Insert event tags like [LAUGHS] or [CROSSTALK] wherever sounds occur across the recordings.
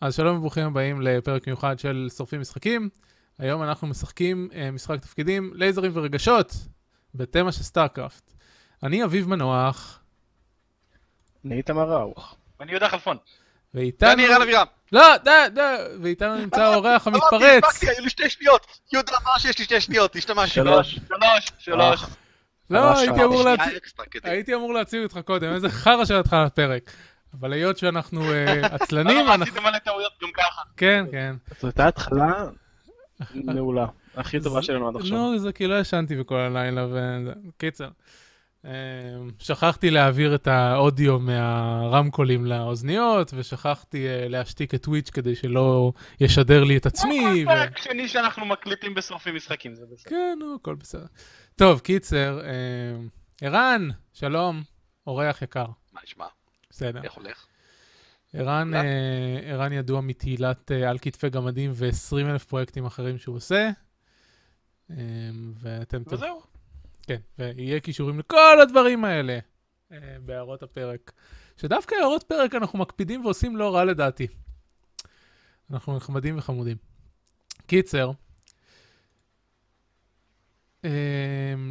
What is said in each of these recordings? אז שלום וברוכים הבאים לפרק מיוחד של שורפים משחקים. היום אנחנו משחקים אה, משחק תפקידים, לייזרים ורגשות, בתמה של סטארקראפט. אני אביב מנוח, אני איתמר ראוך. ואני יהודה חלפון. ואיתנו... ואני ערן אבירם. לא, די, די, ואיתנו נמצא האורח לא, אמרתי, המתפרץ. הספקתי, היו לי שתי שניות. יהודה אמר שיש לי שתי שניות, השתמשתי. שלוש. שלוש. שלוש. לא, ממש הייתי שמעתי אמור אה, [LAUGHS] שנייה, להציג... אקסטרה כדי. הייתי אמור להציג אותך קודם, איזה חרא שלך על הפרק. אבל היות שאנחנו אה, עצלנים, לא, למה? אנחנו... עשיתם לא, מלא טעויות גם ככה. כן, כן. זו הייתה התחלה [LAUGHS] מעולה, הכי טובה שלנו עד עכשיו. לא, זה כי לא ישנתי בכל הלילה, וזה... קיצר. אמ, שכחתי להעביר את האודיו מהרמקולים לאוזניות, ושכחתי אה, להשתיק את טוויץ' כדי שלא ישדר לי את עצמי. אה, ו... פרק שני שאנחנו מקליטים בשורפים משחקים, זה בסדר. כן, נו, הכל בסדר. טוב, קיצר, אמ, ערן, שלום, אורח יקר, מה נשמע? בסדר. איך הולך? ערן אה, ערן ידוע מתהילת אה, על כתפי גמדים ו-20 אלף פרויקטים אחרים שהוא עושה. אמ, ואתם תראו. וזהו. כן, ויהיה קישורים לכל הדברים האלה אה, בהערות הפרק. שדווקא הערות פרק אנחנו מקפידים ועושים לא רע לדעתי. אנחנו נחמדים וחמודים. קיצר, אמ,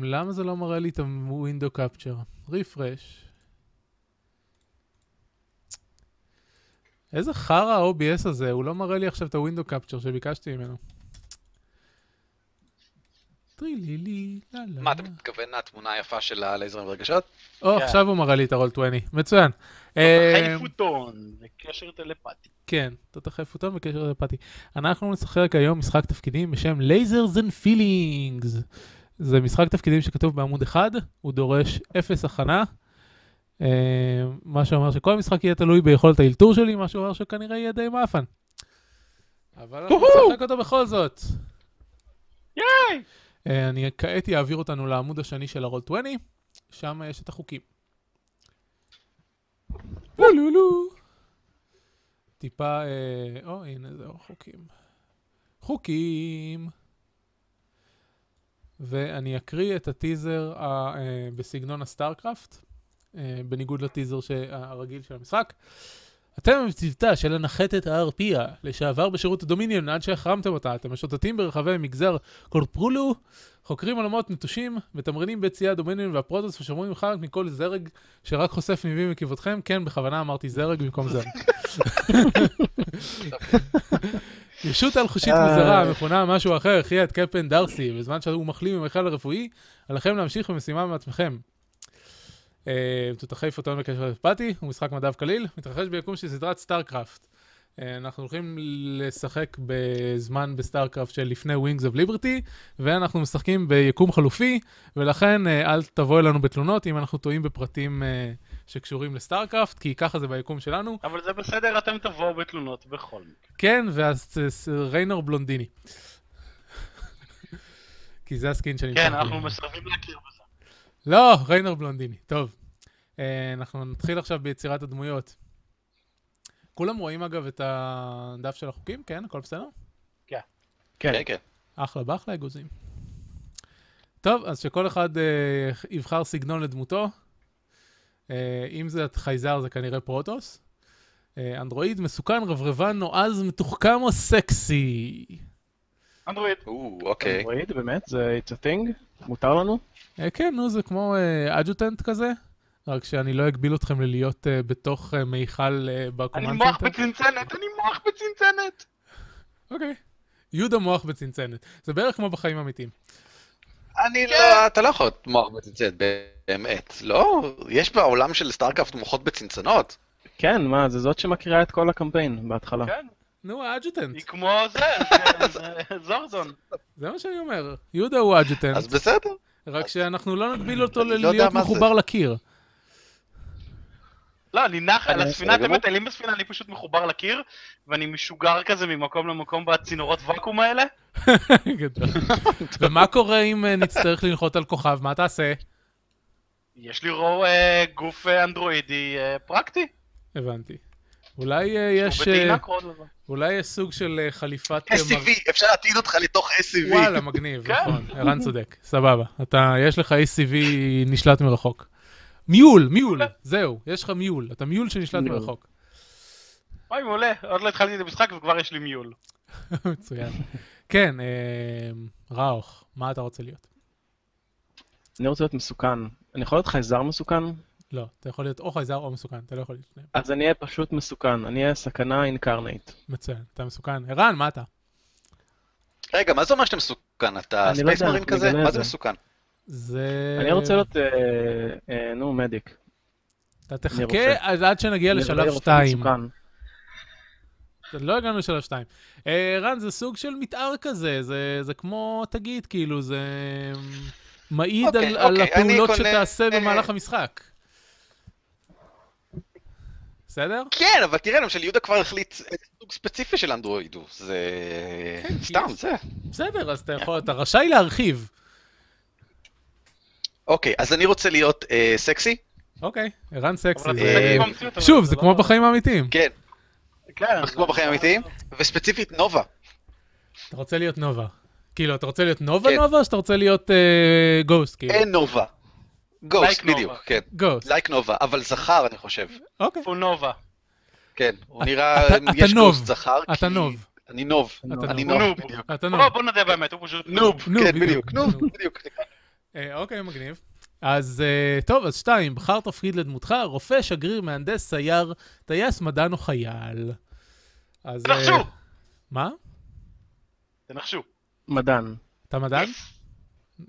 למה זה לא מראה לי את ה-window capture? רפרש. איזה חרא ה-OBS הזה, הוא לא מראה לי עכשיו את ה-window capture שביקשתי ממנו. טרילילי, לה לה. מה, אתה מתכוון לתמונה היפה של הלייזרים ורגשות? או, כן. עכשיו הוא מראה לי את הרול 20. מצוין. אמ, חייפוטון, זה קשר טלפתי. כן, אתה תחף אותו בקשר לפאתי. אנחנו נשחק היום משחק תפקידים בשם Lasers and Feelings. זה משחק תפקידים שכתוב בעמוד 1, הוא דורש אפס הכנה. אמ, מה שאומר שכל המשחק יהיה תלוי ביכולת האלתור שלי, מה שאומר שכנראה יהיה די מאפן. אבל אנחנו נשחק אותו בכל זאת. ייי! אה, אני כעת אעביר אותנו לעמוד השני של הרול 20, שם יש את החוקים. לא, לא, לא. טיפה, אה, או, הנה זהו, חוקים. חוקים. ואני אקריא את הטיזר ה- אה, בסגנון הסטארקראפט, אה, בניגוד לטיזר ש- אה, הרגיל של המשחק. אתם הם צוותה של הנחתת הארפיה, לשעבר בשירות הדומיניון עד שהחרמתם אותה. אתם משוטטים ברחבי מגזר קורפרולו, חוקרים עולמות נטושים, מתמרנים ביציע הדומיניון והפרוטוס ושומרים חלק מכל זרג שרק חושף ניבים מקיבותכם. כן, בכוונה אמרתי זרג במקום זרג. ישות אלחושית אה. מוזרה המכונה משהו אחר הכריעה את קפטן דארסי בזמן שהוא מחלים ממכל הרפואי, עליכם להמשיך במשימה מעצמכם. אה, תותחי פוטון בקשר אכפתי, הוא משחק מדב קליל, מתרחש ביקום של סדרת סטארקראפט. אה, אנחנו הולכים לשחק בזמן בסטארקראפט של לפני Wings of Liberty, ואנחנו משחקים ביקום חלופי, ולכן אה, אל תבואו אלינו בתלונות אם אנחנו טועים בפרטים אה, שקשורים לסטארקראפט, כי ככה זה ביקום שלנו. אבל זה בסדר, אתם תבואו בתלונות בכל מקרה. כן, ואז אה, ס- ריינור בלונדיני. [LAUGHS] כי זה הסקין שאני... כן, משחק אנחנו בו. מסרבים להכיר בזה. לא, ריינור בלונדיני. טוב, אה, אנחנו נתחיל עכשיו ביצירת הדמויות. כולם רואים אגב את הדף של החוקים? כן, הכל בסדר? כן, אוקיי. כן, כן. אחלה באחלה אגוזים. טוב, אז שכל אחד אה, יבחר סגנון לדמותו. אה, אם זה חייזר זה כנראה פרוטוס. אה, אנדרואיד מסוכן, רברבן, נועז, מתוחכם או סקסי. אנדרואיד. או, אוקיי. כן. אנדרואיד, באמת, זה it's a thing, מותר לנו? אה, כן, נו, זה כמו אה, אג'וטנט כזה, רק שאני לא אגביל אתכם ללהיות אה, בתוך אה, מיכל אה, אני בקומנד מוח בצנצנת, אני מוח בצנצנת. אוקיי. יהודה מוח בצנצנת. זה בערך כמו בחיים אמיתיים. אני כן. לא... אתה לא יכול להיות מוח בצנצנת, באמת. לא, יש בעולם של סטארקאפט מוחות בצנצנות. כן, מה, זה זאת שמקריאה את כל הקמפיין בהתחלה. כן, נו, האג'וטנט. היא כמו זה, כן, אה, זה- זה- זורזון. זה מה שאני אומר. יהודה הוא אג'וטנט, אז בסדר. רק אז- שאנחנו לא נגביל אותו אני לא יודע ללהיות מה זה. מחובר לקיר. [LAUGHS] לא, אני נח על אני- הספינה, אתם בסדר מטיילים בספינה, אני פשוט מחובר לקיר, ואני משוגר כזה ממקום למקום בצינורות ואקום האלה. גדול. כן. ומה קורה אם אה, נצטרך לנחות על כוכב? מה תעשה? יש לי רוב אה, גוף אה, אנדרואידי אה, פרקטי. הבנתי. אולי אה, יש... יש הוא אה, בטעינה כל הזמן. אולי יש סוג של אה, חליפת... אה, מר- SCV, אפשר להטעין אותך לתוך SCV. וואלה, מגניב, כן. נכון. ערן צודק, סבבה. אתה, יש לך ACV נשלט מרחוק. מיול, מיול, זהו, יש לך מיול. אתה מיול שנשלט מיול. מרחוק. אוי, מעולה, עוד לא התחלתי את המשחק וכבר יש לי מיול. מצוין. כן, אה, ראוך, מה אתה רוצה להיות? אני רוצה להיות מסוכן. אני יכול להיות חייזר מסוכן? לא, אתה יכול להיות או חייזר או מסוכן, אתה לא יכול להיות שניהם. אז אני אהיה פשוט מסוכן, אני אהיה סכנה אינקרנייט. מצוין, אתה מסוכן. ערן, מה אתה? רגע, מה זה אומר שאתה מסוכן? אני אתה לא ספייס יודע, מרין אנחנו כזה? נגלה מה את זה זה. מסוכן? זה... אני רוצה להיות, אה, אה, נו, מדיק. אתה תחכה רוצה. עד- עד שנגיע אני לשלב רופא 2. מסוכן. לא הגענו לשלב 2. רן, זה סוג של מתאר כזה, זה- זה כמו תגיד, כאילו, זה מעיד אוקיי, על- על אוקיי, אני הפעולות קונה- שתעשה אה, במהלך המשחק. בסדר? כן, אבל תראה, למשל יהודה כבר החליט איזה סוג ספציפי של אנדרואיד הוא. זה... כן, סתם, יש. זה. בסדר, אז אתה יכול, אתה רשאי להרחיב. אוקיי, אז אני רוצה להיות אה, סקסי. אוקיי, ערן סקסי. אבל אתה זה- משחק במציאות, אבל שוב, זה לא- כמו בחיים האמיתיים. כן, כן, כמו בחיים האמיתיים. וספציפית נובה. אתה רוצה להיות נובה. כאילו, אתה רוצה להיות נובה כן. נובה, או שאתה רוצה להיות אה, גוסט, כאילו? אין נובה. גוסט, Like Nova. בדיוק, כן. גוסט, לייק נובה, אבל זכר, אני חושב. אוקיי. הוא נובה. כן, הוא אתה- נראה... אתה- אתה יש נוב. גוסט זכר. אתה כי- נוב. אני נוב. אתה אני לא- נוב. נוב, נוב. בדיוק. אתה נוב. לא, בוא בוא נודה באמת, הוא פשוט נוב, נוב, כן, בדיוק. בדיוק. נוב, נוב. [LAUGHS] בדיוק. אה, אוקיי, מגניב. אז אה, טוב, אז שתיים, בחר תפקיד לדמותך, רופא, שגריר, מהנדס, סייר, טייס, מדען או חייל. לא, אז... אה, תנחשו! מה? תנחשו. מדען. אתה מדען?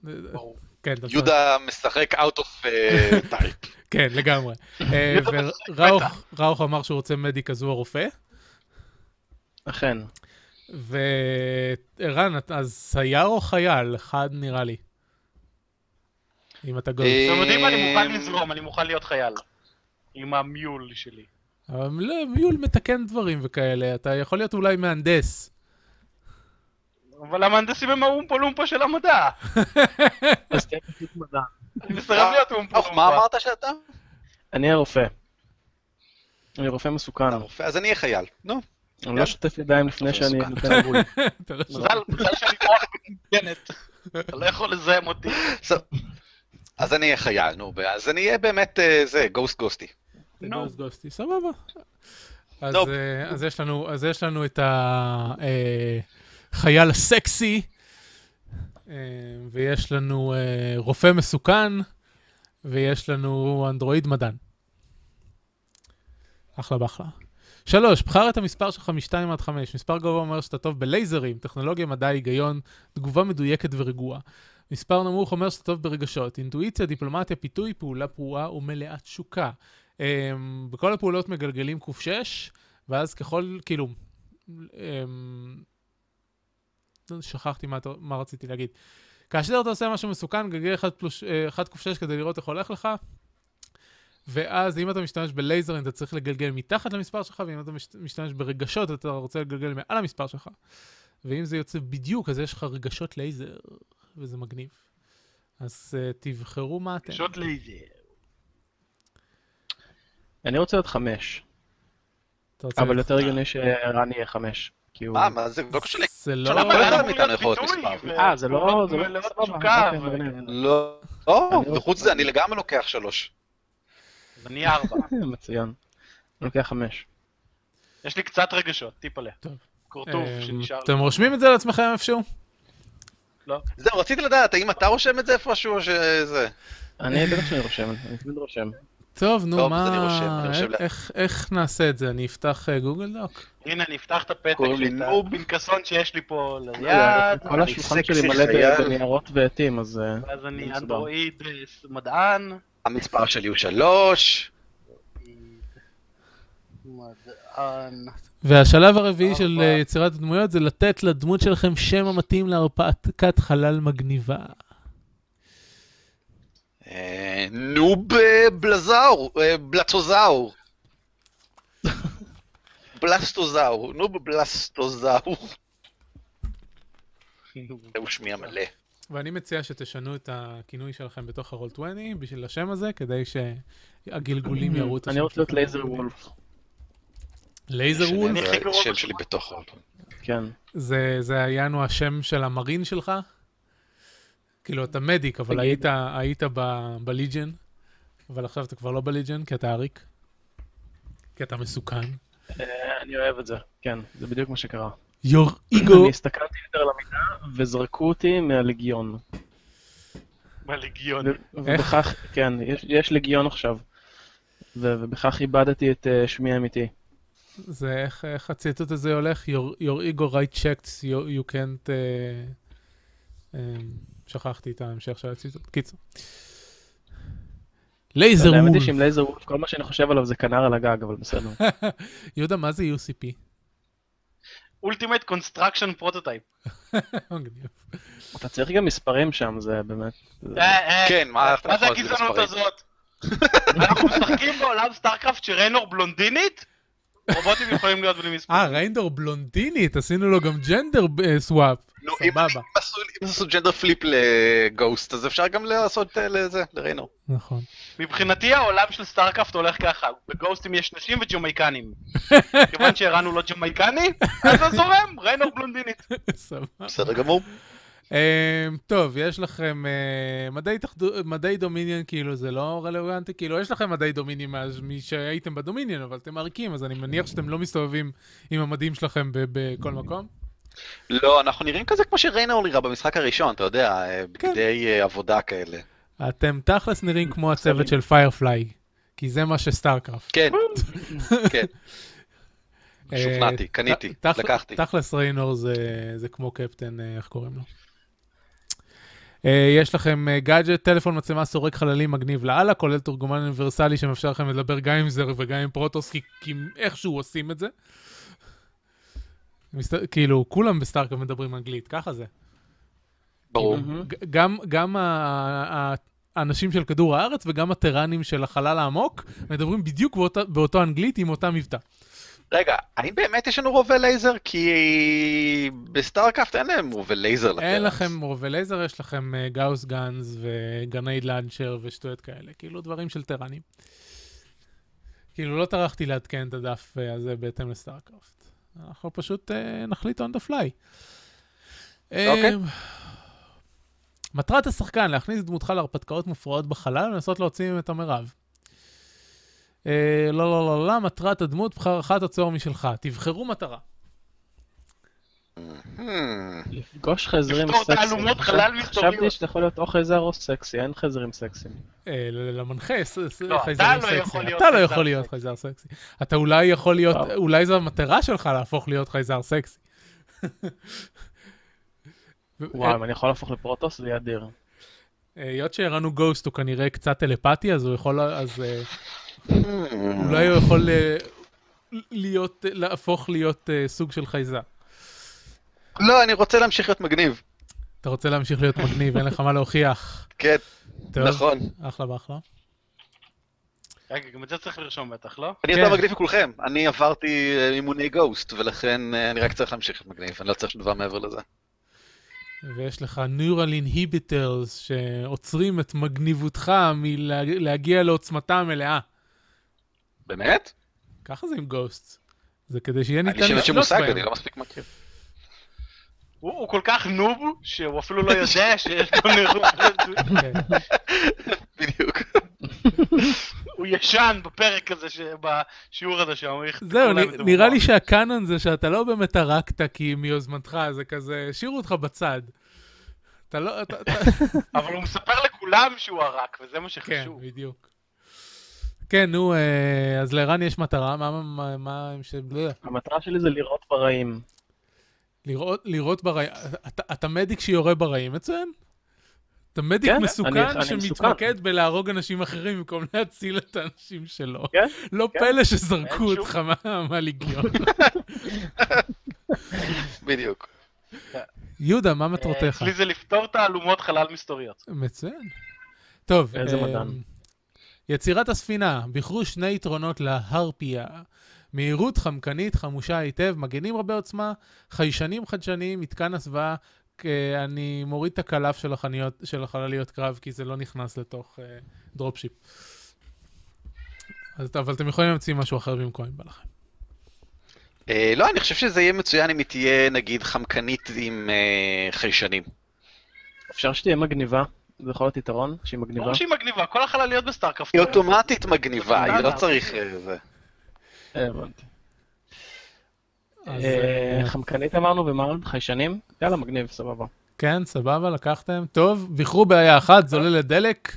ברור. כן, אתה יהודה משחק out of אה, טייפ. כן, לגמרי. [LAUGHS] אה, וראוך ראוך אמר שהוא רוצה מדיק, אז הוא הרופא. אכן. וערן, את- אז סייר או חייל? אחד נראה לי. אם אתה גול. אה, אתם יודעים מה, אני מוכן לזרום, אני מוכן להיות חייל. עם המיול שלי. אבל לא, מיול מתקן דברים וכאלה, אתה יכול להיות אולי מהנדס. אבל המהנדסים הם האומפה לומפה של המדע. אז כן, תהיה פשוט מדען. אני אה, מסרב להיות אומפה אוח, מה לומפה. אמרת שאתה? אני אהיה רופא. אני רופא מסוכן. אתה רופא, אז אני אהיה חייל. [LAUGHS] נו. אני לא שוטף ידיים לפני רופא שאני מסוכן. נותן בול. אתה לא- מזל, מזל שאני מוח בקנטנת. אתה לא יכול לזהם אותי. אז אני אהיה חייל, נו. אז אני אהיה באמת אה, זה, גוסט גוסטי. זה נו. גוסט גוסטי, סבבה. אז, טוב. אה, אז, יש לנו, אז יש לנו את החייל הסקסי, אה, ויש לנו אה, רופא מסוכן, ויש לנו אנדרואיד מדען. אחלה באחלה. שלוש, בחר את המספר שלך מ-2 עד 5. מספר גבוה אומר שאתה טוב בלייזרים, טכנולוגיה, מדע, היגיון, תגובה מדויקת ורגועה. מספר נמוך אומר שאתה טוב ברגשות, אינטואיציה, דיפלומטיה, פיתוי, פעולה פרועה ומלאת תשוקה. Um, בכל הפעולות מגלגלים ק6, ואז ככל, כאילו, um, שכחתי מה, אתה- מה רציתי להגיד. כאשר אתה עושה משהו מסוכן, גלגל 1 פלוס, אה, 1 ק6 כדי לראות איך הולך לך, ואז אם אתה משתמש בלייזרים, אתה צריך לגלגל מתחת למספר שלך, ואם אתה מש- משתמש ברגשות, אתה רוצה לגלגל מעל המספר שלך. ואם זה יוצא בדיוק, אז יש לך רגשות לייזר, וזה מגניב. אז אה, תבחרו מה אתם. פשוט לייזר. אני רוצה להיות [LAUGHS] חמש. אתה רוצה אבל להיות- יותר הגיוני שרן יהיה חמש. כי הוא... מה, מה זה? לא קשור ל... זה לא... שלום, אבל אחד אמור מאיתנו להיות יכול להיות ביטוי, מספר. ו- אה, זה לא... זה לא... מלאת סבבה, תשוקה, אוקיי, ו- מגניב. לא. או, אני לא- וחוץ מזה, אני לגמרי לוקח שלוש. אז אני ארבע. אה, מצוין. אני לוקח חמש. יש לי קצת רגשות, טיפלה. טוב. קורטוב אמ, שנשאר. אתם רושמים את זה לעצמכם איפשהו? זהו, רציתי לדעת, האם אתה רושם את זה איפשהו או שזה... אני בטח שאני רושם, אני תמיד [LAUGHS] רושם. טוב, נו, טוב, אז אני רושם, מה... אני רושם איך- איך- איך נעשה את זה? אני אפתח אה, גוגל דוק? הנה, אני אפתח את הפתק קוראים לי של טל. נוב פנקסון שיש לי פה ליד, יד, אה, כל אני השולחן סקסי שלי מלא חייל. בניירות ועטים, אז... אה, ואז אני מסודר. אנדרואיד אה, מדען. המספר שלי הוא שלוש. מדען. והשלב הרביעי של ארבע. אה, יצירת הדמויות זה לתת לדמות שלכם שם המתאים להרפתקת חלל מגניבה. אה, נוב אה, בלזאור, אה, [LAUGHS] בלצוזאור. בלסטוזאור, נוב בלסטוזאור. זהו שמי המלא. ואני מציע שתשנו את הכינוי שלכם בתוך הרול 20 בשביל השם הזה, כדי שהגלגולים יראו את השם אני רוצה להיות שלכם. לייזר וולף. לייזר שאני- וולף? זה הכי גרוע השם בשולחן. שלי בתוך האלבום. כן. זה זה היה נו השם של המרין שלך? כאילו, אתה מדיק, אבל היית, תגיד. היית ב- בליג'ן, אבל עכשיו אתה כבר לא בליג'ן, כי אתה אריק. כי אתה מסוכן. אה, אני אוהב את זה, כן, זה בדיוק מה שקרה. Your [CLEARS THROAT] אני ego. הסתכלתי יותר על המיטה וזרקו אותי מהלגיון. מהלגיון. ו- ובכך, כן, יש, יש לגיון עכשיו. ו- ובכך איבדתי את אה, שמי האמיתי. זה איך, איך הציטוט הזה הולך? Your, your ego right checks, you, you can't... אה, אה, שכחתי את ההמשך של הציטוט. קיצור. לייזר האמת היא וולף. שעם לייזר וולף, כל מה שאני חושב עליו זה כנר על הגג, אבל בסדר. [LAUGHS] יהודה, מה זה UCP? אולטימט קונסטרקשן פרוטוטייפ. [LAUGHS] מגניב. אתה צריך גם מספרים שם, זה באמת... זה- כן, מה אתה אה, מה זה יכול להסביר הגזענות מספרים? הזאת? אנחנו משחקים בעולם סטארקראפט שריינור בלונדינית? רובוטים יכולים להיות בלי מספר. אה, ריינדור בלונדינית, עשינו לו גם אה, ג'נדר סוואפ. נו, לא, אם סבבה. אם עשו- אם עשו ג'נדר פליפ לגוסט, אז אפשר גם לעשות אה, לזה, לריינור. נכון. מבחינתי העולם של סטארקראפט הולך ככה, בגוסטים יש נשים וג'מייקנים. כיוון שערן הוא לא ג'מייקני, אז זה זורם, ריינור בלונדינית. [LAUGHS] סבבה. בסדר גמור. אה, טוב, יש לכם אה, מדעי התאחדו- מדעי דומיניון, כאילו זה לא רלוונטי, כאילו יש לכם מדעי דומיניון מאז משהייתם בדומיניון, אבל אתם עריקים, אז אני מניח שאתם לא מסתובבים עם המדים שלכם ב- בכל מקום. לא, אנחנו נראים כזה כמו שריינור נראה במשחק הראשון, אתה יודע, כן. אה, בגדי אה, עבודה כאלה. אתם תכלס נראים כמו הצוות של פיירפליי, כי זה מה שסטארקראפט. [LAUGHS] כן, כן, אה, שוכנעתי, קניתי, ת- תכ- לקחתי. תכלס ריינור זה, זה כמו קפטן, אה, איך קוראים לו. אה, יש לכם אה, גאדג'ט, טלפון, מצלמה, סורק חללים מגניב לאללה, כולל תורגמן אוניברסלי שמאפשר לכם לדבר גם עם זר וגם עם פרוטוס, כי, כי איכשהו עושים את זה. מסת... כאילו, כולם בסטארקאפ מדברים אנגלית, ככה זה. ברור. מהמם. ג- גם, גם ה- ה- האנשים של כדור הארץ וגם הטרנים של החלל העמוק מדברים בדיוק באותה, באותו אנגלית עם אותה מבטא. רגע, האם באמת יש לנו רובה לייזר? כי בסטארקאפט אין להם רובה לייזר. אין לטרנס. לכם רובי לייזר, יש לכם אה, גאוס גאנז וגני לאנצ'ר ושטויות כאלה, כאילו דברים של טרנים. כאילו לא טרחתי לעדכן את הדף אה, הזה בהתאם לסטארקראפט. אנחנו פשוט אה, נחליט on the fly. אה, אוקיי. מטרת השחקן, להכניס את דמותך להרפתקאות מופרעות בחלל ולנסות להוציא מהם את המרב. אה, לא, לא, לא, לא, מטרת הדמות, בחרך תוצר משלך. תבחרו מטרה. Hmm. לפגוש חזרים לפתור סקסיים. תעלומות חשב- חלל מסתוריות. חשבתי שאתה יכול להיות או חזר או סקסי, אין חזרים סקסיים. אה, ל- למנחה, ס- ס- לא, אתה חייזרים לא סקסי. יכול להיות אתה לא חייזר לא. יכול להיות חייזר סקסי. אתה אולי יכול להיות, וואו. אולי זו המטרה שלך להפוך להיות חייזר סקסי. ו- וואו, אם אני יכול להפוך לפרוטוס זה יהיה אדיר. אה, היות שערן הוא גוסט, הוא כנראה קצת טלפתי, אז הוא יכול, אז אה, Hmm. אולי הוא יכול אה, להיות, אה, להפוך להיות אה, סוג של חייזר. לא, אני רוצה להמשיך להיות מגניב. אתה רוצה להמשיך להיות מגניב, אין לך מה להוכיח. כן, טוב, נכון. אחלה ואחלה. רגע, גם את זה צריך לרשום בטח, לא? אני כן. יותר מגניב מכולכם. אני עברתי אה, אימוני גוסט, ולכן אה, אני רק צריך להמשיך להיות מגניב, אני לא צריך שום דבר מעבר לזה. ויש לך Neural Inhibitors שעוצרים את מגניבותך מלהגיע לעוצמתה המלאה. באמת? ככה זה עם גוסט. זה כדי שיהיה ניתן אני שאין לי שום מושג, אני לא מספיק מכיר. הוא הוא כל כך נוב, שהוא אפילו לא יודע שיש לו נרות. [LAUGHS] כן. בדיוק. [LAUGHS] הוא ישן בפרק הזה, ש- בשיעור הזה שם. איך- זהו, אולי נ- מדובר. נראה לי שהקאנון זה שאתה לא באמת הרגת כי מיוזמתך, זה כזה, השאירו אותך בצד. אתה לא, אתה, אתה, [LAUGHS] אבל הוא מספר לכולם שהוא ערק, וזה כן, מה שחשוב. בדיוק. כן, נו, אה, אז לערן יש מטרה, מה, מה, מה, ש... המטרה שלי זה לראות ברעים. לראות, לראות ברעים, אתה, אתה מדיק שיורה ברעים, מצוין. אתה מדיק כן, מסוכן אני- אני שמתמקד בלהרוג אנשים אחרים במקום להציל את האנשים שלו. כן? לא כן. פלא שזרקו אין שום- אותך מה- מהליגיון. [LAUGHS] בדיוק. יהודה, מה אה, מטרותיך? אצלי זה לפתור תעלומות חלל מסתוריות. מצוין. טוב. איזה אה, מדען. יצירת הספינה, בחרו שני יתרונות להרפיה. מהירות חמקנית, חמושה היטב, מגנים רבי עוצמה, חיישנים חדשניים, מתקן הסוואה. אה, אני מוריד את הקלף של, החניות, של החלליות קרב, כי זה לא נכנס לתוך אה, דרופשיפ. אז, אבל אתם יכולים להמציא משהו אחר במקום, אם בא לכם. אה, לא, אני חושב שזה יהיה מצוין אם היא תהיה, נגיד, חמקנית עם אה, חיישנים. אפשר שתהיה מגניבה, זה יכול להיות יתרון, שהיא מגניבה. ברור שהיא מגניבה, כל החלליות בסטארקאפט. לא, [LAUGHS] היא אוטומטית מגניבה, היא לא צריך אה, זה. אה, הבנתי. אז, אה, אה, חמקנית אמרנו ומה עוד? חיישנים? יאללה, מגניב, סבבה. כן, סבבה, לקחתם. טוב, זכרו בעיה אחת, זוללת דלק.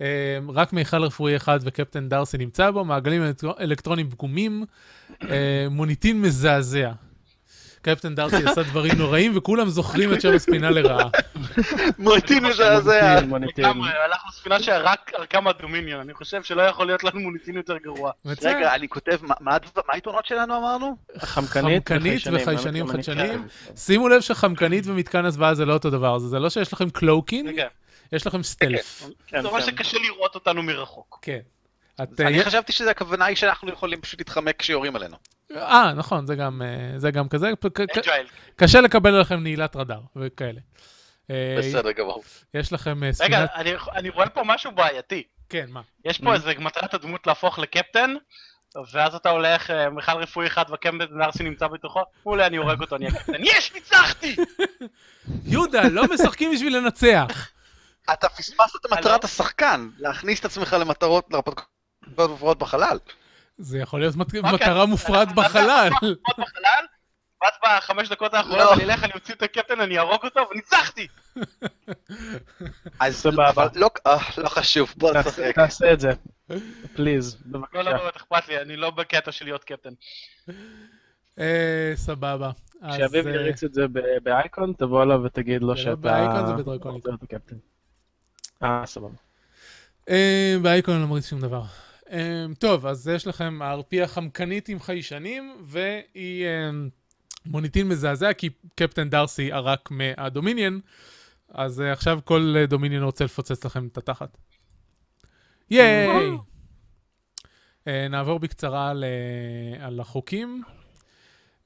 אה, רק מיכל רפואי אחד וקפטן דארסי נמצא בו, מעגלים אלקטר- אלקטרונים פגומים, אה, מוניטין מזעזע. קפטן דארסי [LAUGHS] עשה דברים נוראים, וכולם זוכרים את שם הספינה לרעה. מוניטין מזעזע. מוניטין, מוניטין. לגמרי, הלכנו ספינה שהיה רק ארכמה דומיניון, אני חושב שלא יכול להיות לנו מוניטין יותר גרוע. מצא- רגע, אני כותב, מה- מה הדבר- מה העיתונות שלנו אמרנו? חמקנית חמקנית וחיישנים האמת, גם אני חדשנים. חייב. שימו לב שחמקנית ומתקן הזוועה זה לא אותו דבר, זה זה לא שיש לכם קלוקין, רגע, יש לכם סטלף. כן, זה אומר כן. שקשה לראות אותנו מרחוק. כן. את, אוקיי. אני אה, חשבתי שזה הכוונה היא שאנחנו יכולים פשוט להתחמק כשיורים עלינו. אה, נכון, זה גם, אה, זה גם כזה. פ- ק- אג'ייל. קשה לקבל עליכם נעילת רדאר וכאלה. אה, בסדר גמור. יש לכם אה, רגע, ספינת... אני- אני רואה פה משהו בעייתי. כן, מה? יש פה איזה מטרת הדמות להפוך לקפטן, ואז אתה הולך, אה, מיכל רפואי אחד והקפטן נרסי נמצא בתוכו, מעולה, אני הורג אותו, אני הקפטן. יש, ניצחתי! יהודה, לא משחקים בשביל לנצח. אתה פספסת את הלו? מטרת השחקן, להכניס את עצמך למטרות, להרפתקאות מופרעות בחלל. זה יכול להיות מת- אוקיי, מטרה מופרעת בחלל. עוד בחלל, ואז בחמש דקות האחרונות לא. אני אלך, אני אוציא את הקפטן, אני ארוג אותו, וניצחתי! אז סבבה. אבל לא, אה, לא חשוב, בוא תעשה- נשחק. תעשה את זה. פליז, לא, בבקשה. לא באמת אכפת לי, אני לא בקטע של להיות קפטן. אה, סבבה. אז, כשאביב אה, יריץ את זה ב- באייקון, תבוא אליו ותגיד לו זה לא שאתה... באייקון, זה בדרקונית. אתה קפטן. אה, סבבה. אה, באייקון אני לא מריץ שום דבר. אה, טוב, אז יש לכם הערפי החמקנית עם חיישנים, והיא אה, מוניטין מזעזע, כי קפטן דארסי ערק מהדומיניאן, אז אה, עכשיו כל אה, דומיניאן רוצה לפוצץ לכם את התחת. ייי! אה, נעבור בקצרה על, אה, על החוקים.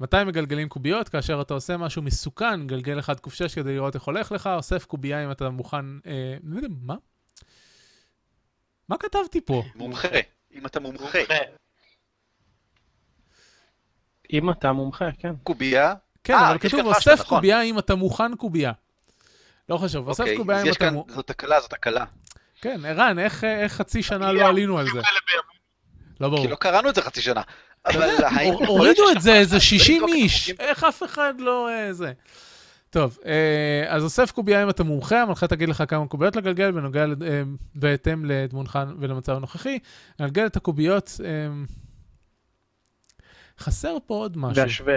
מתי מגלגלים קוביות? כאשר אתה עושה משהו מסוכן, גלגל 1 ק6 כדי לראות איך הולך לך, אוסף קובייה אם אתה מוכן... אה, לא יודע, מה? מה כתבתי פה? מומחה, אם אתה מומחה. אם אתה מומחה, כן. קובייה, כן, אה, אבל יש כתוב גם אוסף משהו, נכון. קובייה אם אתה מוכן קובייה. לא חשוב, אוסף אוקיי, קובייה אז אם יש אתה כאן, מוכן. זו תקלה, זו תקלה. כן, ערן, איך איך חצי כאילו, שנה אליהו, לא עלינו על זה? אלה בימים. לא ברור. כי לא קראנו את זה חצי שנה. אבל האם- הור- הורידו את זה איזה 60 חוקים. איש, איך אף אחד לא... אה, זה. טוב, אה, אז אוסף קובייה אם אתה מומחה, המנחה תגיד לך כמה קוביות לגלגל בנוגע, לד- אה, בהתאם לדמונך ולמצב הנוכחי. נגלגל את הקוביות, אה, חסר פה עוד משהו. [LAUGHS] והשווה.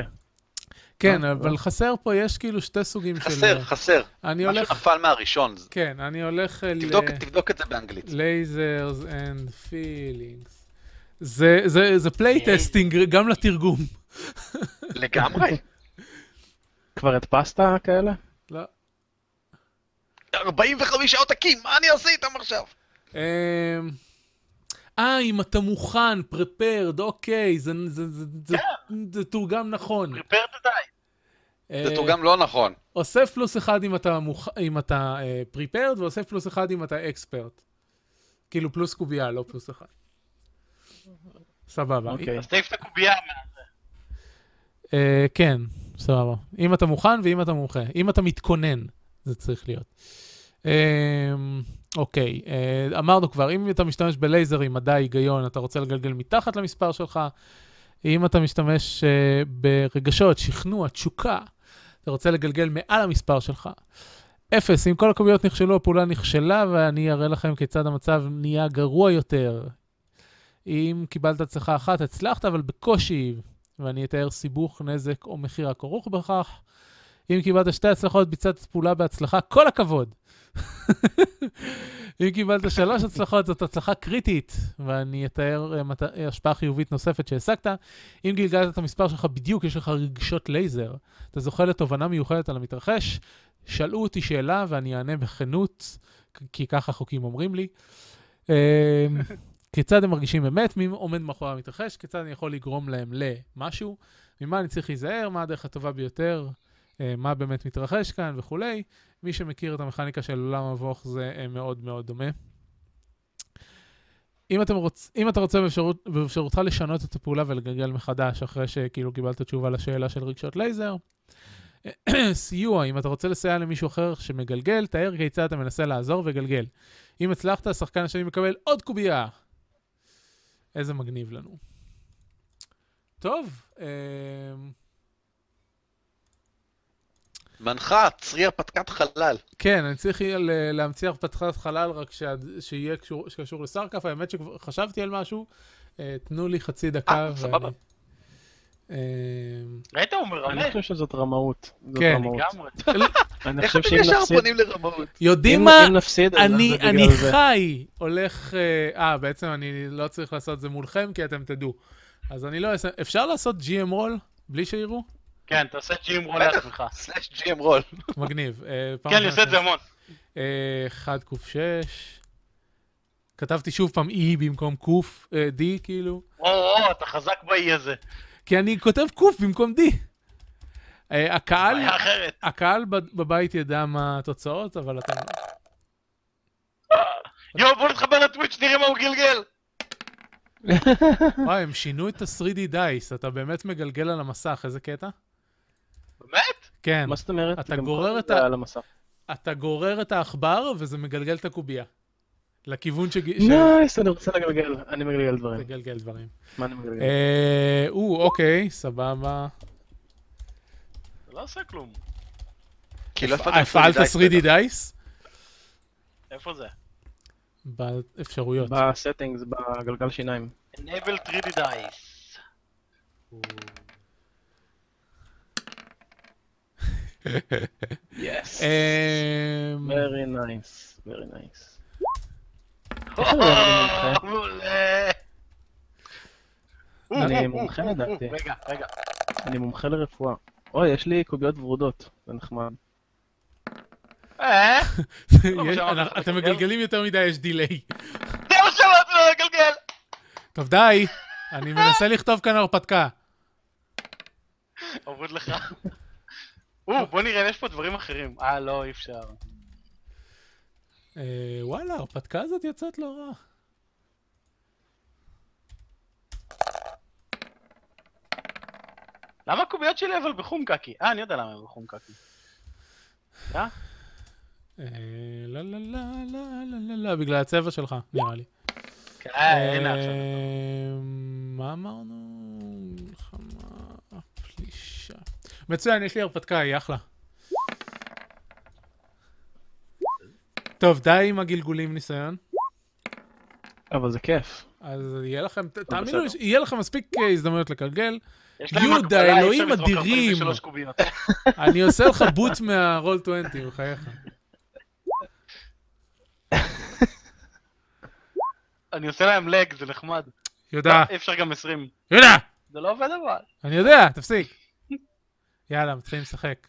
כן, אה, אבל חסר פה, יש כאילו שתי סוגים של... חסר, חסר. אני משהו הולך, נפל מהראשון. כן, אני הולך אה, ל... תבדוק- תבדוק את זה באנגלית. לייזרס אנד פילינגס. זה, זה, זה אוקיי. פלייטסטינג גם לתרגום. לגמרי. כבר הדפסת כאלה? לא. 45 עותקים, מה אני אעשה איתם עכשיו? אמ, אה, אם אתה מוכן, prepared, אוקיי, זה, זה, זה, זה, זה תורגם נכון. Prepare to die. זה אה, תורגם לא נכון. אוסף פלוס אחד אם אתה, מוכ... אם אתה אה, prepared, ואוסף פלוס אחד אם אתה expert. כאילו פלוס קובייה, לא פלוס אחד. סבבה. אוקיי. אז תעיף את הקובייה. אה, כן, סבבה. אם אתה מוכן ואם אתה מומחה. אם אתה מתכונן, זה צריך להיות. אה, אוקיי, אה, אמרנו כבר, אם אתה משתמש בלייזר עם מדע היגיון, אתה רוצה לגלגל מתחת למספר שלך. אם אתה משתמש אה, ברגשות, שכנוע, תשוקה, אתה רוצה לגלגל מעל המספר שלך. אפס, אם כל הקוביות נכשלו, הפעולה נכשלה, ואני אראה לכם כיצד המצב נהיה גרוע יותר. אם קיבלת הצלחה אחת, הצלחת, אבל בקושי, ואני אתאר סיבוך, נזק או מחיר הכרוך בכך. אם קיבלת שתי הצלחות, ביצעת פעולה בהצלחה, כל הכבוד. [LAUGHS] אם קיבלת שלוש הצלחות, זאת הצלחה קריטית, ואני אתאר אה, מת... אה, השפעה חיובית נוספת שהעסקת. אם גלגלת את המספר שלך בדיוק, יש לך רגשות לייזר. אתה זוכה לתובנה מיוחדת על המתרחש. שאלו אותי שאלה ואני אענה בכנות, כ- כי ככה החוקים אומרים לי. אה, כיצד הם מרגישים אמת, מי עומד מאחורי המתרחש, כיצד אני יכול לגרום להם למשהו, ממה אני צריך להיזהר, מה הדרך הטובה ביותר, אה, מה באמת מתרחש כאן וכולי. מי שמכיר את המכניקה של עולם מבוך זה אה, מאוד מאוד דומה. אם, אתם רוצ... אם אתה רוצה באפשרות... באפשרותך לשנות את הפעולה ולגלגל מחדש אחרי שכאילו קיבלת תשובה לשאלה של רגשות לייזר, אה, [CLEARS THROAT] סיוע, אם אתה רוצה לסייע למישהו אחר שמגלגל, תאר כיצד אתה מנסה לעזור וגלגל. אם הצלחת, השחקן השני מקבל עוד קובייה. אה, איזה מגניב לנו. טוב, אמ, מנחה, צרי הרפתקת חלל. כן, אני צריך יהיה ל- להמציא הרפתחת חלל, רק שה- שיהיה קשור- שקשור לסארקף. האמת שכבר חשבתי על משהו, אה, תנו לי חצי דקה. אה, סבבה. ואני- אה, ראית? הוא מרמה. אני חושב שזאת רמאות. זאת כן. רמאות. לגמרי. אני איך חושב אתם שאם ישר נפסיד... פונים לרמאות? יודעים אם- מה? אם נפסיד, אז אני, זה בגלל אני זה. חי, הולך... אה, אה, בעצם אני לא צריך לעשות את זה מולכם, כי אתם תדעו. אז אני לא אעשה... אפשר לעשות GM רול בלי שיראו? כן, תעשה ג'ים רול בטח. לעצמך. סלאש ג'י אם רול. מגניב. אה, פעם כן, אני עושה את זה אחת. המון. אה, 1 קוף 6. כתבתי שוב פעם E במקום ק, אה, D כאילו. או, או, אתה חזק באי הזה. כי אני כותב ק במקום D. אה, הקהל, בעיה אחרת. הקהל בב- בבית ידע מה התוצאות, אבל אתם... יואו, בוא נתחבר לטוויץ', נראה מה הוא גלגל. וואי, הם שינו את ה-3D דייס, אתה באמת מגלגל על המסך, איזה קטע? באמת? כן, מה זאת אומרת? אתה גם גורר כל את זה ה- על המסך. אתה גורר את העכבר וזה מגלגל את הקובייה. לכיוון שג- נייס, אני רוצה לגלגל. אני מגלגל דברים. שתגלגל דברים. מה אני מגלגל? אה, או, אוקיי, סבבה. זה לא עושה כלום. כי לא הפעלת אה, הפעלת 3D די. דייס? איפה זה? באפשרויות. בסטינגס, בגלגל שיניים. Enable 3D Dice. יס. אמ, [LAUGHS] כן. Very nice. Very nice. אה. לא [LAUGHS] מעולה. אני מומחה לדעתי. רגע, רגע. אני מומחה לרפואה. אוי, יש לי קוביות ורודות. זה נחמד. אה? יש- שאמרת, אתם אתה מגלגלים יותר מדי, יש דיליי. זה מה שאמרתי לו לא לגלגל! טוב, די, אני מנסה לכתוב כאן הרפתקה. עובד לך. או, בוא נראה, יש פה דברים אחרים. אה, לא, אי אפשר. אה, וואלה, ההרפתקה הזאת יוצאת לא רע. למה הקוביות שלי אבל בחום קקי? אה, אני יודע למה הם בחום קקי. אה? אה, לא, לא, לא, לא, לא, לא, לא, בגלל הצבע שלך, נראה לי. כן, הנה עכשיו. אה, מה אמרנו? מלחמה, פלישה. מצוין, יש לי הרפתקה, היא אחלה. טוב, די עם הגלגולים ניסיון. אבל זה כיף. אז יהיה לכם, ת- תאמינו בסדר. לי, שיהיה לכם מספיק אה, הזדמנויות לגלגל. יש להם יהודה, הגבלה, אי אפשר אלוהים לזרוק אדירים. 43 קוביות. אני עושה לך בוט [LAUGHS] מהרול 20, בחייך. אני עושה להם לג, זה נחמד. יהודה, אי אפשר גם 20. יהודה! זה לא עובד אבל. אני יודע, תפסיק. יאללה, מתחילים לשחק.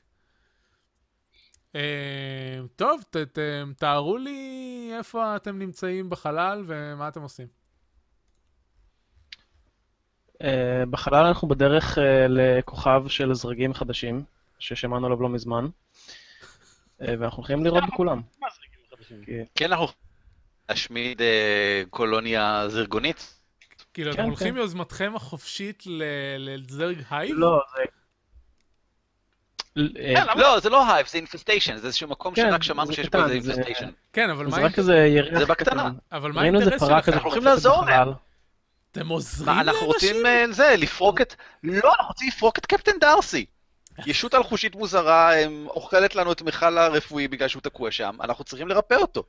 אה, טוב, ת, ת, תארו לי איפה אתם נמצאים בחלל ומה אתם עושים. אה, בחלל אנחנו בדרך אה, לכוכב של זרגים חדשים, ששמענו עליו לא מזמן, אה, ואנחנו הולכים לראות בכולם. מה זה רגעים חדשים? כן, אנחנו להשמיד אה, קולוניה זרגונית. כאילו, אתם כן, הולכים כן. מיוזמתכם החופשית ל- לזרג הייב? לא, זה... אה, אה, למה? לא, זה לא הייב, זה אינפסטיישן, זה איזשהו מקום כן, שרק זה שמענו שיש קטן, בו איזה זה- אינפסטיישן. כן, אבל מה זה רק האינטרס- כזה יריח זה קטן. בקטנה. אבל מה ראינו איזה האינטרס פרה כזה שלכם? אנחנו הולכים חופשית לעזור להם. בחלל. אתם עוזרים מה, אנחנו לאנשים? רוצים אה, זה, לפרוק את... לא, אנחנו רוצים לפרוק את קפטן דארסי. ישות אלחושית מוזרה, הם- אוכלת לנו את מיכל הרפואי בגלל שהוא תקוע שם, אנחנו צריכים לרפא אותו.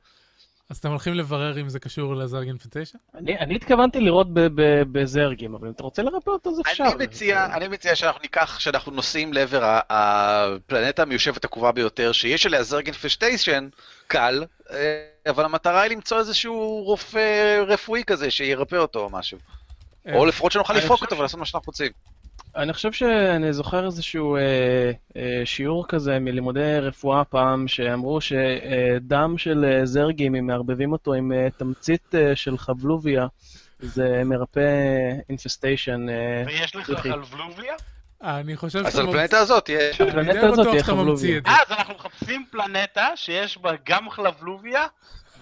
אז אתם הולכים לברר אם זה קשור לזרג אינפנטיישן? אני אני התכוונתי לראות ב- ב- בזרגים, אבל אם אתה רוצה לרפא אותו אז אפשר. אני אה, מציע, אני מציע שאנחנו ניקח, שאנחנו נוסעים לעבר ה- הפלנטה המיושבת הקרובה ביותר, שיש עליה זרגן פשטיישן, קל, אה, אבל המטרה היא למצוא איזשהו רופא רפואי כזה שירפא אותו או משהו. אה, או לפחות שנוכל אני לפרוק חושב אותו ולעשות מה שאנחנו רוצים. אני חושב שאני זוכר איזשהו אה, אה, שיעור כזה מלימודי רפואה פעם, שאמרו שדם של אה, זרגים, אם מערבבים אותו עם אה, תמצית אה, של חבלוביה, זה מרפא אינסטיישן. אה, ויש לך סליחי. חלבלוביה? אני חושב אז על ממציא- הפלנטה הזאת יש... אני די הפלנטה הזאת בטוח תהיה שאתה ממציא חבלוביה. את זה. אה, אז אנחנו מחפשים פלנטה שיש בה גם חלבלוביה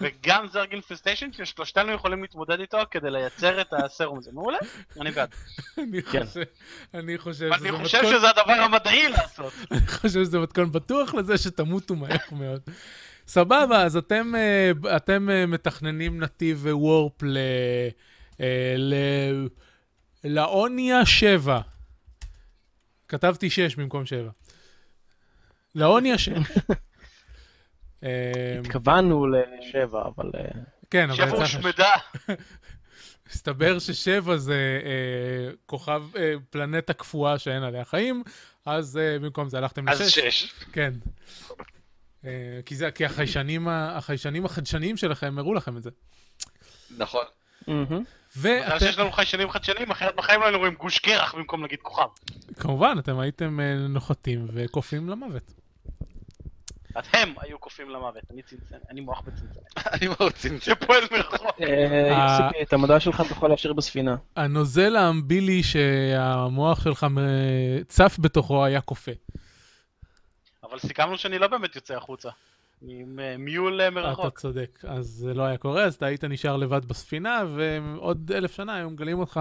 וגם זרג אינפסטיישן, ששלושתנו יכולים להתמודד איתו כדי לייצר את הסרום הזה. מעולה, אני בעד. אני כן. חושב- אני חושב שזה אה! אני חושב מתכון- שזה הדבר המדעי לעשות. אני חושב שזה מתכון בטוח לזה שתמותו מהר מאוד. סבבה, אז אתם, אה, ב- אתם אה, מתכננים נתיב אה, וורפ ל... אה, ל... לאוניה 7. כתבתי 6 במקום 7. לעוני [LAUGHS] השש. אמ, התכוונו לשבע, אבל... אה, כן, אבל שבע יצא לך- הושמדה. הסתבר ששבע זה אה, כוכב, אה, פלנטה קפואה שאין עליה חיים, אז אה, במקום זה הלכתם אז לשש. שש. כן. אה, כי, זה, כי החיישנים, ה- החיישנים החדשניים שלכם הראו לכם את זה. נכון. [LAUGHS] מהמם. מזל שיש ואתם, לנו חיישנים חדשנים, אחרת בחיים לא היינו רואים גוש קרח במקום להגיד כוכב. כמובן, אתם הייתם אה, נוחתים וקופים למוות. הם היו קופים למוות, אני צנצנת, אני מוח בצנצנת. אני מאוד צמצם. שפועל מרחוב. אה, אה. יוסי, את המדע שלך תוכל להשאיר בספינה. הנוזל האמבילי שהמוח שלך מ- צף בתוכו היה קופא. אבל סיכמנו שאני לא באמת יוצא החוצה. אני עם אה, מיול אה, אתה מרחוק. צודק, אז זה לא היה קורה, אז אתה היית נשאר לבד בספינה, ועוד אלף שנה היו מגלים אותך,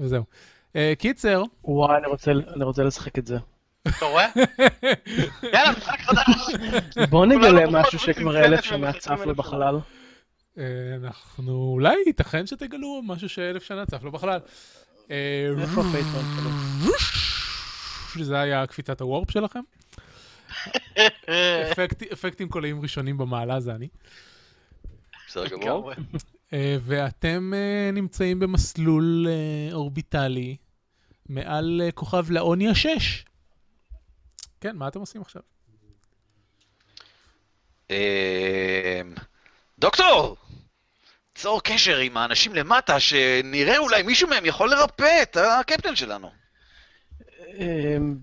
וזהו. אה, קיצר, וואי, אני רוצה- אני רוצה לשחק [LAUGHS] את זה. אתה רואה? יאללה, משחק חדש. בוא כולנו נגלה משהו פחות שכבר מצנצנת אלף שנה ומחכים צף אלף לו שנה. בחלל. אה, אנחנו, אולי ייתכן שתגלו משהו שאלף שנה צף לו בחלל. אה, איפה הפייסבוק שלו? זה היה קפיצת הוורפ שלכם. אה, אפקט- אפקטים קולעים ראשונים במעלה זה אני. בסדר גמור. לגמרי. אה, ואתם אה, נמצאים במסלול אה, אורביטלי מעל אה, כוכב לעוני השש. כן, מה אתם עושים עכשיו? אמ, דוקטור! צור קשר עם האנשים למטה, שנראה אולי מישהו מהם יכול לרפא את הקפטן שלנו. אמ,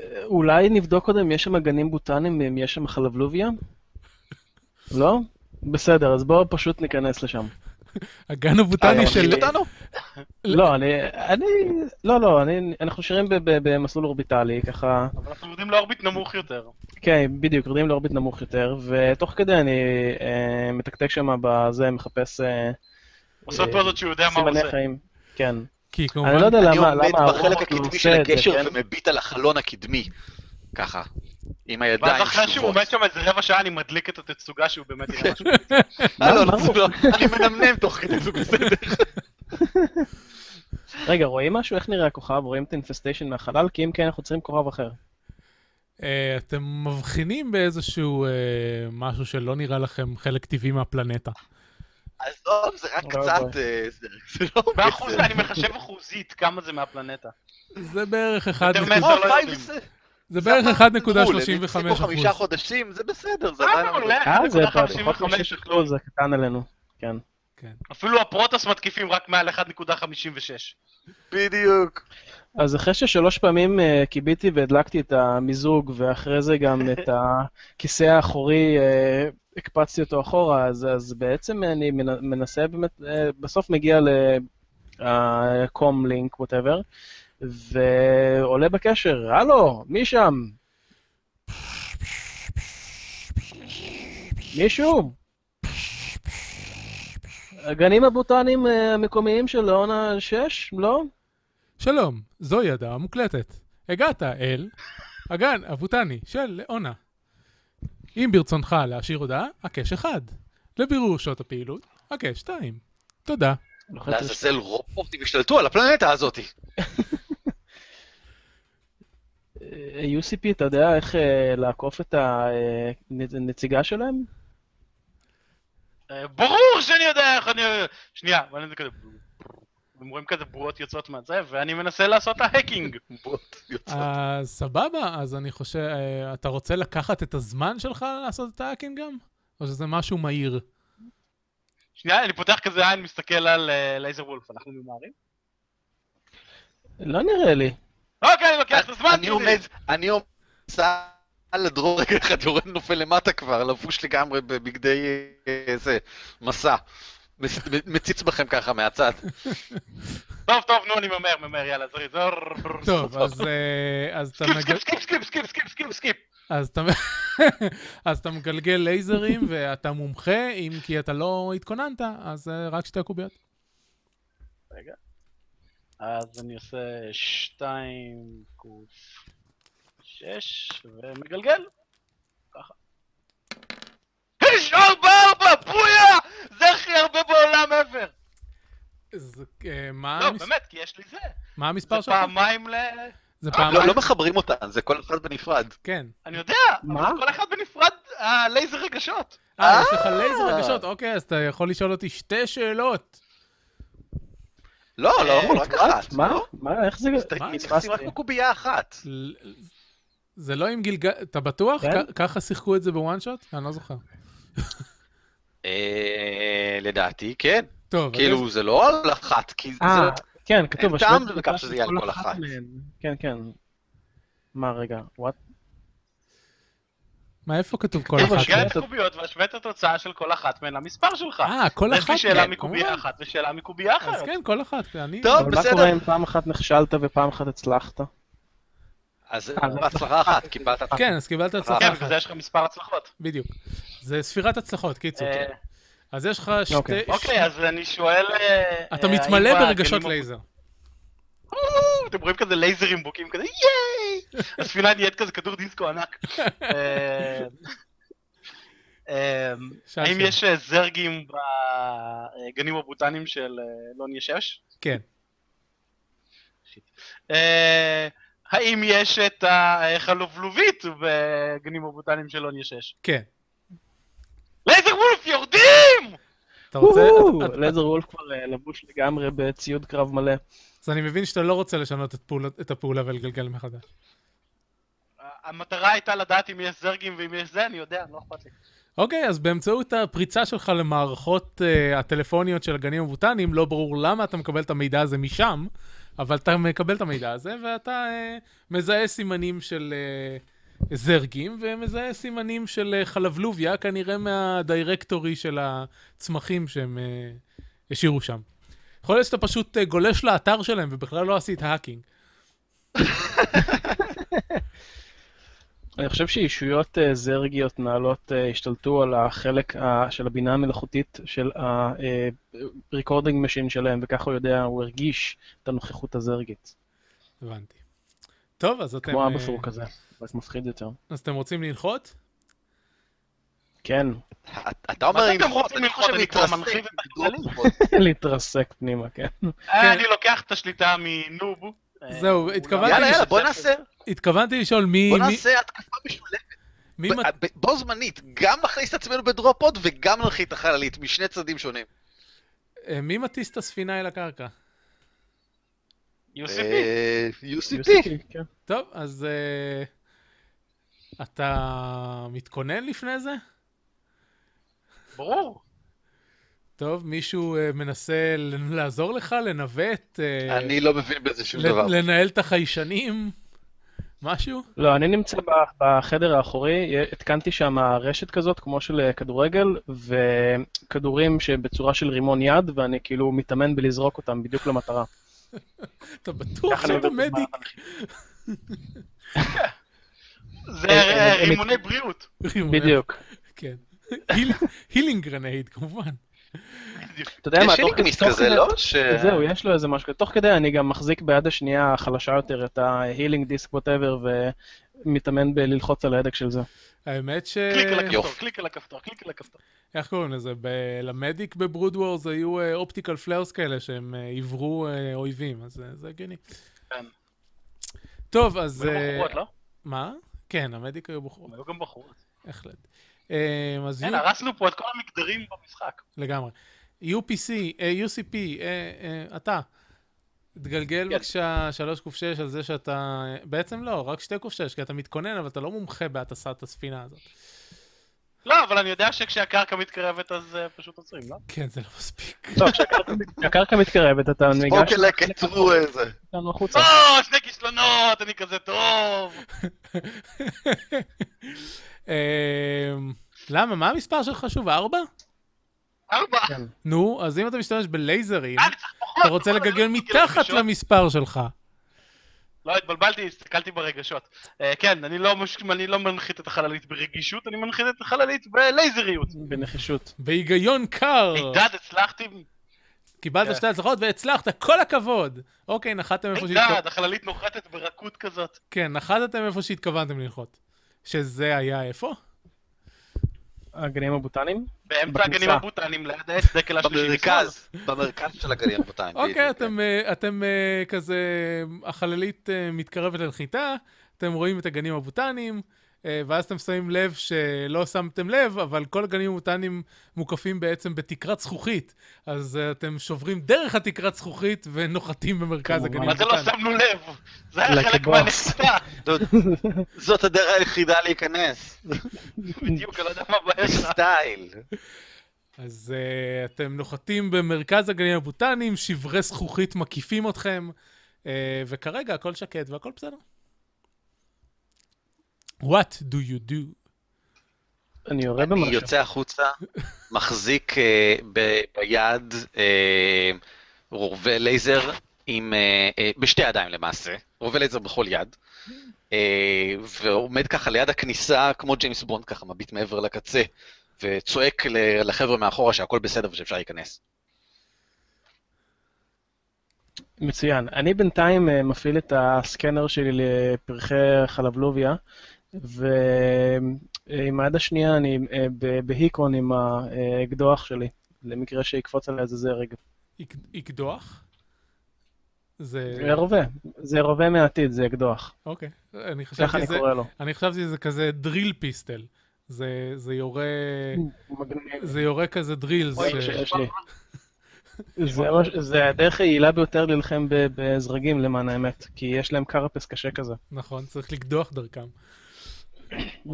אה, אולי נבדוק קודם אם יש שם גנים בוטניים, אם יש שם חלבלוביה? לא? בסדר, אז בואו פשוט ניכנס לשם. הגן הבוטני אה, של... מכיר אותנו? לא, אני... אני... לא, לא, אני... אנחנו שרים ב- ב- במסלול אורביטלי, ככה... אבל אנחנו יורדים לאורביט נמוך יותר. כן, בדיוק, יורדים לאורביט נמוך יותר, ותוך כדי אני אה, מתקתק שם בזה, מחפש אה, עושה פעולות שהוא יודע מה הוא סימני עושה. חיים. כן. כי אני לא כמובן, יודע אני למה, עומד למה בחלק הרובוט הקדמי עושה של את זה, הקשר כן? ומביט על החלון הקדמי. ככה. עם ואז הידיים אחרי שהוא שלובות. עומד שם איזה רבע שעה, אני מדליק את התצוגה שהוא באמת [LAUGHS] יראה משהו. אה, לא, מה לא, הוא? לא, אני מנמנם תוך כדי זה בסדר. כן. רגע, רואים משהו? איך נראה הכוכב? רואים את האינפסטיישן מהחלל? כי אם כן, אנחנו צריכים כוכב אחר. אה, אתם מבחינים באיזשהו אה, משהו שלא נראה לכם חלק טבעי מהפלנטה. עזוב, זה רק אוי, קצת... אוי. אה, זה- זה לא... באחוז, אני מחשב אחוזית כמה זה מהפלנטה. זה בערך אחד יותר נקוד- מ- לא אה, יודעים. פייב זה- זה בערך 1.35 הם הפסיקו אחוז. חמישה חודשים, זה בסדר, זה אה, עדיין... מעולה, אה, זה אוקיי. 1.55 פחות מ-6 אחוז, זה קטן עלינו. כן. כן. אפילו הפרוטוס מתקיפים רק מעל 1.56. בדיוק. אז אחרי ששלוש פעמים אה, כיביתי והדלקתי את המיזוג, ואחרי זה גם את הכיסא האחורי, אה, הקפצתי אותו אחורה, אז, אז בעצם אני מנ- מנסה באמת, אה, בסוף מגיע ל-com link, whatever, ועולה בקשר, הלו, מי שם? מישהו? הגנים הבוטניים אה, המקומיים של העונה 6, לא? שלום, זוהי הדעה המוקלטת. הגעת אל הגן הבוטני של לאונה. אם ברצונך להשאיר הודעה, הקש 1. לבירור שעות הפעילות, הקש 2. תודה. לוחץ על לעזאזל רובוטים השתלטו על הפלנטה הזאת. אה, UCP, אתה יודע איך אה, לעקוף את הנציגה שלהם? אה, ברור שאני יודע איך אני... שנייה, אבל אני כזה... הם רואים כזה בועות יוצאות מהזה, ואני מנסה לעשות ההקינג. בוט יוצא. אז סבבה, אז אני חושב, אה, אתה רוצה לקחת את הזמן שלך לעשות את האקינג גם? או שזה משהו מהיר? שנייה, אני פותח כזה עין, מסתכל על אה, לייזר וולף, אנחנו ממהרים? לא נראה לי. אוקיי, אני לוקח את הזמן אני שלי! עומד, אני עומד, סע על הדרור רגע אחד, יורד נופל למטה כבר, לבוש לגמרי בבגדי אה, איזה מסע. מס- מציץ בכם ככה מהצד. טוב, טוב, נו, אני ממהר, ממהר, יאללה, זריז. זור, ברור. טוב, אז אה, אז אתה סקיפ, מגל- סקיפ, סקיפ, סקיפ, סקיפ, סקיפ, סקיפ, סקיפ. אז אתה- [LAUGHS] אז אתה מגלגל [LAUGHS] לייזרים ואתה מומחה, אם כי אתה לא התכוננת, אז אה, רק שתי הקוביות. אז אני עושה 2 קוף 6 ומגלגל. ככה. יש ארבע ארבע, בויה! זה הכי הרבה בעולם ever! אז, אה, מה לא, המס- באמת, כי יש לי זה. מה המספר זה שלך? פעמיים ל... זה לא, פעמיים, לא מחברים אותן, זה כל אחד בנפרד. כן. אני יודע, מה? אבל כל אחד בנפרד הלייזר רגשות. אה, יש לך לייזר אה. רגשות, אוקיי, אז אתה יכול לשאול אותי שתי שאלות. לא, אה, לא, רק אחת. מה? לא? מה? איך זה... אה. מה? מתייחסים רק פספסתי. בקובייה אחת. ל- זה לא עם גילגל... אתה בטוח? כן. כ- ככה שיחקו את זה בוואן שוט? אני לא זוכר. אה, לדעתי, כן. טוב, אז- כאילו, זה לא על אחת, כי זה... אה, כן, כתוב... אין טעם השמות בכך שזה יהיה על כל אחת. מהן. כן, כן. מה, רגע? וואט? מה, איפה כתוב כל כתוב אחת? השאלה- תשגע את הקוביות והשווה את התוצאה של כל אחת מהן למספר שלך. אה, כל יש אחת? לי שאלה כן, מקובייה כמובן. אחת ושאלה מקובייה אז אחרת. כן, כל אחת. אני... טוב, אבל מה בסדר. קורה אם פעם אחת נכשלת ופעם אחת הצלחת? אז אה, זה- בהצלחה אחת, קיבלת... כן, אז קיבלת כן, הצלחה אה, אחת. בגלל זה יש לך מספר הצלחות. בדיוק. זה ספירת הצלחות, קיצור. אה, אז יש לך אוקיי. שתי... אוקיי, אז אני שואל... אה, אתה אה, מתמלא האם ברגשות הגלים לייזר. הפ- אתם רואים כזה לייזרים בוקים כזה, [LAUGHS] ייי! הספינה נהיית כזה כדור דיסקו ענק. אה, אה, שאל האם שאלה. יש אה, זרגים בגנים הבוטניים של אה, לון ישש? כן. אה, האם יש את החלובלובית בגנים הבוטניים של לון ישש? כן. לייזר וולף יורדים! אתה רוצה... וואו, אתה- אתה- לייזר וולף כבר אה, לבוש לגמרי בציוד קרב מלא. אז אני מבין שאתה לא רוצה לשנות את פעולות- את הפעולה ולגלגל מחדש. המטרה הייתה לדעת אם יש זרגים ואם יש זה, אני יודע, לא אכפת לי. אוקיי, אז באמצעות הפריצה שלך למערכות uh, הטלפוניות של הגנים הבוטניים, לא ברור למה אתה מקבל את המידע הזה משם, אבל אתה מקבל את המידע הזה, ואתה uh, מזהה סימנים של uh, זרגים, ומזהה סימנים של uh, חלבלוביה, כנראה מהדירקטורי של הצמחים שהם uh, השאירו שם. יכול להיות שאתה פשוט uh, גולש לאתר שלהם ובכלל לא עשית האקינג. אני חושב שישויות אה, זרגיות נעלות אה, השתלטו על החלק אה, של הבינה המלאכותית של ה-recording machine שלהם, וככה הוא יודע, הוא הרגיש את הנוכחות הזרגית. הבנתי. טוב, אז אתם, כמו אה, אבא שלו כזה, רק מפחיד יותר. אז אתם רוצים לנחות? כן, [LAUGHS] אתה אומר מה זה אתם לנחות, רוצים אני לנחות? חושב אני כבר מנחית שמתרסקים את בגדול. להתרסק פנימה, כן. אה, אני לוקח את השליטה מנוב. אה, זהו, הוא לא- התכוונתי יאללה, יאללה, בוא זה- נעשה, התכוונתי לשאול מי... בוא מי- נעשה התקפה משולבת. מי מת- ב- ב- בו זמנית, גם נכניס את עצמנו בדרופ-אוט וגם נלחי את החללית, משני צדדים שונים. אה, מי מטיס את הספינה אל הקרקע? UCP. אה, UCP. כן. טוב, אז אה, אתה מתכונן לפני זה? ברור. טוב, מישהו אה, מנסה ל- לעזור לך, לנווט, אה, אני לא מבין בזה שום ל- דבר. לנהל את החיישנים, משהו? לא, אני נמצא ב- בחדר האחורי, התקנתי שם רשת כזאת, כמו של אה, כדורגל, וכדורים שבצורה של רימון יד, ואני כאילו מתאמן בלזרוק אותם בדיוק למטרה. אוקיי. אתה בטוח ככה אני שאתה עובד בזמן מדיק? זה אה, אה, אה, רימוני בריאות. רימוני- בדיוק. כן. [LAUGHS] היל- הילינג גרנייד, כמובן. אתה יודע מה, יש לי תוך כדי- גמיס תוך כזה, כדי- לא? ש- זהו, יש לו איזה משהו כזה. תוך כדי אני גם מחזיק ביד השנייה החלשה יותר את ה-healing disk whatever, ומתאמן בללחוץ על ההדק של זה. האמת ש... קליק על הכפתור, יופי. קליק על הכפתור, קליק על הכפתור. איך קוראים לזה? ב- למדיק בברוד וורז היו אופטיקל פלארס כאלה שהם אה, עיוורו אה, אויבים, אז אה, זה הגיוני. כן. טוב, אז... זה... אה, בחורות, לא? מה? כן, המדיק היו בחורות, היו גם בחורות. בהחלט. אמ, אז כן, יו- הרסנו פה את כל המגדרים במשחק. לגמרי. UPC, אה, UCP, אה, אה, אתה, תגלגל כן. בבקשה 3 ק6 על זה שאתה... בעצם לא, רק 2 ק6, כי אתה מתכונן, אבל אתה לא מומחה בהטסת הספינה הזאת. לא, אבל אני יודע שכשהקרקע מתקרבת אז אה, פשוט עוצרים, לא? כן, זה לא מספיק. טוב, כשהקרקע- כשהקרקע מתקרבת, אתה ניגש ספוקר לק, עצרו איזה. אותנו החוצה. או, לא, שני כישלונות, אני כזה טוב. אמ, למה? מה המספר שלך שוב? 4? ארבע. כן. נו, אז אם אתה משתמש בלייזרים, אה, צריך פחות, אתה רוצה נכון, לגלגל אני לא מסתכל מתחת לרגשות. למספר שלך. לא, התבלבלתי, הסתכלתי ברגשות. אה, כן, אני לא מש- אני לא מנחית את החללית ברגישות, אני מנחית את החללית בלייזריות. בנחישות. בהיגיון קר. הידד, הצלחתי, קיבלת כן. שתי הצלחות והצלחת, כל הכבוד! אוקיי, נחתם איפה הידד, שהתכוונתם. החללית נוחתת ברכות כזאת. כן, נחתם איפה שהתכוונתם לנחות. שזה היה איפה? הגנים הבוטניים? באמצע הגנים בכניסה. הבוטניים ליד העץ דקל השלישי. משמאל. במרכז, במרכז של הגליל הבוטני. אוקיי, כן. אתם, אה, אתם אה, כזה, החללית אה, מתקרבת לנחיתה, אתם רואים את הגנים הבוטניים, אה, ואז אתם שמים לב שלא שמתם לב, אבל כל הגנים הבוטניים מוקפים בעצם בתקרת זכוכית, אז אה, אתם שוברים דרך התקרת זכוכית ונוחתים במרכז כמובן. הגנים מה זה לא הבוטניים. שמנו לב? זה היה Lucky חלק boss. מהנחיתה. זאת הדרך היחידה להיכנס. בדיוק, אני לא יודע מה הבעיה [LAUGHS] שלך. סטייל. אז uh, אתם נוחתים במרכז הגנים הבוטניים, שברי זכוכית מקיפים אתכם, uh, וכרגע הכל שקט והכל בסדר. What do you do? אני יורה אני במשהו. יוצא החוצה, מחזיק אה, ב- ביד אה, רובה לייזר עם, אה, אה, בשתי ידיים למעשה, רובה לייזר בכל יד, אה, ועומד ככה ליד הכניסה, כמו ג'יימס בונד, ככה מביט מעבר לקצה, וצועק ל- לחבר'ה מאחורה שהכל בסדר ושאפשר להיכנס. מצוין. אני בינתיים אה, מפעיל את הסקנר שלי לפרחי חלבלוביה, ועם היד השנייה אני אה, ב- בהיקון עם האקדוח שלי, למקרה שיקפוץ עלי איזה זרג. יק- יקדוח? זה... זה רובה, זה רובה מהעתיד, זה אקדוח. אוקיי. אני ככה חשבתי אני זה... קורא לו. אני חשבתי שזה כזה drill פיסטל. זה, זה יורה... [LAUGHS] מגניב. זה יורה כזה דרילס. אוי, ש... שיש לי. זה מה- זה הדרך היעילה ביותר להילחם ב- בזרגים למען האמת, כי יש להם קרפס קשה כזה. נכון, צריך לקדוח דרכם.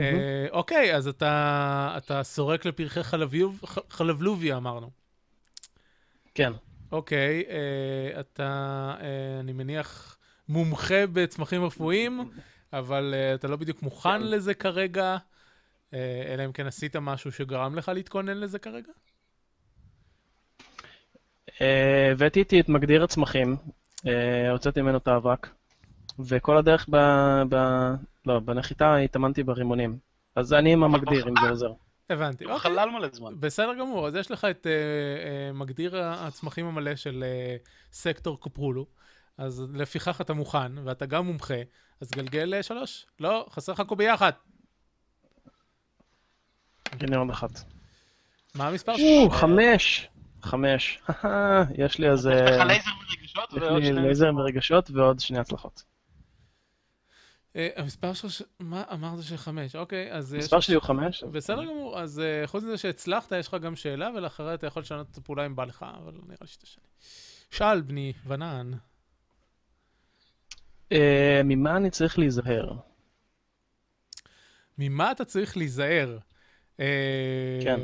אה, אוקיי, אז אתה, אתה סורק לפרחי חלביוב- ח- חלבלוביה, אמרנו. כן. אוקיי, אה, אתה, אה, אני מניח, מומחה בצמחים רפואיים, אבל אה, אתה לא בדיוק מוכן כן. לזה כרגע, אה, אלא אם כן עשית משהו שגרם לך להתכונן לזה כרגע. אה, הבאתי איתי את מגדיר הצמחים, אה, הוצאתי ממנו את האבק, וכל הדרך ב... ב... לא, בנחיתה התאמנתי ברימונים. אז אני עם המגדיר, אם זה עוזר. הבנתי. הוא אוקיי, חלל מלא זמן. בסדר גמור, אז יש לך את אה, אה, מגדיר הצמחים המלא של אה, סקטור קופרולו, אז לפיכך אתה מוכן, ואתה גם מומחה, אז גלגל אה, שלוש. לא, חסר לך קובייה אחת. הנה עוד אחת. מה המספר או, שלך? חמש! חמש. [LAUGHS] יש לי אז... אה, יש לך לייזר מרגשות יש ועוד לי שני... לייזר מרגשות ועוד שני הצלחות. אה, המספר שלך, ש- מה אמרת שחמש? אוקיי, אז... אה, המספר שלי הוא חמש? אז- בסדר גמור, אז אה, חוץ מזה שהצלחת, יש לך גם שאלה, ולאחריה אתה יכול לשנות את הפעולה אם בא לך, אבל נראה לי שתשנה. שאל, בני ונען. אה, ממה אני צריך להיזהר? ממה אתה צריך להיזהר? אה, כן.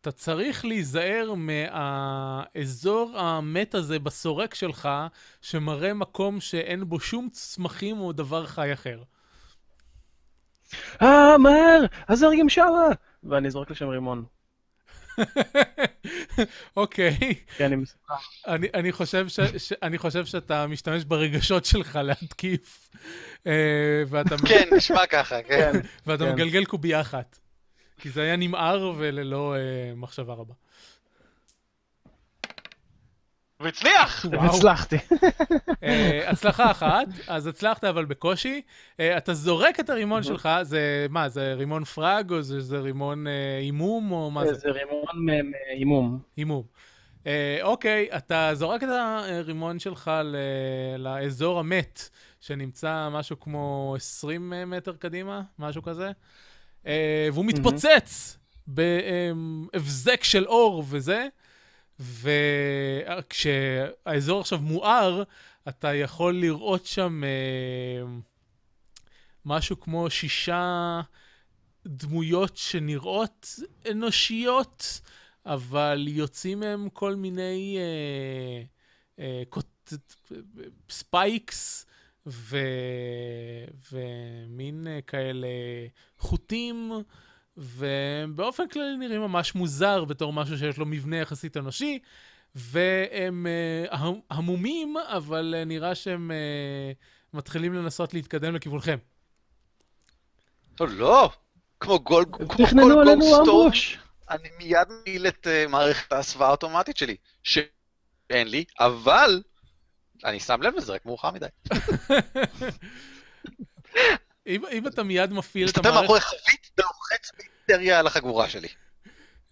אתה צריך להיזהר מהאזור המת הזה בסורק שלך, שמראה מקום שאין בו שום צמחים או דבר חי אחר. [LAUGHS] אה, מהר! הזרגים שמה! ואני אזרוק לשם רימון. אוקיי, כי אני מסוכן. אני, אני, חושב ש, ש, אני חושב שאתה משתמש ברגשות שלך להתקיף, אה, ואתה, כן, נשמע ככה, כן. כן. ואתה כן. מגלגל קובייה אחת. כי זה היה נמהר וללא אה, מחשבה רבה. והצליח! וואו. הצלחתי. אה, הצלחה אחת, אז הצלחת אבל בקושי. אה, אתה זורק את הרימון שלך, זה מה, זה רימון פראג או זה, זה רימון אה, הימום או מה זה? זה רימון אה, מ- מהימום. הימום. אה, אוקיי, אתה זורק את הרימון שלך ל- לאזור המת, שנמצא משהו כמו 20 מטר קדימה, משהו כזה, אה, והוא מתפוצץ בהבזק של אור וזה, וכשהאזור עכשיו מואר, אתה יכול לראות שם אה, משהו כמו שישה דמויות שנראות אנושיות, אבל יוצאים מהם כל מיני אה, אה, קוט... ספייקס ו... ומין אה, כאלה חוטים, ובאופן כללי נראים ממש מוזר בתור משהו שיש לו מבנה יחסית אנושי, והם אה, המ- המומים, אבל אה, נראה שהם אה, מתחילים לנסות להתקדם לכיוונכם. לא, לא. כמו גול, כמו כל תכננו עלינו גולדסטורם, אמבוש. אני מיד מעיל את אה, מערכת ההסוואה האוטומטית שלי, שאין לי, אבל אני שם לב לזה רק מאוחר מדי. אם, אם אתה מיד מפעיל את מסתתר המערכת... מאחורי חבית לוחץ בהיסטריה על החגורה שלי.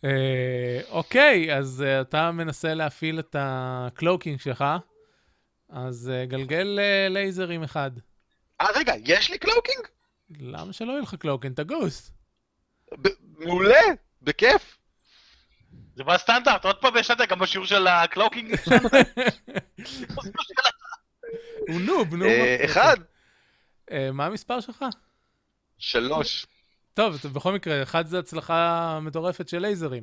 אה, אוקיי, אז אה, אתה מנסה להפעיל את הקלוקינג שלך, אז אה, גלגל אה, לייזר עם אחד. אה, רגע, יש לי קלוקינג? למה שלא יהיה לך קלוקינג? אתה גוסט. ב- מעולה, בכיף. זה בסטנדרט, עוד פעם ישנת גם בשיעור של הקלוקינג שם. הוא נוב, נו. אה, מה- אחד, אה, מה המספר שלך? שלוש. טוב, אתה- בכל מקרה, אחת זה הצלחה מטורפת של לייזרים.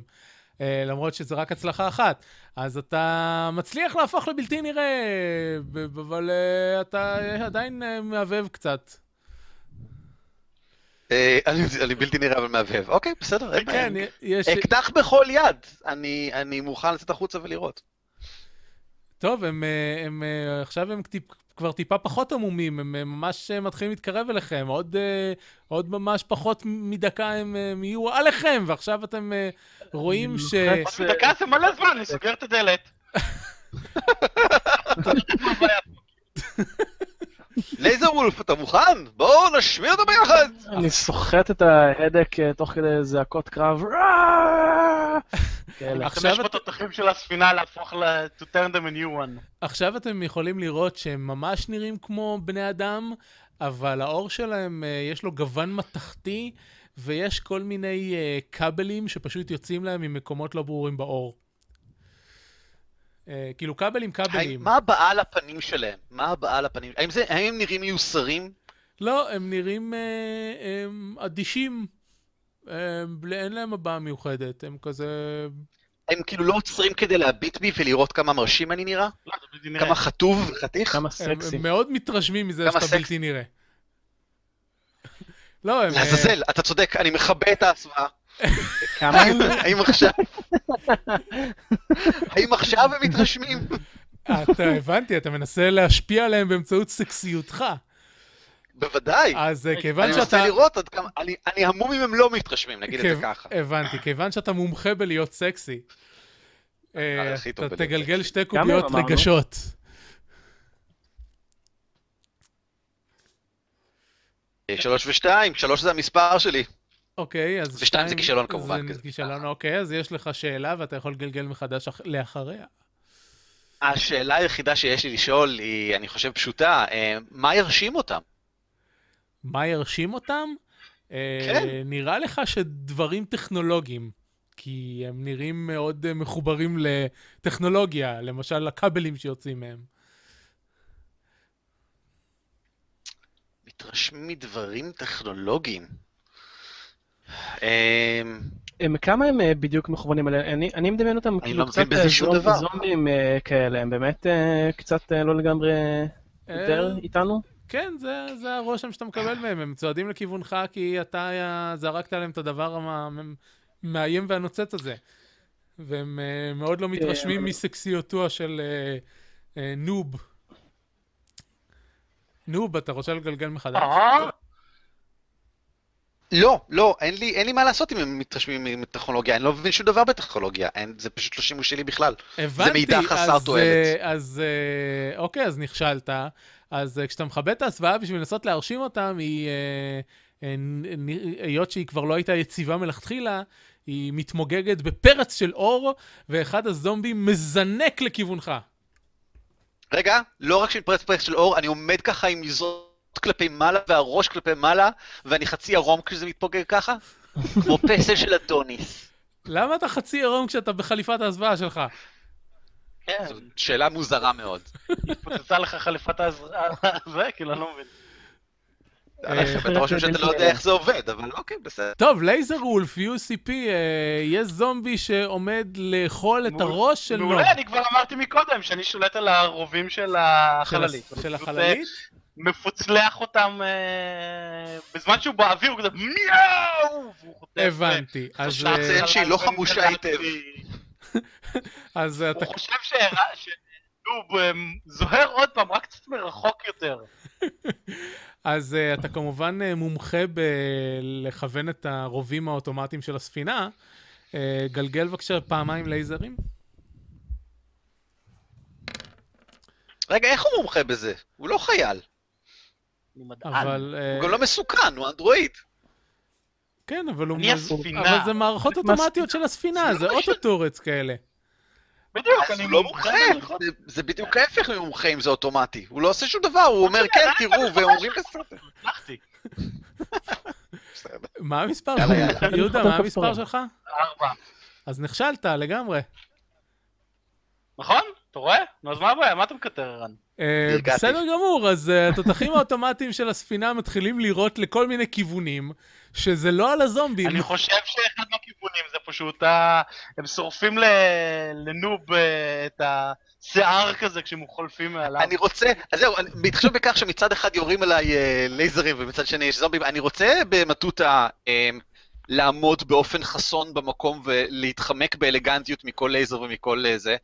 אה, למרות שזה רק הצלחה אחת. אז אתה מצליח להפוך לבלתי נראה, ב- ב- אבל אה, אתה עדיין אה, מהבהב קצת. אה, אני- אני בלתי נראה אבל מהבהב. אוקיי, בסדר, אין בעיה. כן, יש... אקדח בכל יד. אני- אני מוכן לצאת החוצה ולראות. טוב, הם, אה, הם אה, עכשיו הם טיפ, כבר טיפה פחות עמומים, הם אה, ממש אה, מתחילים להתקרב אליכם, עוד, אה, עוד ממש פחות מ- מדקה הם אה, הם יהיו עליכם, ועכשיו אתם אה, רואים ש... לוחץ. עוד דקה זה מלא זמן, אני סוגר את הדלת. לייזר וולף, אתה מוכן? בואו נשמיע אותו ביחד. אני סוחט את ההדק אה, תוך כדי זעקות קרב. [LAUGHS] "ראה!" כאלה. עכשיו עכשיו את- אתה... בתותחים של הספינה להפוך ל... to turn them a new one. עכשיו אתם יכולים לראות שהם ממש נראים כמו בני אדם, אבל העור שלהם אה, יש לו גוון מתכתי, ויש כל מיני אה, כבלים שפשוט יוצאים להם ממקומות לא ברורים בעור. אה, כאילו כבלים, כבלים. מה הבעה לפנים שלהם? מה הבעה לפנים? האם זה- האם הם נראים מיוסרים? לא, הם נראים אה, הם אדישים. הם, בלי- אין להם הבעה מיוחדת, הם כזה... הם כאילו לא עוצרים כדי להביט בי ולראות כמה מרשים אני נראה? לא, זה בלתי נראה. כמה חטוב וחתיך? כן. כמה הם, סקסי. הם מאוד מתרשמים מזה כמה שאתה סקס- בלתי נראה. [LAUGHS] לא, הם... אה, לעזאזל, אתה צודק, אני מכבה את ההסוואה. כמה האם עכשיו... האם עכשיו הם מתרשמים? אה, אתה הבנתי, אתה מנסה להשפיע עליהם באמצעות סקסיותך. בוודאי. אז אה, כיוון אני מנסה שאתה... לראות עד כמה... אני- אני המום אם הם לא מתרשמים, נגיד את כיו- זה כן. ככה. הבנתי, כיוון שאתה מומחה בלהיות סקסי. אה, הכי טוב אתה בלהיות תגלגל סקסי. שתי כמה קוביות אמרנו? רגשות. אה, שלוש ושתיים, שלוש זה המספר שלי. אוקיי, אז... ושתיים זה שתיים- כישלון, כמובן, כי זה זה- כישלון, אוקיי, אז יש לך שאלה ואתה יכול לגלגל מחדש אח- לאחריה. השאלה היחידה שיש לי לשאול היא, אני חושב, פשוטה, אה, מה ירשים אותם? מה ירשים אותם? אה, כן. נראה לך שדברים טכנולוגיים, כי הם נראים מאוד אה, מחוברים לטכנולוגיה, למשל הכבלים שיוצאים מהם. מתרשמים מדברים טכנולוגיים. אה, הם- כמה הם אה, בדיוק מכוונים עליהם? אני- אני מדמיין אותם כאילו לא קצת מבין בזה אה, שום זומב- דבר. זומבים אה, כאלה, הם באמת אה, קצת אה, לא לגמרי אה, יותר אה, איתנו? כן, זה, זה הרושם שאתה מקבל מהם, הם צועדים לכיוונך כי אתה אה, זרקת עליהם את הדבר המאיים והנוצץ הזה. והם אה, מאוד לא מתרשמים אבל- מסקסיותו של אה, אה, נוב. נוב, אתה רוצה לגלגל מחדש? אה? לא, לא, אין לי, אין לי מה לעשות אם הם מתרשמים מטכנולוגיה, אני לא מבין שום דבר בטכנולוגיה, אין, זה פשוט לא שימושי לי בכלל. הבנתי, מידע חסר אז, תועלת. אה, אז אה, אוקיי, אז נכשלת. אז אה, כשאתה מכבה את ההסוואה בשביל לנסות להרשים אותם, היא, אה, אה, נ- נ- היות שהיא כבר לא הייתה יציבה מלכתחילה, היא מתמוגגת בפרץ של אור, ואחד הזומבים מזנק לכיוונך. רגע, לא רק שמתפרץ פרק של אור, אני עומד ככה עם מזרות כלפי מעלה והראש כלפי מעלה, ואני חצי ערום כשזה מתפוגג ככה, כמו פסל של אדוניס. למה אתה חצי עירום כשאתה בחליפת ההסוואה שלך? כן, זו שאלה מוזרה מאוד. התפוצצה לך חליפת ההזרעה, זה, כאילו, אני לא מבין. אה, אתה חושב שאתה לא יודע איך זה עובד, אבל אוקיי, בסדר. טוב, לייזר וולף, UCP, אה, יש זומבי שעומד לאכול את מעולה, הראש של נוב. מעולה, אני כבר אמרתי מקודם שאני שולט על הרובים של החללית. של- של אני פשוט, אה, החללית? מפוצלח אותם אה, בזמן שהוא באוויר, הוא כזה מיאו! והוא חוטף, הבנתי. אז, חשב אה, לציין שהיא לא חמושה היטב. אז אתה הוא חושב שהראה- שדוב אה, זוהר עוד פעם, רק קצת מרחוק יותר. אז uh, אתה כמובן uh, מומחה בלכוון את הרובים האוטומטיים של הספינה. Uh, גלגל בבקשה פעמיים לייזרים. רגע, איך הוא מומחה בזה? הוא לא חייל, אני מדען. אבל... הוא Uh, גם לא מסוכן, הוא אנדרואיד. כן, אבל הוא... אני מז- הספינה. אבל זה מערכות מה- אוטומטיות של הספינה, זה אוטוטורץ כאלה. בדיוק, אז אני הוא לא מומחה מומחה, בלחוץ. זה- זה בדיוק ההפך ממומחה אם זה אוטומטי. הוא לא עושה שום דבר, הוא אומר כן, תראו, והם אומרים בסדר. הצלחתי. בסדר. מה המספר יאללה, שלך? יאללה. יהודה, מה אני המספר חותם שלך? ארבע. אז נכשלת לגמרי. נכון? אתה רואה? נו, אז מה הבעיה? מה אתה מקטר, ערן? אה, נרגעתי. בסדר גמור, אז אה, התותחים האוטומטיים של הספינה מתחילים לירות לכל מיני כיוונים, שזה לא על הזומבים. אני חושב שאחד מהכיוונים זה פשוט ה... הם שורפים ל- לנוב אה, את השיער כזה כשהם חולפים מעליו. אני רוצה, אז זהו, אני- בהתחשב בכך שמצד אחד יורים עליי אה, לייזרים ומצד שני יש זומבים, אני רוצה במטותא אה, לעמוד באופן חסון במקום ולהתחמק באלגנטיות מכל לייזר ומכל אה, זה,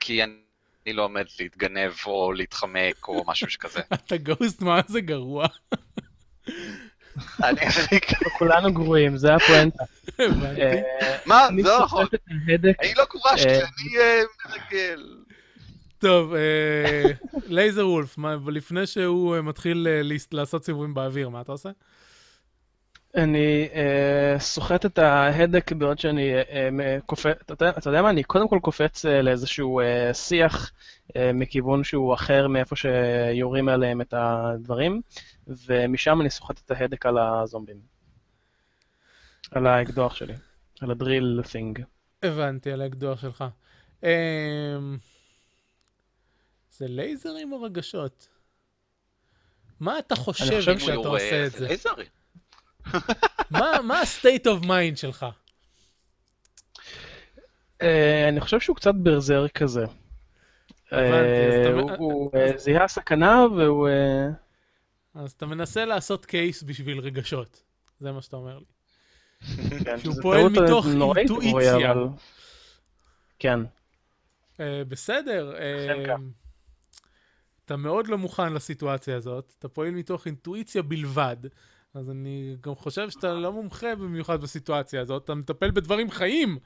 כי אני... אני לא עומד להתגנב או להתחמק או משהו שכזה. אתה גוסט, מה זה גרוע. [LAUGHS] אני... כולנו גרועים, [LAUGHS] זה הפואנטה. הבנתי. אה, מה? אני זה לא נכון. סוחט את ההדק. אני לא גורשתי, אה, אני אה, מרגל. טוב, אה, לייזר וולף, מה- לפני שהוא אה, מתחיל אה, להס- לעשות סיבובים באוויר, מה אתה עושה? אני אה, סוחט את ההדק בעוד שאני אה, אה, קופץ, אתה, יודע- אתה יודע מה, אני קודם כל קופץ אה, לאיזשהו אה, שיח אה, מכיוון שהוא אחר מאיפה שיורים עליהם את הדברים, ומשם אני סוחט את ההדק על הזומבים. על האקדוח שלי, על הדריל thing. הבנתי, על האקדוח שלך. אמ, זה לייזרים או רגשות? מה אתה חושב חושב כשאתה עושה את זה? לייזרים. מה מה ה-state of mind שלך? אה, אני חושב שהוא קצת ברזר כזה. הבנתי, אז אתה- אה, הוא- הוא אה, זיהה סכנה והוא... אה, אז אתה מנסה לעשות קייס בשביל רגשות. זה מה שאתה אומר לי. כן, שהוא זו פועל טעות מתוך נוראית, אינטואיציה. רועי, אבל- כן. אה, בסדר, אה, אכן כך. אתה מאוד לא מוכן לסיטואציה הזאת, אתה פועל מתוך אינטואיציה בלבד, אז אני גם חושב שאתה לא מומחה במיוחד בסיטואציה הזאת, אתה מטפל בדברים חיים,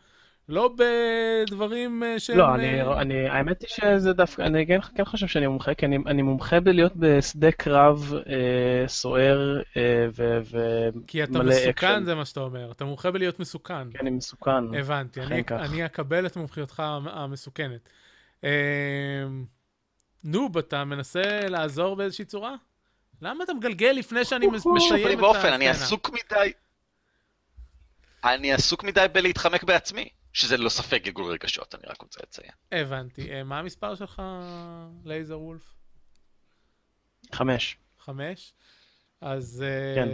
לא בדברים אה, שהם... לא, אני, אה, אני, האמת היא שזה דווקא, אני כן, כן חושב שאני מומחה, כי אני, אני מומחה בלהיות בשדה קרב אה, סוער אה, ו... ו כי אתה מלא מסוכן, אקשן. זה מה שאתה אומר, אתה מומחה בלהיות מסוכן. כי אני כן, מסוכן. הבנתי, אני, אכן כך. אני אקבל את מומחיותך המ- המסוכנת. אה, נוב, אתה מנסה לעזור באיזושהי צורה? למה אתה מגלגל לפני שאני מס- בשום מסיים פנים את ואופן, אני הסצנה? עסוק מדי. אני עסוק מדי בלהתחמק בעצמי, שזה ללא ספק גלגול רגשות, אני רק רוצה לציין. הבנתי. אה, מה המספר שלך, לייזר וולף? חמש. חמש? אז אה, כן.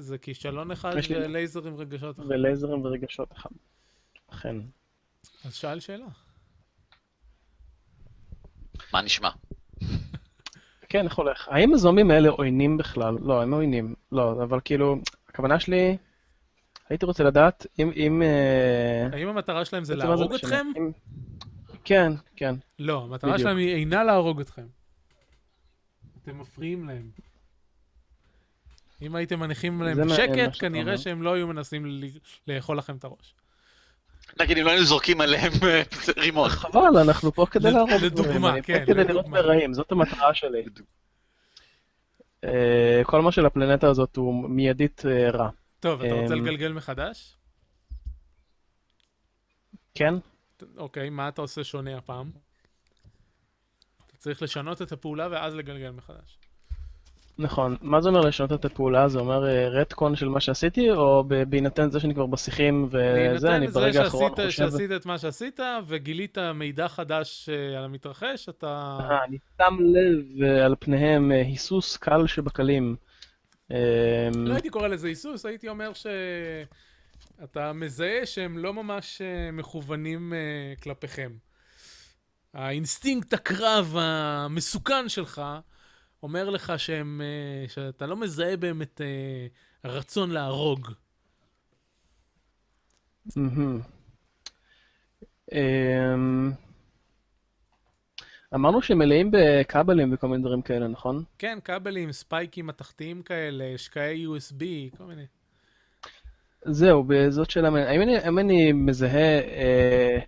זה כישלון אחד יש לי- ולייזר עם רגשות אחד. ולייזרים ורגשות אחד. אכן. אז שאל שאלה. מה נשמע? כן, איך הולך? האם הזומבים האלה עוינים בכלל? לא, הם עוינים. לא, אבל כאילו, הכוונה שלי, הייתי רוצה לדעת אם... אם אה, האם המטרה שלהם זה בעצם מה להרוג משנה? אתכם? אם- כן, כן. לא, המטרה בדיוק. שלהם היא אינה להרוג אתכם. אתם מפריעים להם. אם הייתם מניחים להם זה מה- מה בשקט, שאתה אומר. כנראה שהם לא היו מנסים ל- לאכול לכם את הראש. נגיד, אם לא היינו זורקים עליהם [LAUGHS] אה, רימון. חבל, אנחנו פה כדי לד- להרוג דברים. לדוגמה, אני פה כן, כדי לדוגמה. לראות מרעים, זאת המטרה שלי. בדיוק. אה, כל מה של הפלנטה הזאת הוא מיידית אה, רע. טוב, אתה רוצה אמ, לגלגל מחדש? כן? ת- אוקיי, מה אתה עושה שונה הפעם? אתה צריך לשנות את הפעולה ואז לגלגל מחדש. נכון. מה זה אומר לשנות את הפעולה? זה אומר אה, רטקון של מה שעשיתי, או ב- בהינתן זה שאני כבר בשיחים וזה, אה, אני בהינתן זה ברגע האחרון שעשית, חושב... שעשית את מה שעשית וגילית מידע חדש אה, על המתרחש, אתה... אה, אני שם לב אה, על פניהם אה, היסוס קל שבקלים. אה, לא הייתי קורא לזה היסוס, הייתי אומר שאתה מזהה שהם לא ממש אה, מכוונים אה, כלפיכם. האינסטינקט הקרב המסוכן שלך אומר לך שהם, אה, שאתה לא מזהה בהם את אה, הרצון להרוג. מהמם. אמ, אמרנו שמלאים בכבלים וכל מיני דברים כאלה, נכון? כן, כבלים, ספייקים מתכתיים כאלה, שקעי USB, כל מיני. זהו, זאת שאלה מעניינת. האם אני, האם אני מזהה אה,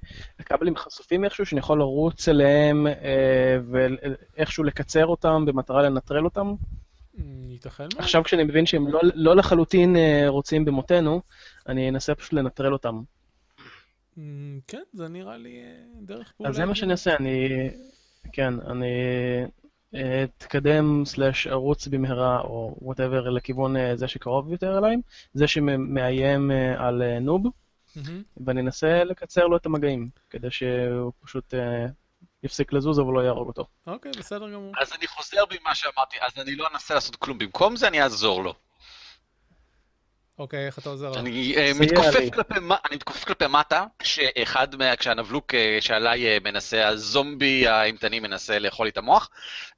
כבלים חשופים איכשהו, שאני יכול לרוץ אליהם אה, ואיכשהו לקצר אותם במטרה לנטרל אותם? Mm, ייתכן מאוד. עכשיו כשאני מבין שהם לא, לא לחלוטין אה, רוצים במותנו, אני אנסה פשוט לנטרל אותם. אמ, כן, זה נראה לי אה, דרך פעולה. אז זה מה שאני אעשה, אני... כן, אני אה, אתקדם סלאש ארוץ במהרה, או וואטאבר, לכיוון אה, זה שקרוב יותר אליי, זה שמאיים אה, על אה, נוב, מהמם. ואני אנסה לקצר לו את המגעים, כדי שהוא פשוט אה, יפסיק לזוז אבל לא יהרוג אותו. אוקיי, בסדר גמור. אז אני חוזר בי ממה שאמרתי, אז אני לא אנסה לעשות כלום. במקום זה אני אעזור לו. אוקיי, איך אתה עוזר? לו? אני אה, סייע לי. מתכופף כלפי מה- אני מתכופף כלפי מטה, כשאחד מה... כשהנבלוק אה, שעליי אה, מנסה, הזומבי האימתני מנסה לאכול לי את המוח.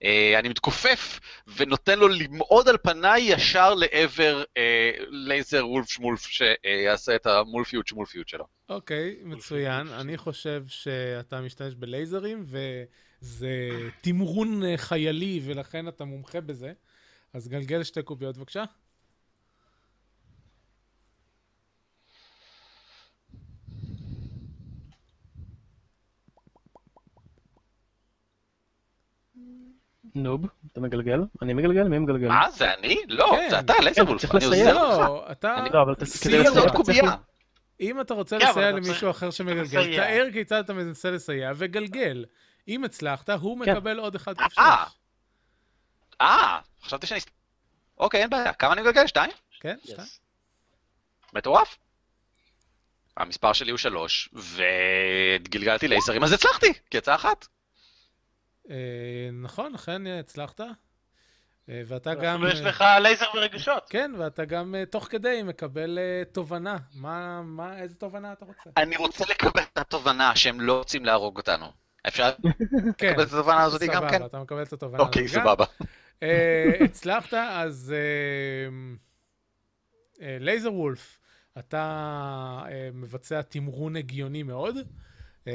אה, אני מתכופף ונותן לו למעוד על פניי ישר לעבר אה, לייזר וולף שמולף, שיעשה את המולפיות שמולפיות שלו. אוקיי, מצוין. אני חושב שאתה משתמש בלייזרים, וזה תמרון אה, חיילי, ולכן אתה מומחה בזה. אז גלגל שתי קוביות בבקשה. נוב, אתה מגלגל? אני מגלגל? מי מגלגל? מה, זה אני? לא, כן. זה אתה, לייזר כן, וולף, צריך אני לסייע. עוזר לך. לא, אתה... לא, אבל אתה- סייע כדי זה עוד אתה צריך קובייה. אם אתה רוצה כן, אבל לסייע אתה למישהו צריך- אחר צריך שמגלגל, לסייע. תאר כיצד אתה מנסה לסייע וגלגל. אם הצלחת, הוא כן. מקבל עוד אחד אה. קופשש. אה, חשבתי שאני... אוקיי, אין בעיה. כמה אני מגלגל? שתיים? כן? Yes. שתיים? מטורף. המספר שלי הוא שלוש, וגלגלתי לעשרים, אז הצלחתי, כי יצאה אחת. אה, נכון, אכן אה, הצלחת. אה, ואתה גם... אפילו יש אה, לך לייזר ורגשות. כן, ואתה גם אה, תוך כדי מקבל אה, תובנה. מה, מה, איזה תובנה אתה [LAUGHS] רוצה? אני רוצה לקבל את התובנה שהם לא רוצים להרוג אותנו. אפשר כן, לקבל את התובנה הזאת גם כן? סבבה, אתה מקבל את התובנה. אוקיי, הזאת גם. סבבה. אה, הצלחת, אז אה, אה, לייזר וולף, אתה אה, מבצע תמרון הגיוני מאוד, אה,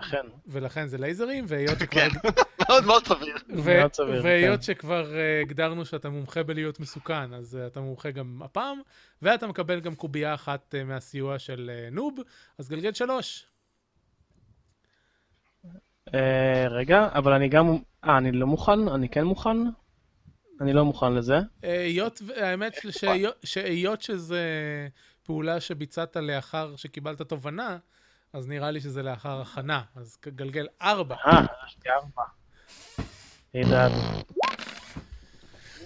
אכן. ולכן זה לייזרים, והיות שכבר כן, [LAUGHS] מאוד מאוד סביר. ו- מאוד סביר, והיות כן. שכבר אה, הגדרנו שאתה מומחה בלהיות מסוכן, אז אה, אתה מומחה גם הפעם, ואתה מקבל גם קובייה אחת אה, מהסיוע של אה, נוב, אז גלגל שלוש. אה, רגע, אבל אני גם... אה, אני לא מוכן? אני כן מוכן? אני לא מוכן לזה. אה, היות, ו- האמת [LAUGHS] שהיות- שהיות שזה פעולה שביצעת לאחר שקיבלת תובנה, אז נראה לי שזה לאחר הכנה, אז ג- גלגל ארבע. אה, הרסתי ארבע. עידן,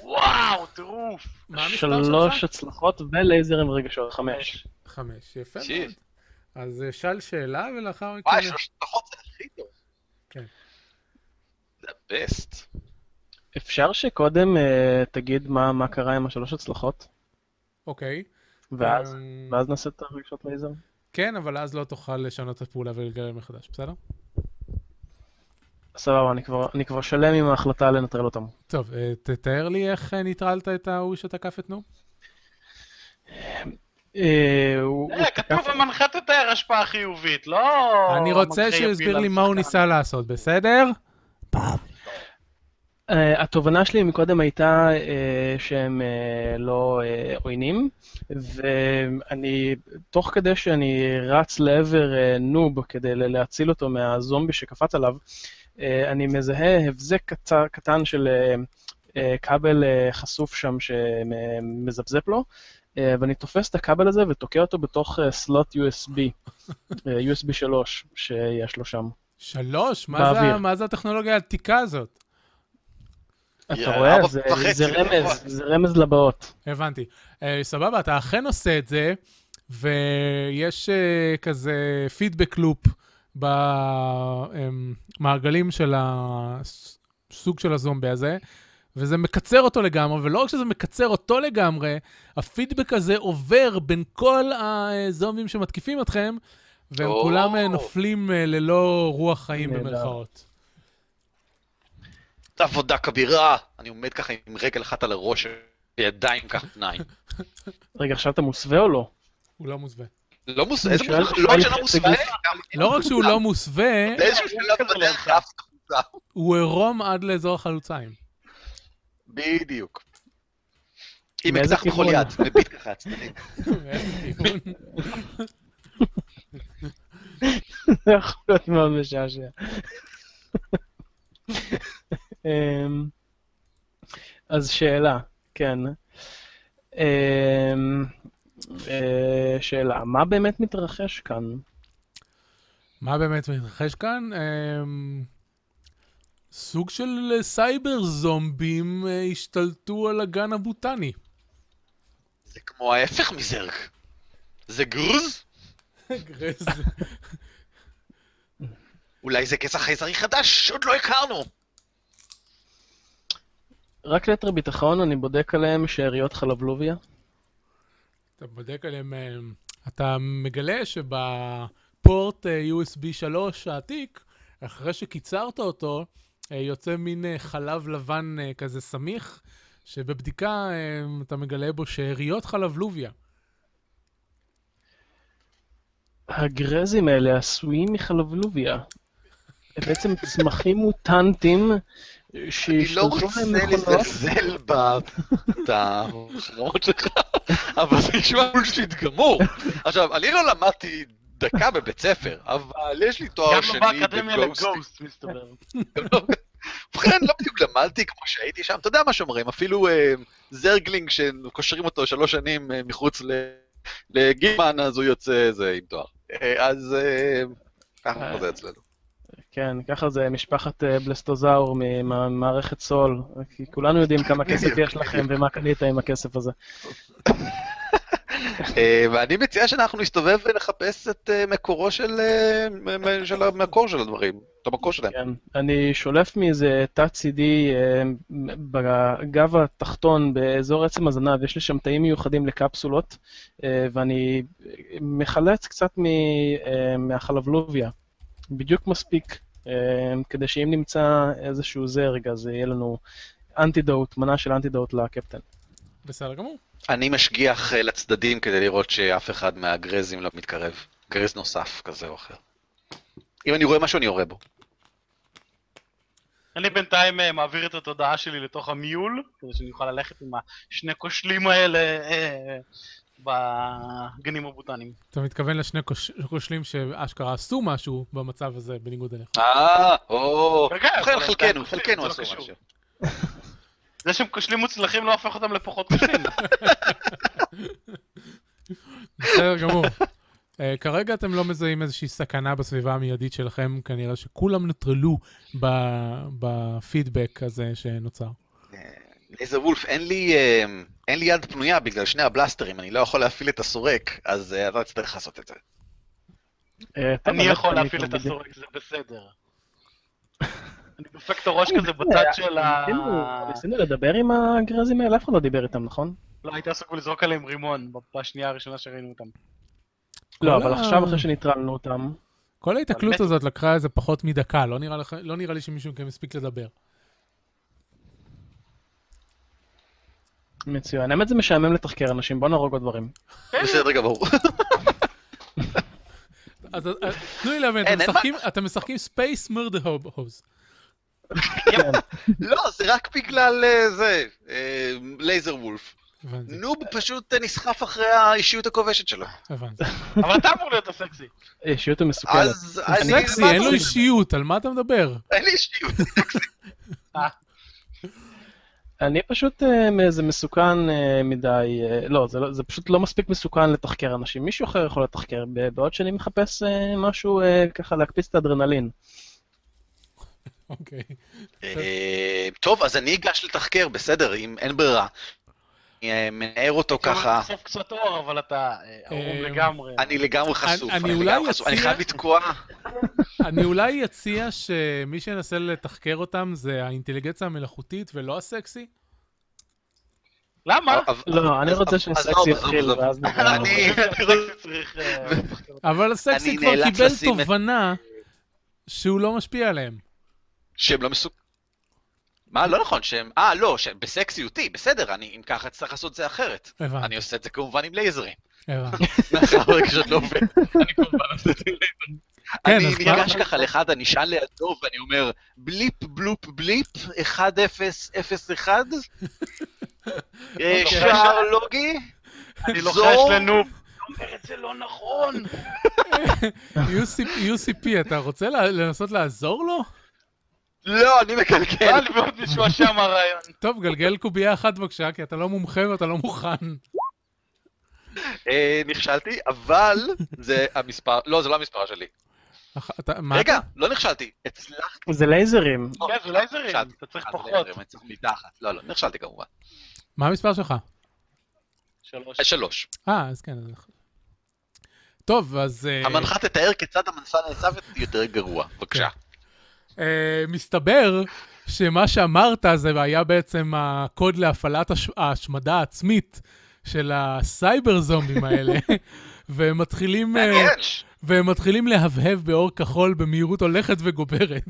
וואו, טירוף. מה המספר שלוש שלך? הצלחות ולייזר עם רגשות, חמש. חמש, יפה שיט. מאוד. אז אה, שאל שאלה ולאחר וואי, מכן... שלוש פחות זה הכי טוב. כן. זה הבסט. אפשר שקודם אה, תגיד מה מה קרה עם השלוש הצלחות, אוקיי. ואז אמ, ואז נעשה את הרגשות לייזר? כן, אבל אז לא תוכל לשנות את הפעולה ולגלם מחדש, בסדר? סבבה, אני כבר- אני כבר שלם עם ההחלטה לנטרל אותם. טוב, אה, תתאר לי איך אה, נטרלת את ההוא שתקף את נו. אה, הוא- הוא אה, כתוב תקף- המנחה תתאר השפעה חיובית, לא... אני רוצה המנחה שהוא יפיל יסביר לי על מה הוא השחקן. ניסה לעשות, בסדר? אה, התובנה שלי מקודם הייתה אה, שהם אה, לא אה, עוינים, ואני, תוך כדי שאני רץ לעבר אה, נוב כדי ל- להציל אותו מהזומבי שקפץ עליו, אה, אני מזהה הבזק קצר, קטן של אה, אה, כבל אה, חשוף שם שמזפזפ לו, אה, ואני תופס את הכבל הזה ותוקע אותו בתוך אה, סלוט USB, אה, USB 3 שיש לו שם. שלוש? מה באוויר. זה ה- מה זה הטכנולוגיה העתיקה הזאת? אתה יא, רואה? ארבע זה- וחצי זה רמז, דקות. זה רמז לבאות. הבנתי. אה, סבבה, אתה אכן עושה את זה, ויש אה, כזה פידבק לופ במעגלים אמ, של הסוג של הזומבי הזה, וזה מקצר אותו לגמרי, ולא רק שזה מקצר אותו לגמרי, הפידבק הזה עובר בין כל הזומבים שמתקיפים אתכם, והם או. כולם אה, נופלים אה, ללא רוח חיים נהדר. במרכאות. זאת עבודה כבירה. אני עומד ככה עם רגל אחת על הראש, בידיים ככה [LAUGHS] פניים. רגע, עכשיו אתה מוסווה או לא? [LAUGHS] הוא לא מוסווה. לא מוס... אני איזה שואל- מוזר, לא רק שלא שואל- מוסווה, גם- לא רק שהוא לא מוסווה, באיזשהו שלב בדרך כלל הוא עירום עד לאזור החלוציים. [LAUGHS] בדיוק. עם מאיזה אקדח בכל כיוון? יד, מביט ככה עצמי. מאיזה כיוון? זה יכול להיות מאוד משעשע. אמ, אז שאלה, כן. אמ, אה, שאלה, מה באמת מתרחש כאן? מה באמת מתרחש כאן? אמ, סוג של אה, סייבר זומבים אה, השתלטו על הגן הבוטני. זה כמו ההפך מזרק. זה גרוז? גרז. אולי זה כסח חייזרי חדש שעוד לא הכרנו. רק ליתר ביטחון, אני בודק עליהם שאריות חלבלוביה. אתה בודק עליהם, אה, אתה מגלה שבפורט אה, USB 3 העתיק, אחרי שקיצרת אותו, אה, יוצא מין אה, חלב לבן אה, כזה סמיך, שבבדיקה אה, אתה מגלה בו שאריות חלבלוביה. הגרזים האלה עשויים מחלבלוביה. הם בעצם צמחים מוטנטים אני לא שהשתלטו רוצה להם מכונות. לזלזל בחלומות שלך, אבל זה נשמע בולשיט גמור. עכשיו, אני לא למדתי דקה בבית ספר, אבל יש לי גם תואר לא שני באקדמיה בגוסטים. לגוסט, מסתבר. גם לא- ובכן, לא בדיוק למדתי כמו שהייתי שם, אתה יודע מה שאומרים, אפילו אה, זרגלינג שקושרים אותו שלוש שנים אה, מחוץ ל- לגימן, אז הוא יוצא זה עם תואר. אה, אז אה, ככה זה אצלנו. כן, ככה זה משפחת אה, בלסטוזאור ממערכת סול. כי כולנו יודעים כמה כסף בדיוק, יש לכם ומה קנית עם הכסף הזה. אה, ואני מציע שאנחנו נסתובב ונחפש את אה, מקורו של אה, מ- מ- של המקור של הדברים, את המקור שלהם. כן, אני שולף מאיזה תת-סידי אה, בגב התחתון באזור עצם הזנב, יש לי שם תאים מיוחדים לקפסולות, אה, ואני מחלץ קצת מ, אה, מהחלבלוביה, בדיוק מספיק, אה, כדי שאם נמצא איזשהו זרג, אז יהיה לנו אנטידוט, מנה של אנטידוט לקפטן. בסדר גמור. אני משגיח אה, לצדדים כדי לראות שאף אחד מהגרזים לא מתקרב. גרז נוסף כזה או אחר. אם אני רואה משהו, אני יורה בו. אני בינתיים אה, מעביר את התודעה שלי לתוך המיול, כדי שאני אוכל ללכת עם השני כושלים האלה אה, בגנים הבוטניים. אתה מתכוון לשני כוש- כושלים שאשכרה עשו משהו במצב הזה, בניגוד אליך. אה, או, כן, כן, ובכן, אבל חלקנו, הם חלקנו זה לא עשו קשור. משהו. זה שהם כושלים מוצלחים לא הופך אותם לפחות [LAUGHS] כושלים. בסדר גמור. אה, כרגע אתם לא מזהים איזושהי סכנה בסביבה המיידית שלכם, כנראה שכולם נוטרלו ב- בפידבק הזה שנוצר. איזה וולף, אין לי, אה, אין לי יד פנויה בגלל שני הבלסטרים, אני לא יכול להפעיל את הסורק, אז אה, אתה תצטרך לעשות את זה. אה, טוב, אני יכול אני להפעיל את כבר בדיוק- הסורק, זה בסדר. אני כן דופק את הראש כזה בצד של ה... ניסינו- ניסינו לדבר עם הגרזים האלה, אף אחד לא דיבר איתם, נכון? לא, הייתי עסוק בלזרוק עליהם רימון בשנייה הראשונה שראינו אותם. כל לא, אבל ה- עכשיו אחרי שניטרלנו אותם, כל ההיתקלות באמת? הזאת לקחה איזה פחות מדקה, לא נראה, לך, לא נראה לי שמישהו מכם הספיק לדבר. מצוין. האמת זה משעמם לתחקר אנשים, בוא נהרוג עוד דברים. בסדר גמור. [LAUGHS] אז אז- תנו לי להבין, אתם אין, אין משחקים- אתם משחקים ספייס מרדה הוז. לא, זה רק בגלל אה, זה, אה, לייזר וולף. הבנתי, נוב פשוט אה, נסחף אחרי האישיות הכובשת שלו. הבנתי. אבל אתה אמור להיות הסקסי. אישיות המסוכלת. אז אני... סקסי, מה אין לו אתה- אישיות, על מה אתה מדבר? אין לי אישיות. אני פשוט, אה, זה מסוכן אה, מדי, אה, לא זה, לא, זה פשוט לא מספיק מסוכן לתחקר אנשים. מישהו אחר יכול לתחקר, ב- בעוד שאני מחפש אה, משהו אה, ככה להקפיץ את האדרנלין. אוקיי. אה, טוב, אז אני אגש לתחקר, בסדר, אם אין ברירה. אני אה, מנער אותו ככה. אתה קצת אור, אבל אתה אה, ערום אה, לגמרי. אני לגמרי חשוף. אני לגמרי אולי חשוף. אני אציע- חייב לתקוע. אני אולי אציע שמי שינסה לתחקר אותם זה האינטליגנציה המלאכותית ולא הסקסי. למה? אבל- לא, אני אז- רוצה אז- אז שסקסי לא, אז- יתחיל, אז- ואז נדבר. אני- צריך... אה, אבל הסקסי אני כבר נאלץ קיבל לשים את- תובנה שהוא לא משפיע עליהם. שהם לא מסוכנים. מה, לא נכון, שהם... אה, לא, שהם בסקסיותי, בסדר, אני אם ככה אצטרך לעשות זה אחרת. אני הבנתי, עושה את זה כמובן עם לייזרים. [LAUGHS] הבנתי. מאחר רגשות לא עובד, אני כמובן עושה את זה עם לייזרים. כן, אני אז מה- ניגש ככה לאחד הנשען לידו ואני אומר, בליפ בלופ בליפ, 1-0-0-1, [LAUGHS] אה, שער לוגי, אני לוחש זור, לנו... אתה אומר את זה לא [LAUGHS] נכון! UCP, אתה רוצה לה- לנסות לעזור לו? לא, אני מקלקל. בא לי מאוד משועשע מהרעיון. טוב, גלגל קובייה אחת בבקשה, כי אתה לא מומחה ואתה לא מוכן. אה, נכשלתי, אבל זה המספר, לא, זה לא המספר שלי. אח- אתה- מה רגע, אתה- לא נכשלתי, הצלחתי. זה לייזרים. כן, זה לייזרים, נכשלתי. אתה צריך אה, לא. זה פחות. לייזרים, אני צריך מידה אחת. לא, לא, נכשלתי כמובן. מה המספר שלך? שלוש. אה, שלוש. אה, אז כן. אז- טוב, אז... אה, המנחה תתאר כיצד המנסה נעשה ויותר גרוע. בבקשה. כן. אה, מסתבר שמה שאמרת זה היה בעצם הקוד להפעלת הש- ההשמדה העצמית של הסייבר זומבים האלה, [LAUGHS] והם מתחילים, אה, מעניין. והם מתחילים להבהב באור כחול במהירות הולכת וגוברת.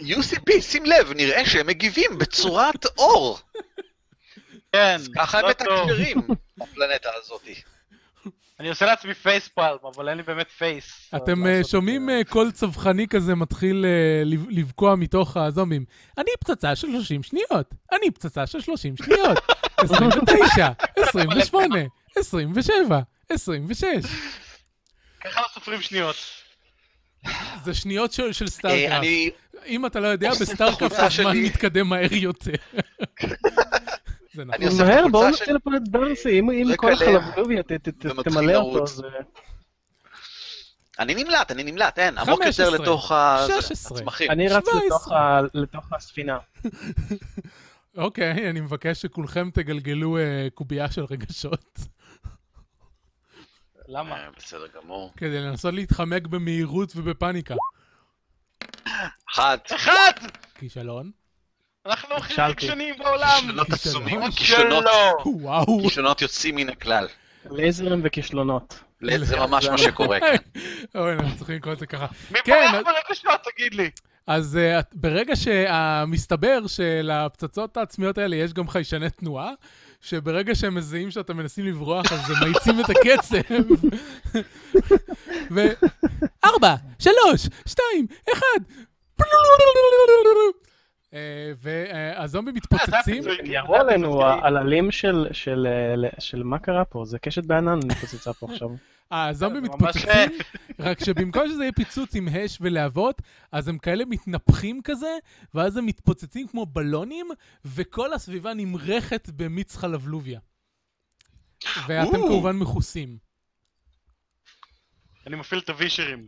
UCB, שים לב, נראה שהם מגיבים בצורת אור. כן, ככה הם לא טוב. מתקשרים בפלנטה הזאת. אני עושה לעצמי פייס פלם, אבל אין לי באמת פייס. אתם אה, לעשות את שומעים זה. אה, קול צווחני כזה מתחיל אה, לב- לבקוע מתוך הזומבים. אני פצצה של 30 שניות, אני פצצה של 30 [LAUGHS] שניות, 29, 28, 27, 26. ככה לא סופרים שניות. זה שניות של, של אה, סטארקראפט. אני... אם אתה לא [LAUGHS] יודע, אוסף את בסטארקראפט החולצה הזמן שלי. מתקדם מהר [LAUGHS] יותר. זה נכון. אני עושה את מהר, בואו הקבוצה נוציא לפה את דארסי, אם אם רקע כל לאה. החלבלוביה ת- ת- ת- ומתחיל תמלא אותו, לרוץ. זה... אני נמלט, אני נמלט, אין. עמוק יותר 15, לתוך ה... זה, 16. הצמחים. אני רץ 17. לתוך ה- לתוך הספינה. אוקיי, אני מבקש שכולכם תגלגלו אה, קובייה של רגשות, למה? אה, בסדר גמור. כדי לנסות להתחמק במהירות ובפאניקה. אחת. אחד! כישלון? אנחנו הכי נכשלתי. רגשנים בעולם! כישלונות כישלון. עצומים, כישלונות, שלא. וואו. כישלונות יוצאים מן הכלל. לייזרים וכישלונות. זה ממש מה שקורה. כן. [LAUGHS] אוי, אנחנו צריכים לקרוא את זה ככה. מי כן, בורח ברגשות, תגיד לי? אז אה, את- ברגע שמסתבר שלפצצות העצמיות האלה יש גם חיישני תנועה, שברגע שהם מזהים שאתם מנסים לברוח, אז הם מאיצים את הקצב. [LAUGHS] ו... ארבע, שלוש, שתיים, אחד. אה, והזומבים מתפוצצים, זה הגיע. כן, ירו עלינו אה, העללים של- של אה, של מה קרה פה, זה קשת בענן מתפוצצה פה עכשיו. הזומבים זה ממש- מתפוצצים, רק שבמקום שזה יהיה פיצוץ עם הש ולהבות, אז הם כאלה מתנפחים כזה, ואז הם מתפוצצים כמו בלונים, וכל הסביבה נמרחת במיץ חלבלוביה. ואתם או. כמובן מכוסים. אני מפעיל את הווישרים.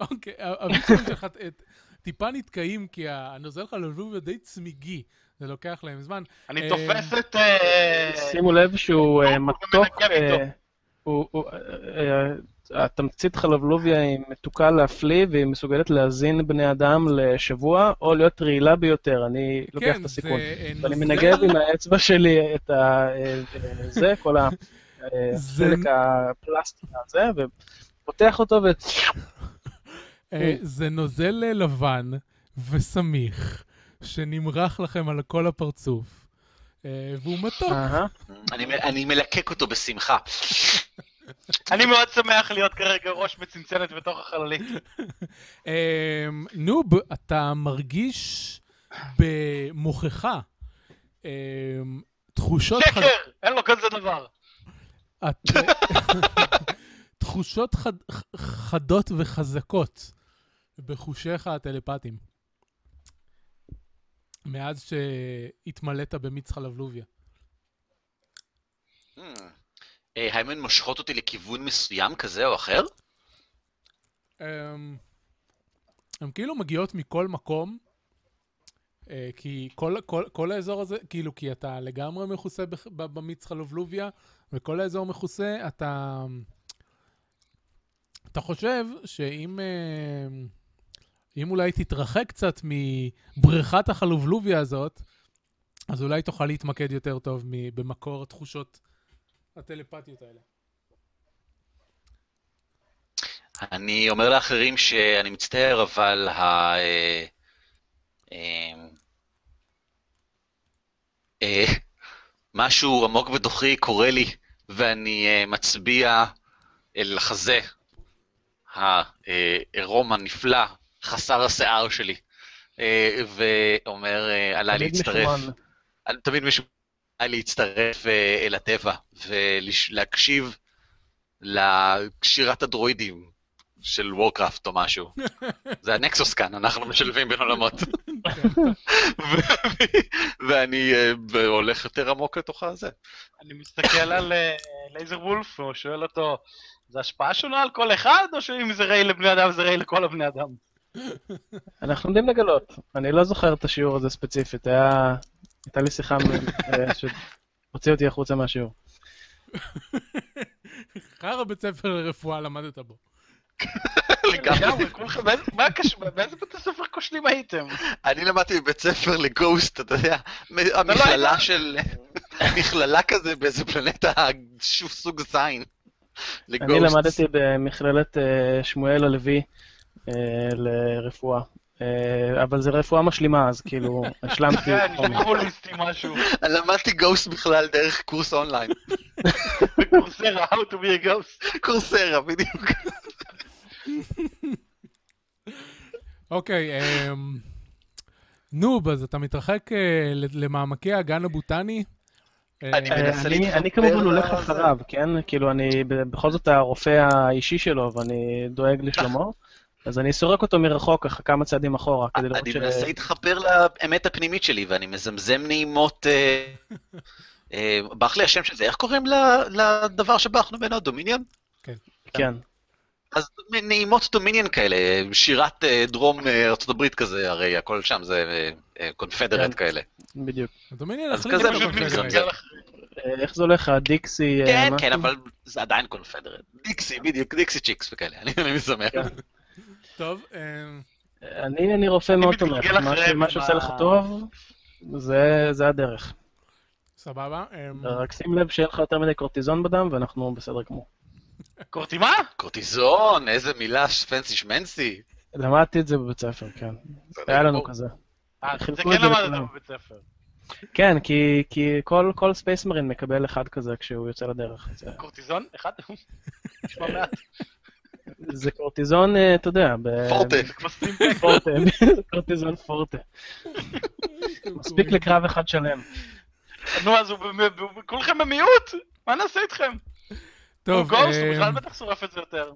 אוקיי, ה- הביצועים שלך ת- ת- טיפה נתקעים, כי הנוזל חלבלוביה די צמיגי, זה לוקח להם זמן. אה, אני תופס את... אה, שימו לב שהוא אה, מתוק, מנגב איתו. אה, הוא- הוא, אה, אה, התמצית חלבלוביה היא מתוקה להפליא והיא מסוגלת להזין בני אדם לשבוע או להיות רעילה ביותר, אני לוקח את כן, הסיכון. זה, אה, ואני נוזל- מנגב עם האצבע שלי את ה... אה, אה, זה, כל ה- אה, זה- חלק הפלסטיק הזה, ופותח אותו ו... אה, זה נוזל אה, לבן וסמיך שנמרח לכם על כל הפרצוף, אה, והוא מתוק. אהה. אני- אני מלקק אותו בשמחה. אני מאוד שמח להיות כרגע ראש בצנצנת בתוך [LAUGHS] החללית. אה, נוב, אתה מרגיש במוחך אה, תחושות... חד- שקר! אין לו כזה דבר. את- [LAUGHS] תחושות חד- ח- חדות וחזקות בחושיך הטלפטיים. מאז שהתמלאת במיץ חלבלוביה. אה, האם הן מושכות אותי לכיוון מסוים כזה או אחר? הם, הם אמ, כאילו מגיעות מכל מקום, אה, כי כל, כל, כל האזור הזה, כאילו, כי אתה לגמרי מכוסה בח- ב- במיץ חלבלוביה, וכל האזור מכוסה, אתה... אתה חושב שאם... אה, אם אולי תתרחק קצת מבריכת החלובלוביה הזאת, אז אולי תוכל להתמקד יותר טוב מ- במקור התחושות הטלפתיות האלה. אני אומר לאחרים שאני מצטער, אבל ה... אה, אה, אה, משהו עמוק בתוכי קורה לי, ואני אה, מצביע אל החזה העירום הנפלא, חסר השיער שלי, אה, ואומר, אה, עליי תמיד להצטרף. משומן. אני תמיד משוגע להצטרף אה, אל הטבע ולהקשיב לשירת הדרואידים של וורקראפט או משהו. זה הנקסוס כאן, אנחנו משלבים בין עולמות. [LAUGHS] ו- ואני אה, ב- הולך יותר עמוק לתוך הזה. אני מסתכל על אה, לייזר וולף, הוא שואל אותו, זה השפעה שונה על כל אחד, או שאם זה רעי לבני אדם, זה רעי לכל הבני אדם? אנחנו עומדים לגלות. אני לא זוכר את השיעור הזה ספציפית, היה... הייתה לי שיחה מ- אה, שהוציאה אותי החוצה מהשיעור. חרא בית ספר לרפואה למדת בו. לגמרי. לגמרי, כולכם, באיזה- מה קשור, באיזה בית הספר [LAUGHS] כושלים הייתם? אני למדתי בבית ספר לגוסט, אתה יודע, מ- לא המכללה של... מכללה כזה באיזה פלנטה שוב סוג זין. אני לגוסט. למדתי במכללת אה, שמואל הלוי אה, לרפואה. אה, אבל זה רפואה משלימה, אז כאילו, השלמתי כן, חומר. שלחו לי סתי [LAUGHS] משהו, למדתי גוסט בכלל דרך קורס אונליין. בקורסרה, How to be a ghost. קורסרה, בדיוק. אוקיי, אמ, נוב, אז אתה מתרחק אה, ל- למעמקי האגן הבוטני. אה, אני אה, מנסה אני- להתחבר אני כמובן הולך לזה. אחריו, כן? כאילו, אני ב- בכל זאת הרופא האישי שלו, ואני דואג לשלומו, אז אני סורק אותו מרחוק, ככה כמה צעדים אחורה, כדי לראות אני ש... מנסה להתחבר לאמת הפנימית שלי, ואני מזמזם נעימות... אה, אה, ברח לי השם של זה, איך קוראים ל- לדבר שבחנו ממנו? דומיניון? כן. אז נעימות דומיניון כאלה, שירת אה, דרום אה, ארה"ב כזה, הרי הכל שם זה אה, אה, קונפדרט כן. כאלה. בדיוק. הדומיניאן אז החליט כזה על פשוט הקונפדרציה. מזמזם. אה, איך זה הולך, הדיקסי... אה, כן, משהו? כן, אבל זה עדיין קונפדרט. דיקסי, כן. בדיוק, דיקסי צ'יקס וכאלה, אני אני משמח. טוב, אמ, אני אני רופא מאוד תומך, מתגלגל מה ש- אחריהם מה עם שעושה ה- לך טוב, זה זה הדרך. סבבה. אמ, רק שים לב שאין לך יותר מדי קורטיזון בדם, ואנחנו בסדר גמור. קורטימה? קורטיזון, איזה מילה פנסי שמנסי. למדתי את זה בבית ספר, כן. היה לנו כזה. אה, זה חילקו את כן זה למדת לכולם. בבית ספר. כן, כי- כי כל- כל ספייס מרין מקבל אחד כזה כשהוא יוצא לדרך. זה- קורטיזון? אחד? [LAUGHS] נשמע מעט, זה קורטיזון, אה, כן. אתה יודע, ב- פורטה. זה כמו סטימפק. פורטה, [LAUGHS] זה קורטיזון פורטה. מספיק לקרב אחד שלם. נו, אז הוא במ- הוא- כולכם במיעוט? מה נעשה איתכם? הוא טוב, גוסט, הוא אה, אמ, בכלל בטח שורף את זה יותר.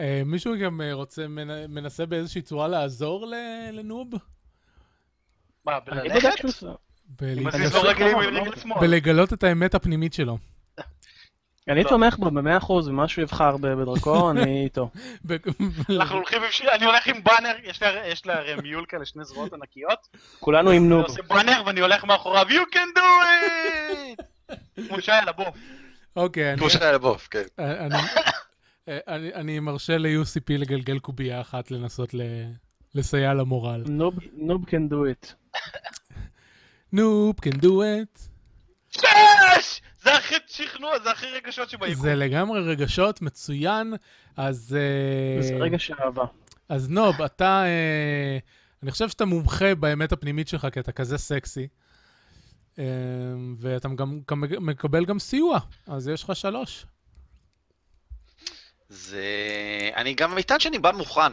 אה, מישהו גם אה, רוצה, מנ- מנסה באיזושהי צורה לעזור ל- לנוב? מה, אני לא בודק בללכת? שהוא עושה. בלי- אם אני מזיז לו עושה רגל ימין, כמוהו, רגל לא? שמאל. בלגלות את האמת הפנימית שלו. אני לא. טוב. תומך בו במאה אחוז, ומה שהוא יבחר ב- [LAUGHS] בדרכו, אני איתו. ב- אנחנו הולכים עם שיר, אני הולך עם באנר, יש לה- יש לה הרי מיול כאלה, שני זרועות ענקיות. כולנו עם אני נוב. עושה באנר ואני הולך מאחוריו, you can do it! כמו שיילה, בוא. אוקיי, אני- כמו שהיה לבוף, כן. אה, אני- אה, אני- אני מרשה ל-UCP לגלגל קובייה אחת לנסות ל- לסייע למורל. נוב נוב can do it. נוב, can do it. שש! זה הכי שכנוע, זה הכי רגשות שביקום. זה לגמרי רגשות, מצוין. אז... אה, זה רגע של אהבה. אז אז נוב, אתה... אה, אני חושב שאתה מומחה באמת הפנימית שלך, כי אתה כזה סקסי. אה, ואתה גם גם מקבל גם סיוע, אז יש לך שלוש. זה... אני גם מטען שאני בא מוכן.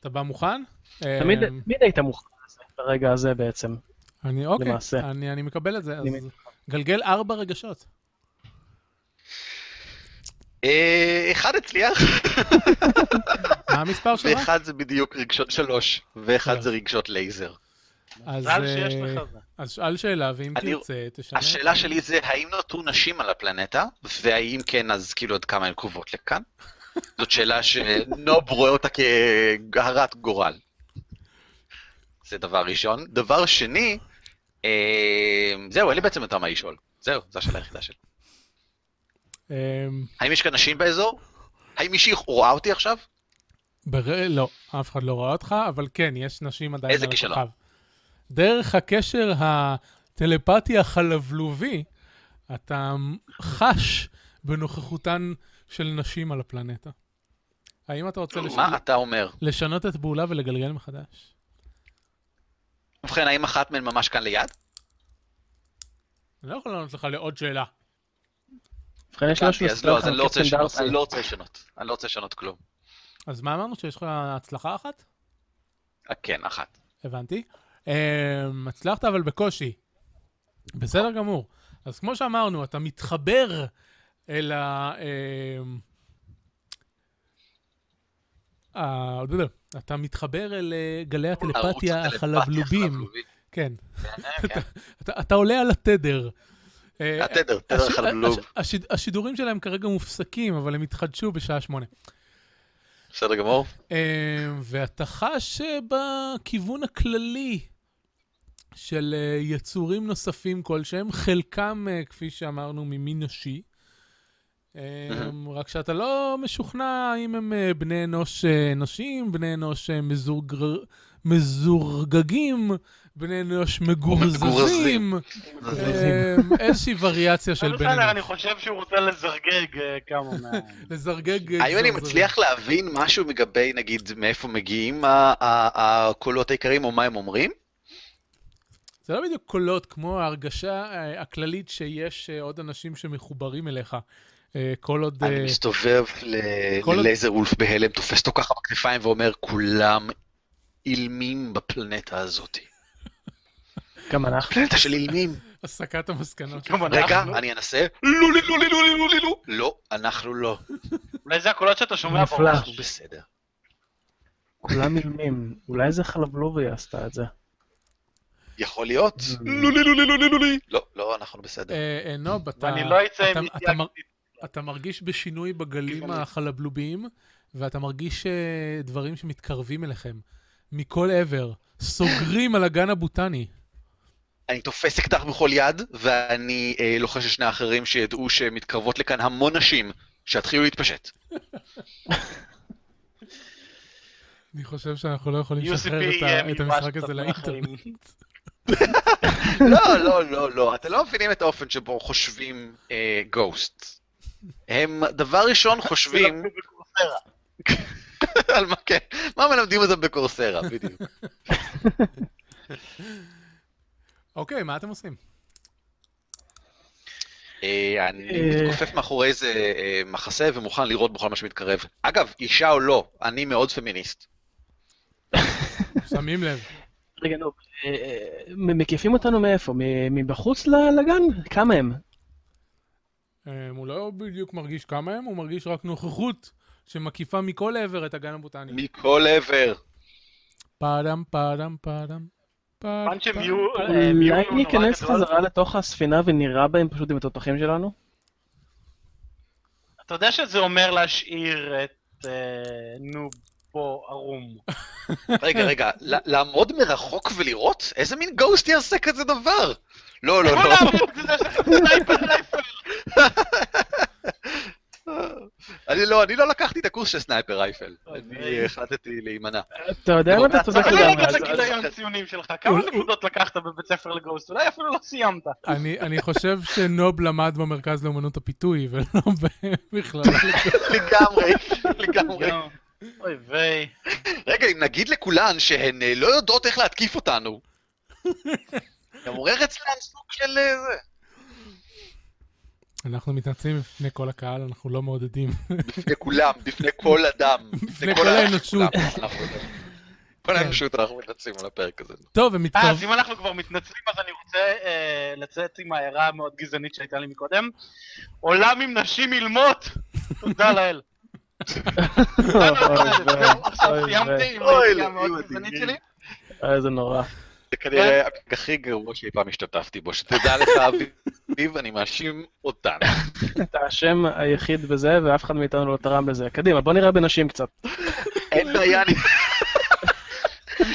אתה בא מוכן? אה, תמיד תמיד היית מוכן לזה, ברגע הזה בעצם. אני, אוקיי, למעשה. אני, אני מקבל את זה. אז אני גלגל ארבע רגשות. אה, אחד [LAUGHS] הצליח, מה המספר שלך? ואחד זה בדיוק רגשות שלוש, אה. ואחד זה רגשות לייזר. אז, מזל שיש אה, לך זה. אז שאל שאלה, ואם אני- תרצה, תשנה. השאלה שלי זה, האם נותרו נשים על הפלנטה? והאם כן, אז כאילו עד כמה הן קרובות לכאן? זאת שאלה שנוב רואה אותה כהרת גורל. זה דבר ראשון. דבר שני, אה, זהו, אין לי בעצם יותר מה לשאול. זהו, זו השאלה היחידה שלי. אמ, האם יש כאן נשים באזור? האם מישהי רואה אותי עכשיו? בר... לא, אף אחד לא ראה אותך, אבל כן, יש נשים עדיין איזה על כישלון? הכוכב. דרך הקשר הטלפתי החלבלובי, אתה חש בנוכחותן של נשים על הפלנטה. האם אתה רוצה לש... מה אתה אומר? לשנות את פעולה ולגלגל מחדש? ובכן, האם אחת מהן ממש כאן ליד? אני לא יכול לענות לך לעוד שאלה. ובכן, יש הבנתי, משהו אז לא, אז אני לא רוצה קפטן לשנות, דארסי. אני לא רוצה לשנות. אני לא רוצה לשנות כלום. אז מה אמרנו? שיש לך הצלחה אחת? אה, כן, אחת. הבנתי. Um, הצלחת אבל בקושי. בסדר גמור. אז כמו שאמרנו, אתה אמ, מתחבר אל ה... Um, ה- לא אתה מתחבר אל אה, גלי ערוץ הטלפתיה הטלפתיה החלבלובים. החלבלובי. כן, כן. אתה- אתה עולה על התדר. אה, התדר, תדר הש- חלבלוב, הש- השיד- השידורים שלהם כרגע מופסקים, אבל הם התחדשו בשעה שמונה. בסדר גמור. אה, ואתה חש אה, בכיוון הכללי של אה, יצורים נוספים כלשהם, חלקם, אה, כפי שאמרנו, ממין נשי. אה, מהמם. רק שאתה לא משוכנע אם הם אה, בני אנוש אה, אנושיים, בני אנוש אה, מזורגר... מזורגגים, בני אנוש מגורזזים, מגורזים. אה, איזושהי וריאציה של בן בסדר, אנוש. אני חושב שהוא רוצה לזרגג אה, כמה מה... לזרגג... אה, האם אני גזרזרים. מצליח להבין משהו לגבי, נגיד, מאיפה מגיעים ה- ה- הקולות העיקריים או מה הם אומרים? זה לא בדיוק קולות, כמו ההרגשה אה, הכללית שיש אה, עוד אנשים שמחוברים אליך. אה, כל עוד... אה, אני מסתובב ל- כל עוד- ללייזר וולף בהלם, תופס אותו ככה בכתפיים ואומר, כולם אילמים בפלנטה הזאת. גם אנחנו. פלנטה של אילמים. הסקת המסקנות. גם אנחנו. רגע, אני אנסה. לא, לא, לא, לא, לא, לא, לא, לא. לא, אנחנו לא. אולי זה הקולות שאתה שומע נפלא. בראש. אנחנו בסדר. כולם אילמים. אולי איזה חלבלובי עשתה את זה. יכול להיות? Mm. לא, לא, לא, לא, לא, לא, לא. לא, לא, אנחנו בסדר. אה, אה, נוב, אתה... ואני לא אצא עם אתה- ידיעה אתה מר- כזאת. אתה מרגיש בשינוי בגלים גזעני. החלבלוביים, ואתה מרגיש אה, דברים שמתקרבים אליכם. מכל עבר. סוגרים על הגן הבוטני. אני תופס אקדח בכל יד, ואני אה, לוחש לשני האחרים שידעו שמתקרבות לכאן המון נשים, שיתחילו להתפשט. אני חושב שאנחנו לא יכולים לשחרר UCP את ה- יהיה את מיובש המשחק הזה אה, קצת לאינטרנט. מהחיים. לא, לא, לא, לא, אתם לא מבינים את האופן שבו חושבים אה, גוסט. הם דבר ראשון לא חושבים על מה כן, מה מלמדים אותם בקורסרה, בדיוק. אוקיי, מה אתם עושים? אה, אני אה. מתכופף מאחורי איזה אה, מחסה ומוכן לראות בכל מה שמתקרב. אגב, אישה או לא, אני מאוד פמיניסט. שמים לב. רגע, נו, אה, אה, מ- מקיפים אותנו מאיפה? מ- מבחוץ ל- לגן? כמה הם? אה, הוא לא בדיוק מרגיש כמה הם, הוא מרגיש רק נוכחות שמקיפה מכל עבר את הגן הבוטני. מכל עבר. פאדם, פאדם, פאדם. פאדם, כמובן שהם פאדם. יהיו... אה, הם יהיו אולי נורא ניכנס גדול. חזרה לתוך הספינה ונירה בהם פשוט עם התותחים שלנו? אתה יודע שזה אומר להשאיר את... אה, נו, פה ערום. כן. רגע, רגע, ל- לעמוד מרחוק ולראות? איזה מין גוסט יעשה כזה דבר? לא, לא, בוא לא. נעביר את זה, זה [LAUGHS] סנייפר רייפל. אני לא, אני לא לקחתי את הקורס של סנייפר רייפל. אוקיי. אני אה, החלטתי להימנע. [LAUGHS] אתה יודע מה? אתה אתה צודק אבל יודע, אני לגמרי. אגיד אז- אז- לגיליון ציונים שלך, כמה אולי- נקודות לקחת בבית ספר לגוסט? אולי אפילו לא סיימת. אני, אני חושב שנוב למד במרכז לאומנות הפיתוי, ולא [LAUGHS] בכלל. לגמרי, לגמרי. אוי ויי. רגע, אם נגיד לכולן שהן אה, לא יודעות איך להתקיף [LAUGHS] אותנו, זה מעורר אצלן סוג של אה, זה. אנחנו מתנצלים בפני כל הקהל, אנחנו לא מעודדים. בפני כולם, בפני כל אדם. בפני כל האנושות. כולם, אנחנו יודעים. [LAUGHS] כל האנושות אנחנו מנצלים על הפרק הזה. טוב, הם אה, מתקרבים. אז אם אנחנו כבר מתנצלים, אז אני רוצה אה, לצאת עם ההערה המאוד גזענית שהייתה לי מקודם. עולם עם נשים אילמות! תודה לאל. זהו, עכשיו אוי, סיימתי עם אוי, היציאה המאוד אלוהים גזענית אדירים. שלי. אוי, אה, זה נורא. זה כנראה הכי גרוע שאי פעם השתתפתי בו, [LAUGHS] שתדע לך, אביב, אני מאשים אותן. אתה האשם היחיד בזה, ואף אחד מאיתנו לא תרם לזה. קדימה, בוא נראה בנשים קצת. אין בעיה, [LAUGHS] אני...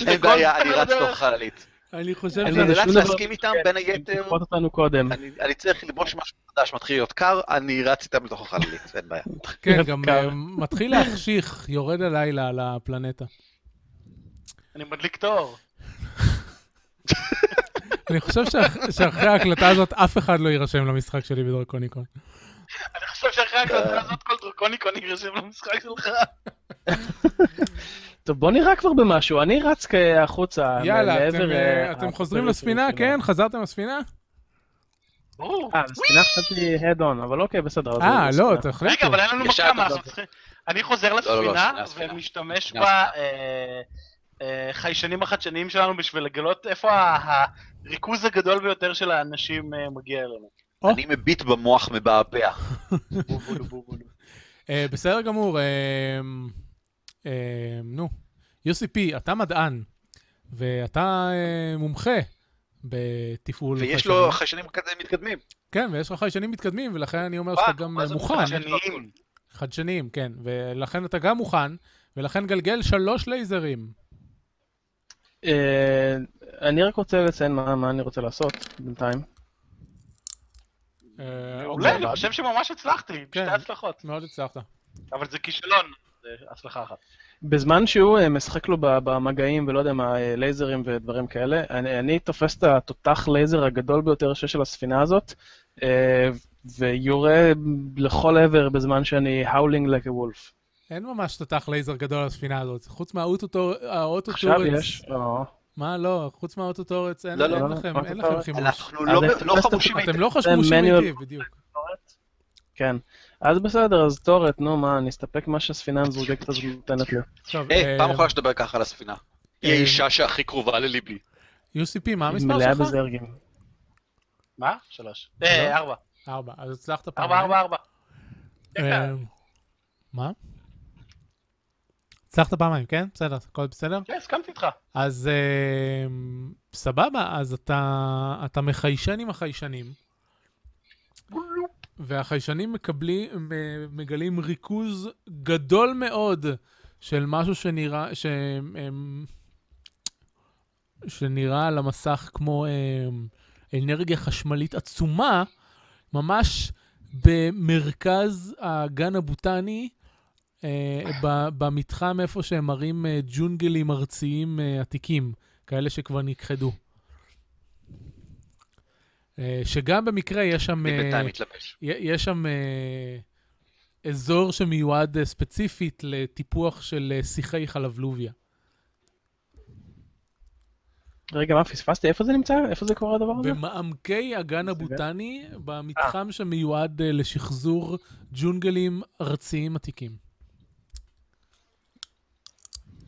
אין בעיה, לא אני רץ תוך חללית. אני חושב אני אין לי ש... שום נאלץ דבר- להסכים איתם, בין היתר, תקפוט אותנו קודם. אני אני צריך ללבוש משהו חדש, מתחיל להיות קר, אני רץ איתם לתוך החללית, אין בעיה. כן, גם אה, מתחיל להחשיך, יורד הלילה על הפלנטה. אני מדליק תור. אני חושב שאח- שאחרי ההקלטה הזאת, אף אחד לא יירשם למשחק שלי בדרקוניקון. אני חושב שאחרי אה. ההקלטה הזאת כל דרקוניקון ירשם למשחק שלך. טוב, בוא נראה כבר במשהו. אני רץ כ- החוצה. יאללה, מעבר, אתם, אה, אה, אתם חוזרים הפרק לספינה, הראשון. כן? חזרתם לספינה? ברור. אה, לספינה חשבתי הד-און, אבל אוקיי, בסדר. אז אה, זה לא, לספינה. תחליטו. רגע, אבל אין לנו ישר מקום, אתה אנחנו בא. צריכים... אני חוזר לא, לא, לספינה ספינה, ספינה. ומשתמש ספינה. בחיישנים החדשניים שלנו בשביל לגלות איפה ה- הריכוז הגדול ביותר של האנשים אה, מגיע אלינו. או. אני מביט במוח מבעבע. [LAUGHS] בו, בו, בו, בו, בו. אה, בסדר גמור. אה, אה, נו, יוסי פי, אתה מדען, ואתה אה, מומחה בתפעול לא ויש חיישנים. לו חיישנים כזה מתקדמים. אה, כן, ויש לך חיישנים מתקדמים, ולכן אני אומר וואו, שאתה גם מה אה, זה מוכן. מתקדם? חדשניים. חדשניים, כן, ולכן אתה גם מוכן, ולכן גלגל שלוש לייזרים. אה, אני רק רוצה לציין מה מה אני רוצה לעשות בינתיים. אה, אולי, אוקיי, אני חושב שממש הצלחתי, כן. שתי הצלחות. מאוד הצלחת. אבל זה כישלון, זה הצלחה אחת. בזמן שהוא אה, משחק לו ב- במגעים ולא יודע מה, אה, לייזרים ודברים כאלה, אני, אני תופס את התותח לייזר הגדול ביותר שיש על הספינה הזאת, אה, ויורה לכל עבר בזמן שאני האולינג like a wolf. אין ממש תותח לייזר גדול על הספינה הזאת, חוץ מהאוטוטורץ. עכשיו יש, או, מה, לא, חוץ מהאוטוטורץ, אין לא, לא, אין לא, לכם- לא, אין אוטוטורץ. לכם חימוש. אנחנו לא- אז לא אני- חמושים היטב. אתם לא חשבו שהוא manual- מיטיב, בדיוק. כן. אז בסדר, אז תורת, נו מה, אני אסתפק מה שהספינה המזורגת הזאת נותנת לי. טוב, היי, פעם אה, אחרונה שתדבר ככה על הספינה. היא אה, האישה שהכי קרובה לליבי. אה, UCP, אה, מה היא המספר מלאה שלך? בזרגים. מה? שלוש. שלוש? אה, ארבע. ארבע, אז הצלחת פעם. ארבע, ארבע, ארבע. אה, כן, מה? הצלחת פעמיים, כן? בסדר, הכל בסדר? כן, הסכמתי איתך. אז אמ, סבבה, אז אתה, אתה מחיישן עם החיישנים, והחיישנים מקבלים, מ- מגלים ריכוז גדול מאוד של משהו שנראה, ש, אמ, שנראה על המסך כמו אמ, אנרגיה חשמלית עצומה, ממש במרכז הגן הבוטני, אה, ב- במתחם איפה שהם מראים אה, ג'ונגלים ארציים אה, עתיקים, כאלה שכבר נכחדו. אה, שגם במקרה יש שם... אני אה, בינתיים מתלבש. י- יש שם אה, אזור שמיועד אה, ספציפית לטיפוח של אה, שיחי חלבלוביה. רגע, מה, פספסתי? איפה זה נמצא? איפה זה קורה הדבר הזה? במעמקי הגן זה הבוטני, במתחם שמיועד אה, לשחזור ג'ונגלים ארציים עתיקים.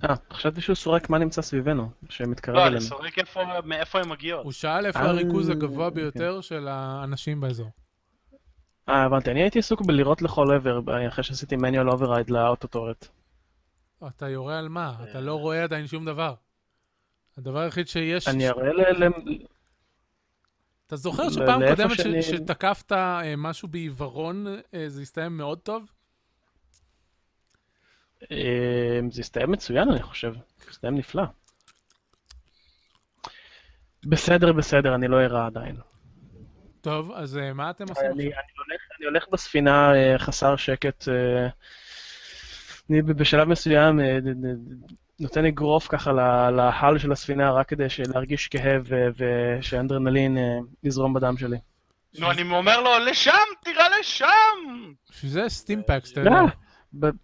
אה, חשבתי שהוא סורק מה נמצא סביבנו, שמתקרב לא, אני אלינו. סורק איפה- מאיפה הן מגיעות. הוא שאל איפה אה, הריכוז הגבוה אוקיי. ביותר של האנשים באזור. אה, הבנתי. אני הייתי עסוק בלירות לכל עבר ב- אחרי שעשיתי manual override לאוטוטורט. אתה יורה על מה? אה. אתה לא רואה עדיין שום דבר. הדבר היחיד שיש... אני אראה ל... ל- אתה זוכר ל- שפעם לאיפה קודמת ש- שאני- שתקפת אה, משהו בעיוורון, אה, זה הסתיים מאוד טוב? אה, זה הסתיים מצוין, אני חושב. זה הסתיים נפלא. בסדר, בסדר, אני לא אירע עדיין. טוב, אז אה, מה אתם עושים? אני, אני, הולך, אני הולך בספינה אה, חסר שקט. אה, אני ב- בשלב מסוים אה, ד- ד- ד- נותן אגרוף ככה ל- להל של הספינה רק כדי ש- להרגיש כאב אה, ושאנדרנלין אה, יזרום בדם שלי. שזה- נו, אני אומר לו, לשם, תירה לשם! שזה סטימפקס, אתה לא. יודע. ב-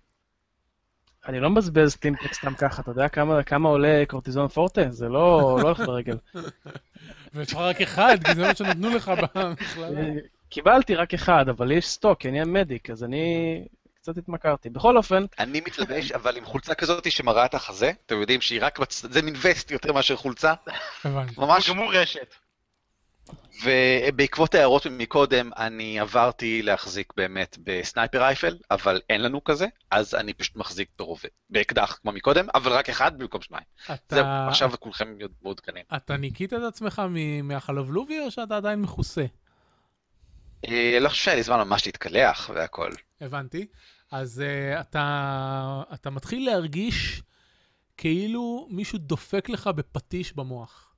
אני לא מבזבז סטימפק סתם ככה, אתה יודע כמה, כמה עולה קורטיזון פורטה? זה לא, לא הולך ברגל. ויש לך רק אחד, כי זה מה שנתנו לך במכללה. אה, קיבלתי רק אחד, אבל יש סטוק, כי אני המדיק, אז אני קצת התמכרתי. בכל אופן, אני מתלבש, אבל עם חולצה כזאת שמראה את החזה, אתם יודעים שהיא רק, בצ- זה מין וסט יותר מאשר חולצה, הבנתי. ממש. גם הוא רשת. ובעקבות ההערות מקודם, אני עברתי להחזיק באמת בסנייפר רייפל, אבל אין לנו כזה, אז אני פשוט מחזיק ברובה, באקדח כמו מקודם, אבל רק אחד במקום שניים. זהו, אתה- עכשיו כולכם מאוד מעודכנים. אתה ניקית את עצמך מ- מהחלבלובי, או שאתה עדיין מכוסה? אה, לא חושב שהיה לי זמן ממש להתקלח והכל. הבנתי. אז uh, אתה, אתה מתחיל להרגיש כאילו מישהו דופק לך בפטיש במוח.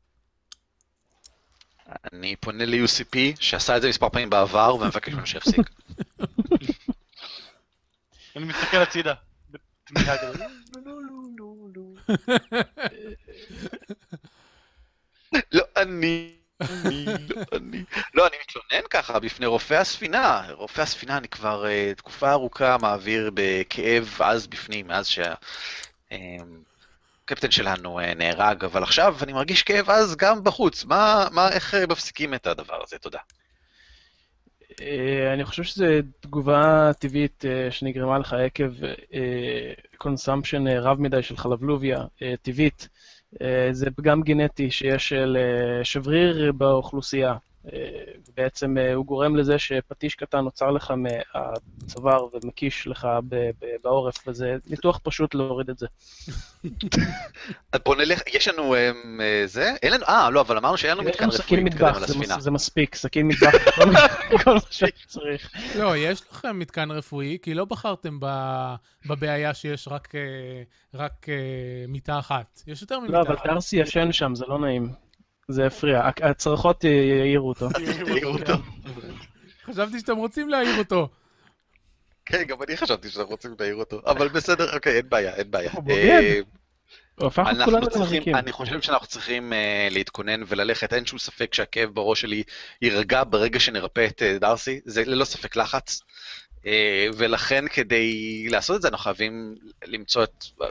אני פונה ל-UCP, שעשה את זה מספר פעמים בעבר, ומבקש ממנו שיפסיק. אני מסתכל הצידה. בתמיהה כזאת. לא אני, אני, לא אני. לא, אני מתלונן ככה בפני רופא הספינה. רופא הספינה, אני כבר אה, תקופה ארוכה מעביר בכאב עז בפנים, מאז שהקפטן שלנו אה, נהרג, אבל עכשיו אני מרגיש כאב עז גם בחוץ. מה, מה, איך אה, מפסיקים את הדבר הזה? תודה. אה, אני חושב שזו תגובה טבעית אה, שנגרמה לך עקב קונסמפשן רב מדי של חלבלוביה אה, טבעית. אה, זה פגם גנטי שיש אה, לשבריר באוכלוסייה. אה, בעצם אה, הוא גורם לזה שפטיש קטן נוצר לך מהצוואר ומקיש לך ב- ב- בעורף, וזה ניתוח פשוט להוריד את זה. אז בוא נלך, יש לנו אמ, אה, זה? אין לנו, אה, לא, אבל אמרנו שאין לנו יש מתקן לנו רפואי סכין מתקדם מטבח, על זה מס- הספינה. זה מספיק, סכין מטבח, [LAUGHS] כל- כל מה שצריך. לא, יש לכם מתקן רפואי, כי לא בחרתם ב- בבעיה שיש רק, אה, רק אה, מיטה אחת. יש יותר לא, ממיטה אבל אחת. דארסי ישן שם, זה לא נעים. זה הפריע, הק- הצרחות י- יעירו אותו. תראו אותו. חשבתי שאתם רוצים להעיר אותו. [LAUGHS] כן, גם אני חשבתי שאנחנו רוצים להעיר אותו, אבל בסדר, אוקיי, אין בעיה, אין בעיה. הוא [LAUGHS] בוגד. אה, הוא הפך את כולנו אנחנו צריכים, למזיקים. אני חושב שאנחנו צריכים אה, להתכונן וללכת, אין שום ספק שהכאב בראש שלי יירגע ברגע שנרפא את אה, דארסי, זה ללא ספק לחץ, אה, ולכן כדי לעשות את זה אנחנו חייבים למצוא את, אה,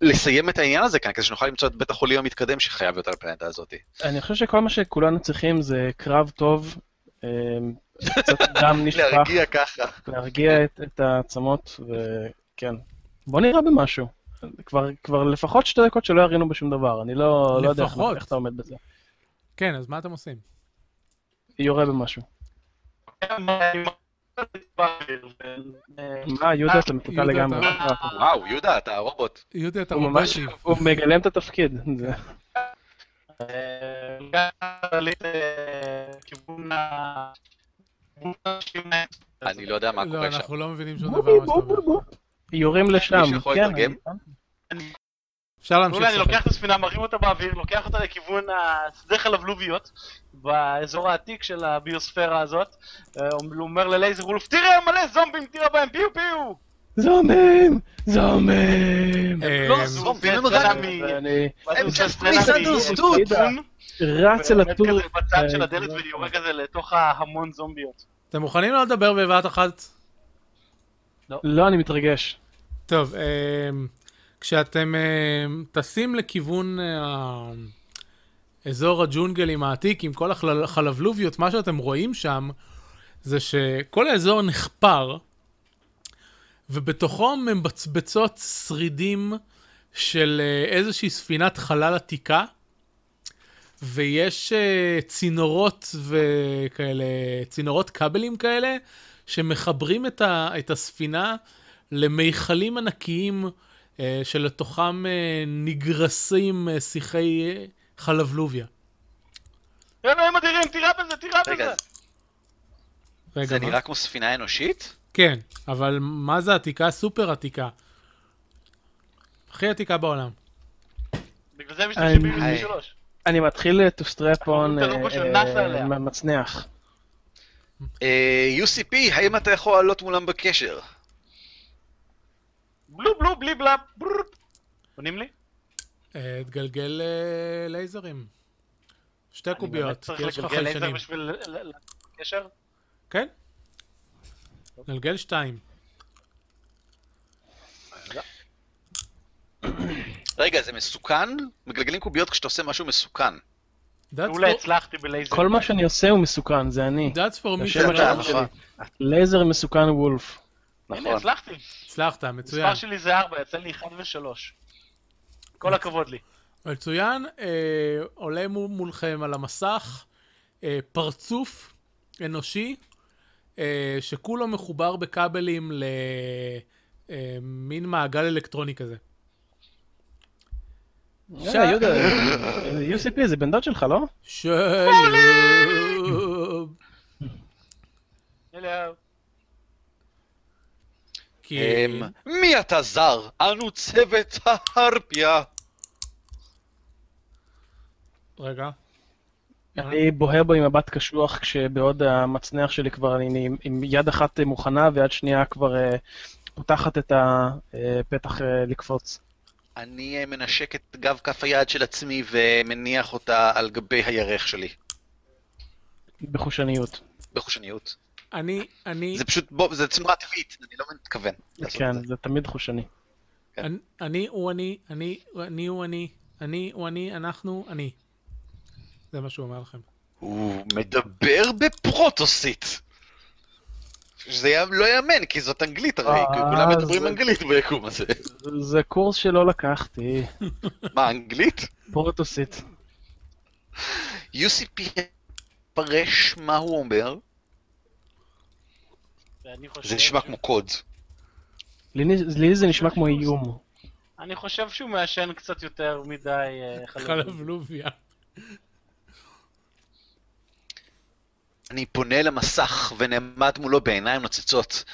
לסיים את העניין הזה כאן, כדי שנוכל למצוא את בית החולים המתקדם שחייב להיות על הפלנטה הזאת. אני חושב שכל מה שכולנו צריכים זה קרב טוב, אה, [LAUGHS] קצת דם נשפך, להרגיע ככה. להרגיע את- את העצמות, וכן. בוא נראה במשהו. כבר, כבר לפחות שתי דקות שלא ירינו בשום דבר, אני לא, לא יודע איך- לפחות. איך אתה עומד בזה. כן, אז מה אתם עושים? יורה במשהו. מה, יהודה, אתה מטוטל אה, יהודה, לגמרי. אה, אתה- וואו, יהודה, אתה הרובוט. יהודה, אתה הוא ממש, רובוטי. הוא מגלם את התפקיד. זה- אני לא יודע מה לא, קורה שם. אנחנו לא מבינים שום דבר ממה שאתה אומר. יורים לשם. מישהו יכול כן, לתרגם? אני- אפשר להמשיך אולי אני לוקח לשחק. את הספינה, מרים אותה באוויר, לוקח אותה לכיוון השדה חלבלוביות באזור העתיק של הביוספירה הזאת. אה, הוא אומר ללייזר וולף, תראה מלא זומבים, תראה בהם, פיו פיו! זומבים! זומבים! אה, לא, זומבים, הם רק מ... אני ואז הוא עושה הם סצנה misunderstood. מכיוון, רץ אל ועומד הטור. כזה בצד של אה, הדלת לא. ויורה כזה לתוך ההמון זומביות. אתם מוכנים לא לדבר בבת אחת? לא, אני מתרגש. טוב, אמ, כשאתם אמ, טסים לכיוון אה, אזור הג'ונגלים העתיק עם כל החל- החלבלוביות, מה שאתם רואים שם זה שכל האזור נחפר, ובתוכו מבצבצות שרידים של אה, איזושהי ספינת חלל עתיקה, ויש אה, צינורות וכאלה, צינורות כבלים כאלה, שמחברים את, ה, את הספינה למיכלים ענקיים אה, שלתוכם אה, נגרסים אה, שיחי אה, חלבלוביה. אין להם אדירים, תירה בזה, תירה לא רגע, בזה! רגע, זה מה? נראה כמו ספינה אנושית? כן, אבל מה זה עתיקה? סופר עתיקה. הכי עתיקה בעולם. בגלל זה משתמשים אני- ב-23. אני מתחיל אה, to strap on אתה לא אה, פשוט נס אה, עליה. מ- מצניח. אה, UCP, האם אתה יכול לעלות מולם בקשר? בלו בלו בלי בלה ברופ. עונים לי? אה, תגלגל אה, לייזרים. שתי אני באמת קוביות, צריך כי יש לך לגלגל לייזר חיישנים. בשביל ל- ל- ל- קשר? כן? גלגל שתיים. רגע, זה מסוכן? מגלגלים קוביות כשאתה עושה משהו מסוכן. That's אולי for- הצלחתי בלייזר. כל מה שאני עושה הוא מסוכן, זה אני. That's for me השם to על know. האבא. לייזר מסוכן וולף. הנה, נכון. הצלחתי. הצלחת, מצוין. מספר שלי זה 4, יצא לי 1 ו-3. כל הכבוד לי. מצוין, אה, עולה מול- מולכם על המסך אה, פרצוף אנושי אה, שכולו מחובר בכבלים למין מעגל אלקטרוני כזה. יאללה, יהודה, אה, UCP זה בן דוד שלך, לא? שלום. אלה- כי אמ, מי אתה זר? אנו צוות ההרפיה. רגע, אני בוהה בו עם מבט קשוח, כשבעוד המצנח שלי כבר אני עם- עם יד אחת אה, מוכנה ויד שנייה כבר אה, פותחת את הפתח אה, לקפוץ. אני אה, מנשק את גב כף היד של עצמי ומניח אותה על גבי הירך שלי. בחושניות. בחושניות. אני, אני, זה פשוט, בוא, זה תנועה טבעית, אני לא מתכוון. לעשות את כן, זה. זה תמיד חושני. אני- אני הוא אני, אני, אני הוא אני, אני הוא אני, אנחנו אני. זה מה שהוא אומר לכם. הוא מדבר בפרוטוסית. שזה יא- לא יאמן, כי זאת אנגלית הרי, אה, כי כולם מדברים זה- אנגלית ביקום הזה. זה קורס שלא לקחתי, מה, אנגלית? פורטוסית. UCP פרש מה הוא אומר, ואני חושב אוקיי. זה נשמע כמו קוד. לי לי זה נשמע כמו איום. כן. אני חושב שהוא מעשן קצת יותר מדי אה, חלב. חלבלוביה. אני פונה למסך ונעמד מולו בעיניים נוצצות.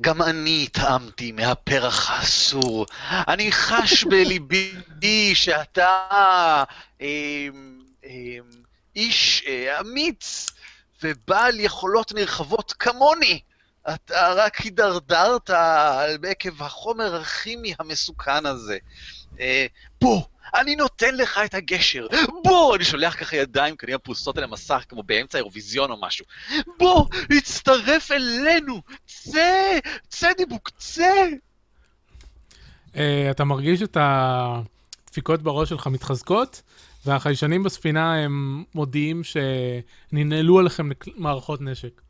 גם אני טעמתי מהפרח האסור. אני חש בליבי שאתה אמ, אמ, איש אה, אמיץ ובעל יכולות נרחבות כמוני. אתה רק הידרדרת על- עקב החומר הכימי המסוכן הזה. אה, בוא, אני נותן לך את הגשר. בוא! אני שולח ככה ידיים כנראה פרוסות אל המסך, כמו באמצע האירוויזיון או משהו. בוא! הצטרף אלינו! צא! צא דיבוק, צא! אה, אתה מרגיש את הדפיקות בראש שלך מתחזקות, והחיישנים בספינה הם מודיעים שננעלו עליכם לק- מערכות נשק.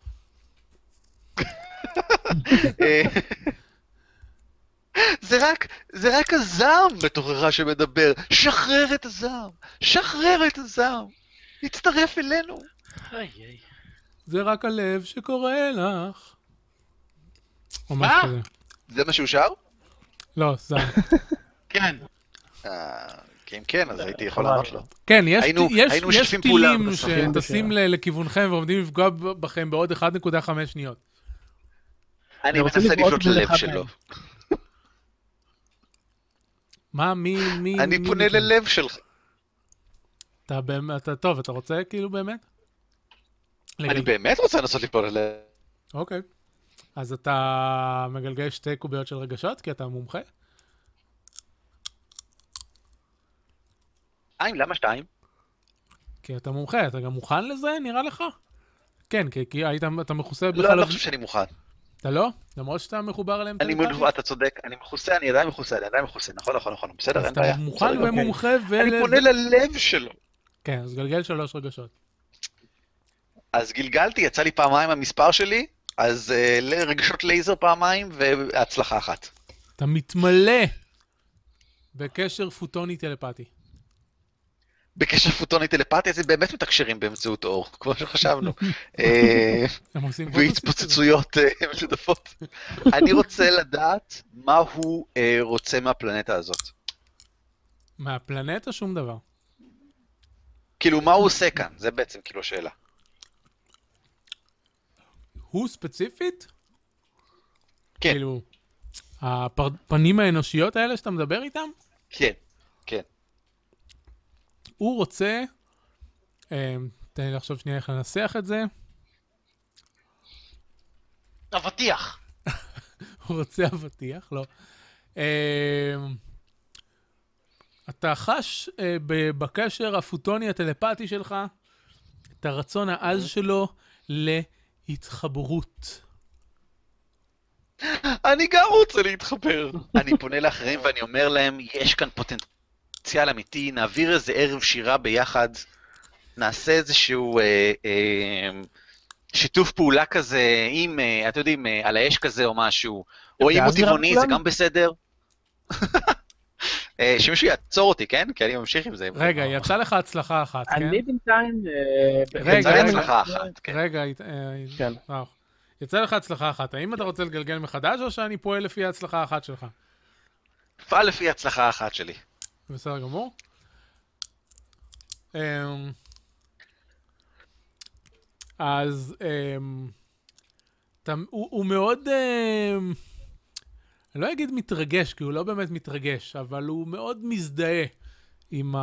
אה, זה רק, זה רק הזעם בתוכך שמדבר. שחרר את הזעם! שחרר את הזעם! הצטרף אלינו! איי, איי. זה רק הלב שקורא לך. או משהו מה? כזה. זה מה שהוא שר? לא, זה... כן, אה, כי אם כן, אז הייתי יכול לענות לו. כן, יש, היינו- יש, היינו יש משתפים פעולה טילים בסוף. שטסים ל- לכיוונכם ועומדים לפגוע ב- בכם בעוד 1.5 שניות. אני אני רוצה מנסה לבעוט לפנות בזה ללב אחד שלו. מהם. מה, מי, מי... אני מי פונה מכם? ללב שלך. אתה באמת, אתה טוב, אתה רוצה כאילו באמת? אני לגלגל. באמת רוצה לנסות לפנות ללב. אוקיי. אז אתה מגלגל שתי קוביות של רגשות, כי אתה מומחה? שתיים? למה שתיים? כי אתה מומחה, אתה גם מוכן לזה, נראה לך? כן, כי, כי היית, אתה מכוסה לא, אני בחלב... לא חושב שאני מוכן. אתה לא? למרות שאתה מחובר אליהם אני טלפתית? מנוו... אתה צודק, אני מכוסה, אני עדיין מכוסה, אני עדיין מכוסה. נכון, נכון, נכון, אז בסדר, אין אתה בעיה. מוכן בסדר, אוקיי. ומומחה ו... אני פונה ללב שלו. כן, אז גלגל שלוש רגשות. אז גלגלתי, יצא לי פעמיים המספר שלי, אז אה, ל- רגשות לייזר פעמיים והצלחה אחת. אתה מתמלא בקשר פוטוני טלפתי. בקשר פוטוני טלפתי, אז הם באמת מתקשרים באמצעות אור, כמו שחשבנו. אה, הם עושים... והתפוצצויות אה, משותפות. אני רוצה לדעת מה הוא אה, רוצה מהפלנטה הזאת. מהפלנטה שום דבר. כאילו, מה הוא עושה כאן? זה בעצם כאילו השאלה. הוא ספציפית? כן. כאילו, הפנים האנושיות האלה שאתה מדבר איתם? כן, כן. הוא רוצה, אה, תן לי לחשוב שנייה איך לנסח את זה, [LAUGHS] אבטיח. הוא רוצה אבטיח, לא. אה, אתה חש אה, ב- בקשר הפוטוני הטלפתי שלך את הרצון אוקיי. העז שלו להתחברות. אני גם רוצה להתחבר. אני פונה לאחרים ואני אומר להם, יש כאן פוטנציאל אמיתי, נעביר איזה ערב שירה ביחד, נעשה איזשהו אה, אה, שיתוף פעולה כזה, אם, אה, אתם יודעים, אה, על האש כזה או משהו, או אם הוא ואז נראה טבעוני, זה לכולם. גם בסדר. [LAUGHS] אה, שמישהו יעצור אותי, כן? כי אני ממשיך עם זה. רגע, יצא לך הצלחה אחת, כן? אני בינתיים... אה, רגע, יצא לי רגע. הצלחה אחת, כן. רגע, הת- אה, כן. אה, יצא לך הצלחה אחת. האם אתה רוצה לגלגל מחדש, או שאני פועל לפי ההצלחה האחת שלך? פעל לפי הצלחה [LAUGHS] אחת שלי. בסדר גמור. אמ, אז אמ, אתה, הוא, הוא מאוד, אמ, אני לא אגיד מתרגש, כי הוא לא באמת מתרגש, אבל הוא מאוד מזדהה עם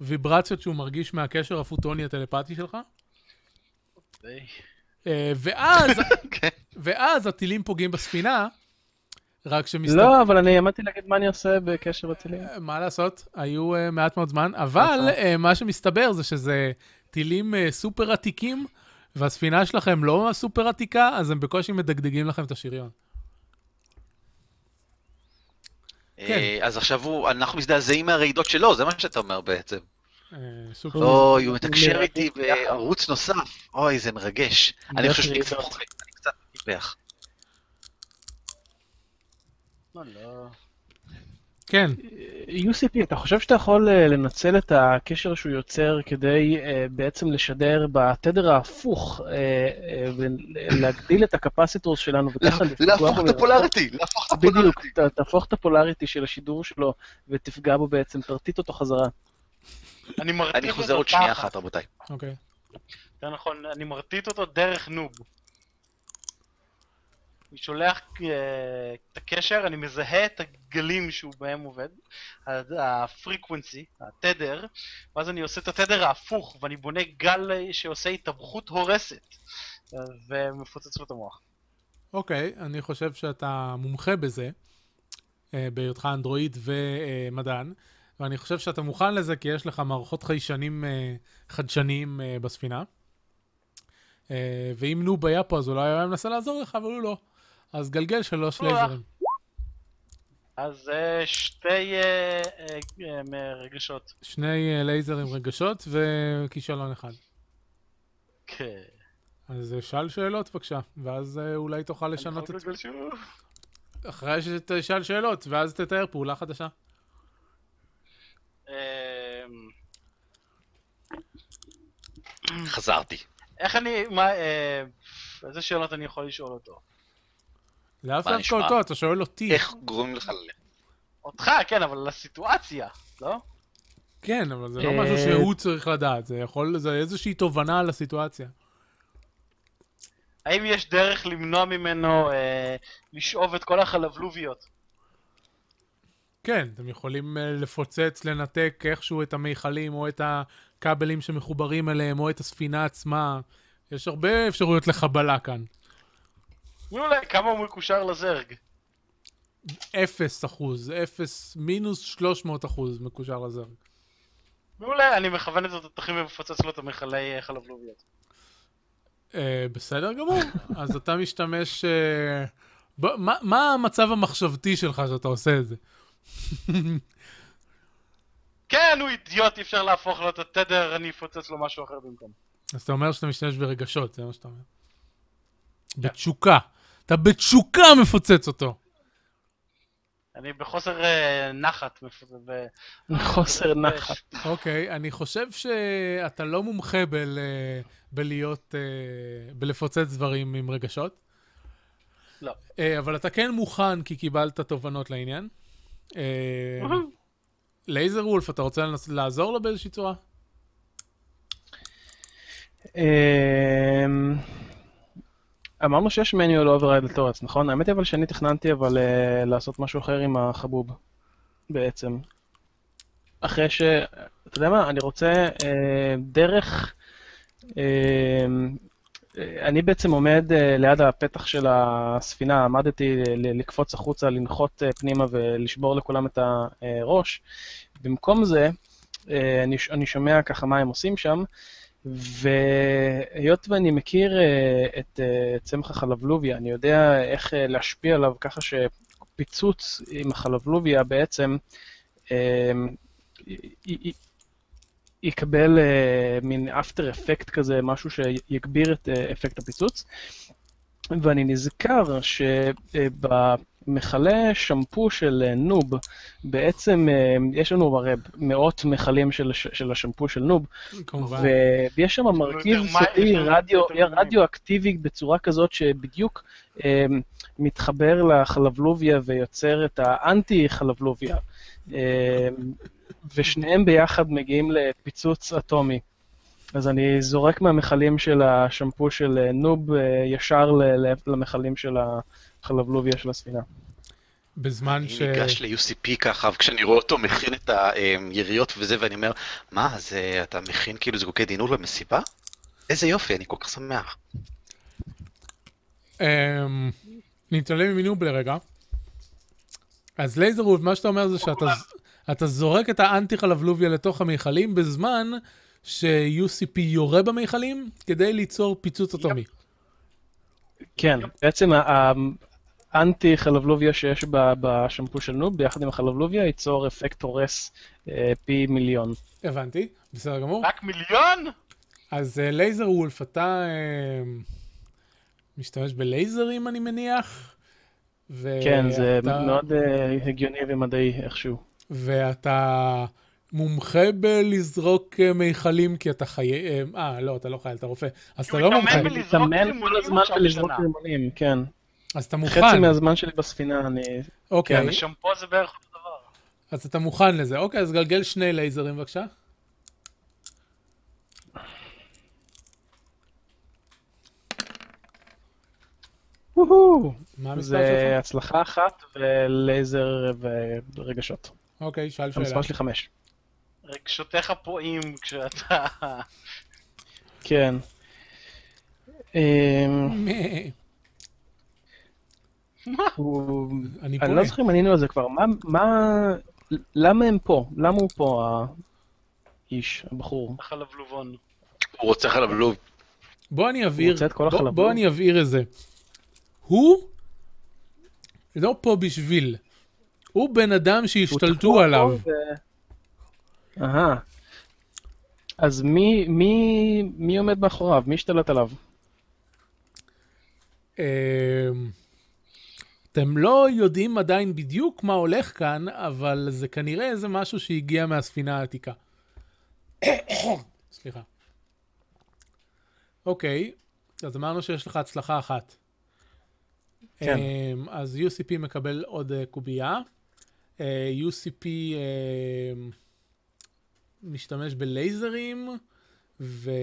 הוויברציות שהוא מרגיש מהקשר הפוטוני הטלפתי שלך. די. אה, ואז, כן. ואז הטילים פוגעים בספינה, רק שמסתבר... לא, אבל אני עמדתי להגיד מה אני עושה בקשר לטילים. מה לעשות, היו אה, מעט מאוד זמן, אבל אה, מה שמסתבר זה שזה טילים אה, סופר עתיקים, והספינה שלכם לא סופר עתיקה, אז הם בקושי מדגדגים לכם את השריון. אה, אז עכשיו הוא, אנחנו מזדעזעים מהרעידות שלו, זה מה שאתה אומר בעצם. אה, סוג של... אוי, הוא מתקשר מרגש איתי יחד. בערוץ נוסף. אוי, זה מרגש. אני חושב שאני קצת רעידות. חורק, אני קצת טיפח. אה, לא, לא. כן. UCP, אתה חושב שאתה יכול אה, לנצל את הקשר שהוא יוצר כדי אה, בעצם לשדר בתדר ההפוך אה, אה, ולהגדיל את הקפסיטורס שלנו וככה לפגוע להפוך בו את הפולאריטי, להפוך את הפולאריטי. בדיוק, ת- תהפוך את הפולאריטי של השידור שלו ותפגע בו בעצם, תרטיט אותו חזרה. אני מרטיט אותו אני חוזר עוד שנייה ככה. אחת, רבותיי. אוקיי. יותר נכון, אני מרטיט אותו דרך נוב. אני שולח אה, את הקשר, אני מזהה את הגלים שהוא בהם עובד, הפריקוונסי, התדר, ואז אני עושה את התדר ההפוך, ואני בונה גל אה, שעושה התאבכות הורסת, אה, ומפוצץ לו את המוח. אוקיי, אני חושב שאתה מומחה בזה, אה, בהיותך אנדרואיד ומדען, ואני חושב שאתה מוכן לזה כי יש לך מערכות חיישנים אה, חדשניים אה, בספינה. אה, ואם נוב היה פה אז אולי הוא היה מנסה לעזור לך, אבל הוא לא. אז גלגל שלוש אוח. לייזרים. אז אה, שתי אה, אה, אה, רגשות. שני אה, לייזרים רגשות וכישלון אחד. כן. אז אה, שאל שאלות בבקשה, ואז אה, אולי תוכל לשנות אני את... יכול לגלגל שוב? אחרי שתשאל שאלות, ואז תתאר פעולה חדשה. אמ, Mm. חזרתי. איך אני, מה, אה, איזה שאלות אני יכול לשאול אותו? לאו מה דווקא נשמע? אותו, אתה שואל אותי. איך גורמים לך ללכת? אותך, כן, אבל לסיטואציה, לא? כן, אבל זה לא אה, משהו שהוא צריך לדעת, זה יכול, זה איזושהי תובנה על הסיטואציה. האם יש דרך למנוע ממנו אה, לשאוב את כל החלבלוביות? כן, אתם יכולים אה, לפוצץ, לנתק איכשהו את המיכלים, או את הכבלים שמחוברים אליהם, או את הספינה עצמה. יש הרבה אפשרויות לחבלה כאן. מעולה, כמה הוא מקושר לזרג? אפס אחוז, אפס מינוס 300 אחוז מקושר לזרק. מעולה, אני מכוון את התותחים ומפוצץ לו את המכלי אה, חלבלוביות. אה, בסדר גמור, [LAUGHS] אז אתה משתמש... אה, ב- מה- מה המצב המחשבתי שלך שאתה עושה את זה? כן, הוא אידיוט, אי אפשר להפוך לו את התדר, אני אפוצץ לו משהו אחר במקום. אז אתה אומר שאתה משתמש ברגשות, זה מה שאתה אומר. כן. בתשוקה. אתה בתשוקה מפוצץ אותו. אני בחוסר אה, נחת, מפוצ- ו- חוסר נחת. אוקיי, אני חושב שאתה לא מומחה בל, אה, בלהיות... אה, בלפוצץ דברים עם רגשות. לא. אה, אבל אתה כן מוכן כי קיבלת תובנות לעניין. אה, לייזר וולף, אתה רוצה לנס- לעזור לו באיזושהי צורה? אמ, אמרנו שיש manual override לתורץ, נכון? האמת היא אבל שאני תכננתי אבל אה, לעשות משהו אחר עם החבוב, בעצם. אחרי ש... אתה יודע מה? אני רוצה אה, דרך... אה, אה, אני בעצם עומד אה, ליד הפתח של הספינה, עמדתי ל- לקפוץ החוצה, לנחות אה, פנימה ולשבור לכולם את הראש. במקום זה, אה, אני, ש- אני שומע ככה מה הם עושים שם, והיות ואני מכיר אה, את אה, צמח החלבלוביה, אני יודע איך אה, להשפיע עליו ככה שפיצוץ עם החלבלוביה בעצם אה, י- י- י- יקבל אה, מין אפטר אפקט כזה, משהו שיגביר את אה, אפקט הפיצוץ. ואני נזכר שבמכלי שמפו של אה, נוב, בעצם אה, יש לנו הרי מאות מכלים של, הש- של השמפו של נוב, כמובן. ויש שם מרכיב יותר מים, יש סודי לנו רדיו, יותר מים. רדיואקטיבי בצורה כזאת שבדיוק אה, מתחבר לחלבלוביה ויוצר את האנטי חלבלוביה. אה, ושניהם ביחד מגיעים לפיצוץ אטומי. אז אני זורק מהמכלים של השמפו של אה, נוב אה, ישר ל- ל- למכלים של החלבלוביה של הספינה. בזמן אני ש... ניגש ל-UCP ככה, וכשאני רואה אותו מכין את היריות וזה, ואני אומר, מה, אז אה, אתה מכין כאילו זיקוקי דינור למסיבה? איזה יופי, אני כל כך שמח. אמ, נתעלם ממינוב לרגע. אז לייזרוב, מה שאתה אומר זה שאתה אתה זורק את האנטי חלבלוביה לתוך המיכלים בזמן ש-UCP יורה במיכלים כדי ליצור פיצוץ אטומי. כן, בעצם ה- האנטי חלבלוביה שיש ב- בשמפו של נוב, ביחד עם החלבלוביה, ייצור אפקט הורס אה, פי מיליון. הבנתי, בסדר גמור. רק מיליון? אז אה, לייזר אמ, וולף, אתה אה, משתמש בלייזרים אני מניח, ו- כן, זה אתה- מאוד אה, הגיוני ומדעי איכשהו. ואתה מומחה בלזרוק אה, מיכלים כי אתה חי... אה, אה, לא, אתה לא חייל, אתה רופא. אז אתה הוא לא התאמן מומחה, בלזרוק מתאמן כל רימונים הזמן עכשיו בלזרוק בשנה. רימונים, כן. אז אתה מוכן. חצי מהזמן שלי בספינה אני... אוקיי, כן, השמפו זה בערך אותו דבר. אז אתה מוכן לזה. אוקיי, אז גלגל שני לייזרים בבקשה. וואו! מה המספר זה שלך? הצלחה אחת ולייזר ורגשות. אוקיי, שאל שאלה. המספר שלי חמש. רגשותיך פועים כשאתה... [LAUGHS] כן. אמ, מ- הוא- אני אני לא פונה. זוכר אם ענינו על זה כבר. מה- מה... למה הם פה? למה הוא פה, האיש, הבחור? חלבלובון. הוא רוצה חלבלוב. בוא אני הוא אבהיר, רוצה את בוא- כל החלבון. בוא אני אבהיר את זה. הוא לא פה בשביל. הוא בן אדם שהשתלטו עליו. ו- אהה. אז מי, מי, מי עומד מאחוריו? מי השתלט עליו? אמ, אתם לא יודעים עדיין בדיוק מה הולך כאן, אבל זה כנראה איזה משהו שהגיע מהספינה העתיקה. [COUGHS] סליחה. אוקיי, אז אמרנו שיש לך הצלחה אחת. כן. אמ, אז UCP מקבל עוד אה, קובייה. אה, UCP אמ, משתמש בלייזרים, ואני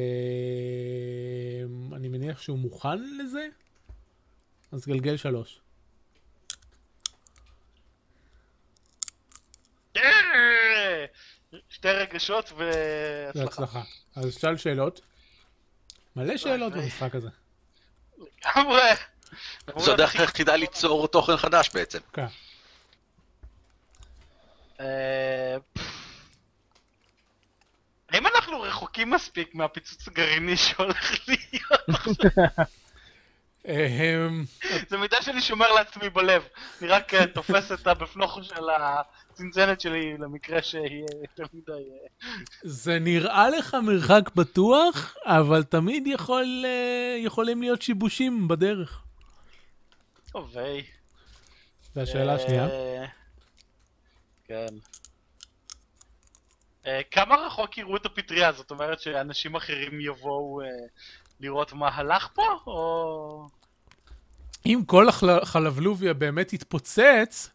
מניח שהוא מוכן לזה. אז גלגל שלוש. אה! שתי רגשות זה והצלחה. הצלחה. אז שאל שאלות. מלא שאלות אוי. במשחק הזה. לגמרי. זו הדרך היחידה ליצור תוכן חדש בעצם. כן. אה, פפ. האם אנחנו רחוקים מספיק מהפיצוץ הגרעיני שהולך [LAUGHS] להיות? אהם, זו מידע שאני שומר לעצמי בלב. אני רק אה, תופס את הבפנוכו של הצנצנת שלי למקרה שיהיה יותר מדי... אה, זה נראה לך מרחק בטוח, אבל תמיד יכול, אה, יכולים להיות שיבושים בדרך. טוב, היי. זו השאלה השנייה. אה, כן. אה, כמה רחוק יראו את הפטריה? זאת אומרת שאנשים אחרים יבואו אה, לראות מה הלך פה? או... אם כל החל- חלבלוביה באמת יתפוצץ,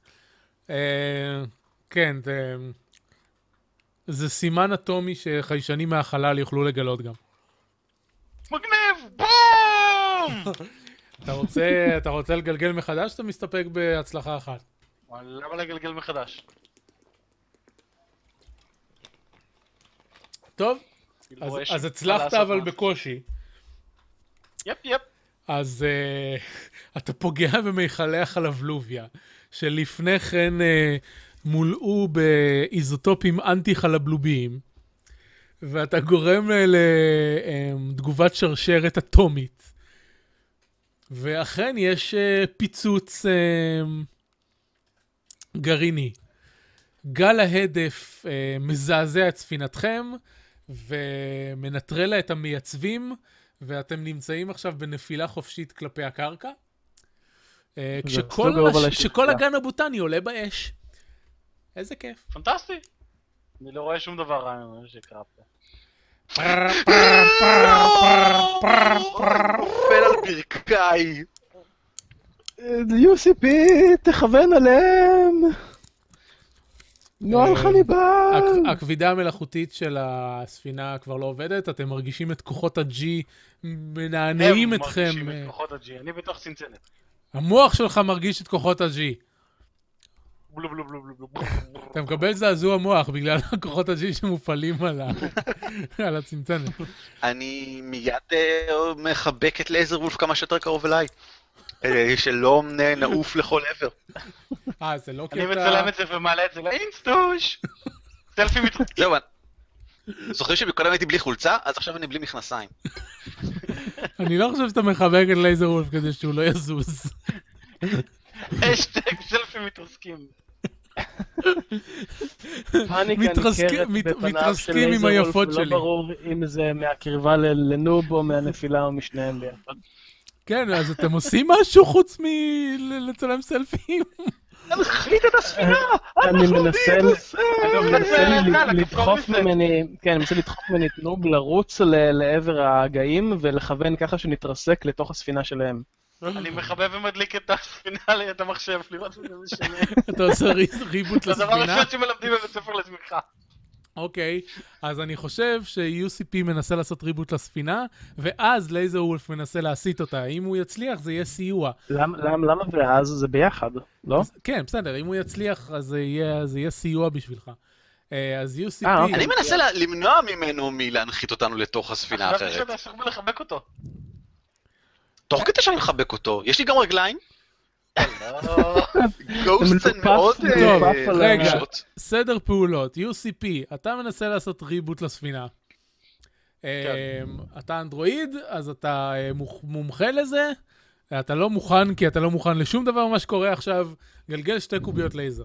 אה, כן, זה- זה סימן אטומי שחיישנים מהחלל יוכלו לגלות גם. מגניב! בום! אתה רוצה, אתה רוצה לגלגל מחדש, אתה מסתפק בהצלחה אחת. וואלה, למה לגלגל מחדש? טוב, כאילו, אז, יש אז מה הצלחת לעשות, אבל מה? בקושי. יפ יפ. אז uh, [LAUGHS] אתה פוגע במיכלי החלבלוביה, שלפני כן uh, מולאו באיזוטופים אנטי-חלבלוביים, ואתה גורם לתגובת שרשרת אטומית. ואכן יש uh, פיצוץ uh, גרעיני. גל ההדף uh, מזעזע את ספינתכם, ומנטרל לה את המייצבים. ואתם נמצאים עכשיו בנפילה חופשית כלפי הקרקע, אה, זה כשכל, סוג האור על הש... השלשלה. כשכל הגן הבוטני עולה באש. איזה כיף. פנטסטי. אני לא רואה שום דבר רע ממה שקרה פה. נופל על ברכיי. UCP, תכוון עליהם! נוהל אה, הכ- [LAUGHS] חניבל! הכבידה המלאכותית של הספינה כבר לא עובדת, אתם מרגישים את כוחות ה-G מנענעים הם אתכם. מרגישים אה, את כוחות הג'י, אני בתוך צנצנת. המוח שלך מרגיש את כוחות ה-G. בלו בלו בלו בלו בלו. אתה מקבל זעזוע מוח בגלל [LAUGHS] הכוחות ה-G שמופעלים על ה- [LAUGHS] על הצנצנת. אני מיד אה, מחבק את לייזר וולף כמה שיותר קרוב אליי. אה, שלא נ- נעוף לכל עבר. אה, זה לא כי אני אתה... מצלם את זה ומעלה את זה לאינסטוש. סלפי מתחתן. זהו, אני- זוכרים שקודם הייתי בלי חולצה? אז עכשיו אני בלי מכנסיים. אני לא חושב שאתה מחבק את לייזר וולף כדי שהוא לא יזוז. [LAUGHS] השטג סלפי מתרסקים. פאניקה מתרסקים- ניכרת מת- בפניו מתרסקים של עם לייזר וולף, היפות שלי. לא ברור אם זה מהקרבה ל- לנוב או מהנפילה או משניהם ביחד. כן, אז אתם עושים משהו חוץ מלצלם סלפים? להנחית את הספינה! אני מנסה אגב, מנסה זה לי קל, לדחוף הכפתור reset. ממני, כן, מנסה לדחוף ממני את נוב לרוץ ל- לעבר הגאים ולכוון ככה שנתרסק לתוך הספינה שלהם. אני מכבה ומדליק את הספינה ליד המחשב, לראות אם זה משנה. [LAUGHS] אתה עושה רי- ריבוט זה הדבר לספינה? הראשון שמלמדים בבית ספר לתמיכה. אוקיי, אז אני חושב ש-UCP מנסה לעשות ריבוט לספינה, ואז לייזר וולף מנסה להסיט אותה. אם הוא יצליח, זה יהיה סיוע. למה- למה למה ואז זה ביחד, לא? אז- כן, בסדר, אם הוא יצליח, אז זה יהיה, זה יהיה סיוע בשבילך. אה, אז UCP... אה, אוקיי. אני מנסה לה- למנוע ממנו מלהנחית אותנו לתוך הספינה חשבתי האחרת. שאתה אסור בלחבק אותו. תוך כדי שאני מחבק אותו, יש לי גם [LAUGHS] רגליים? לא. גוסט הן מנופף, מאוד... אה, טוב, על רגע. קשות. סדר פעולות, UCP, אתה מנסה לעשות ריבוט לספינה. כן. אמ, אתה אנדרואיד, אז אתה אה, מוכ- מומחה לזה. אתה לא מוכן, כי אתה לא מוכן לשום דבר ממה שקורה עכשיו. גלגל שתי קוביות לייזר.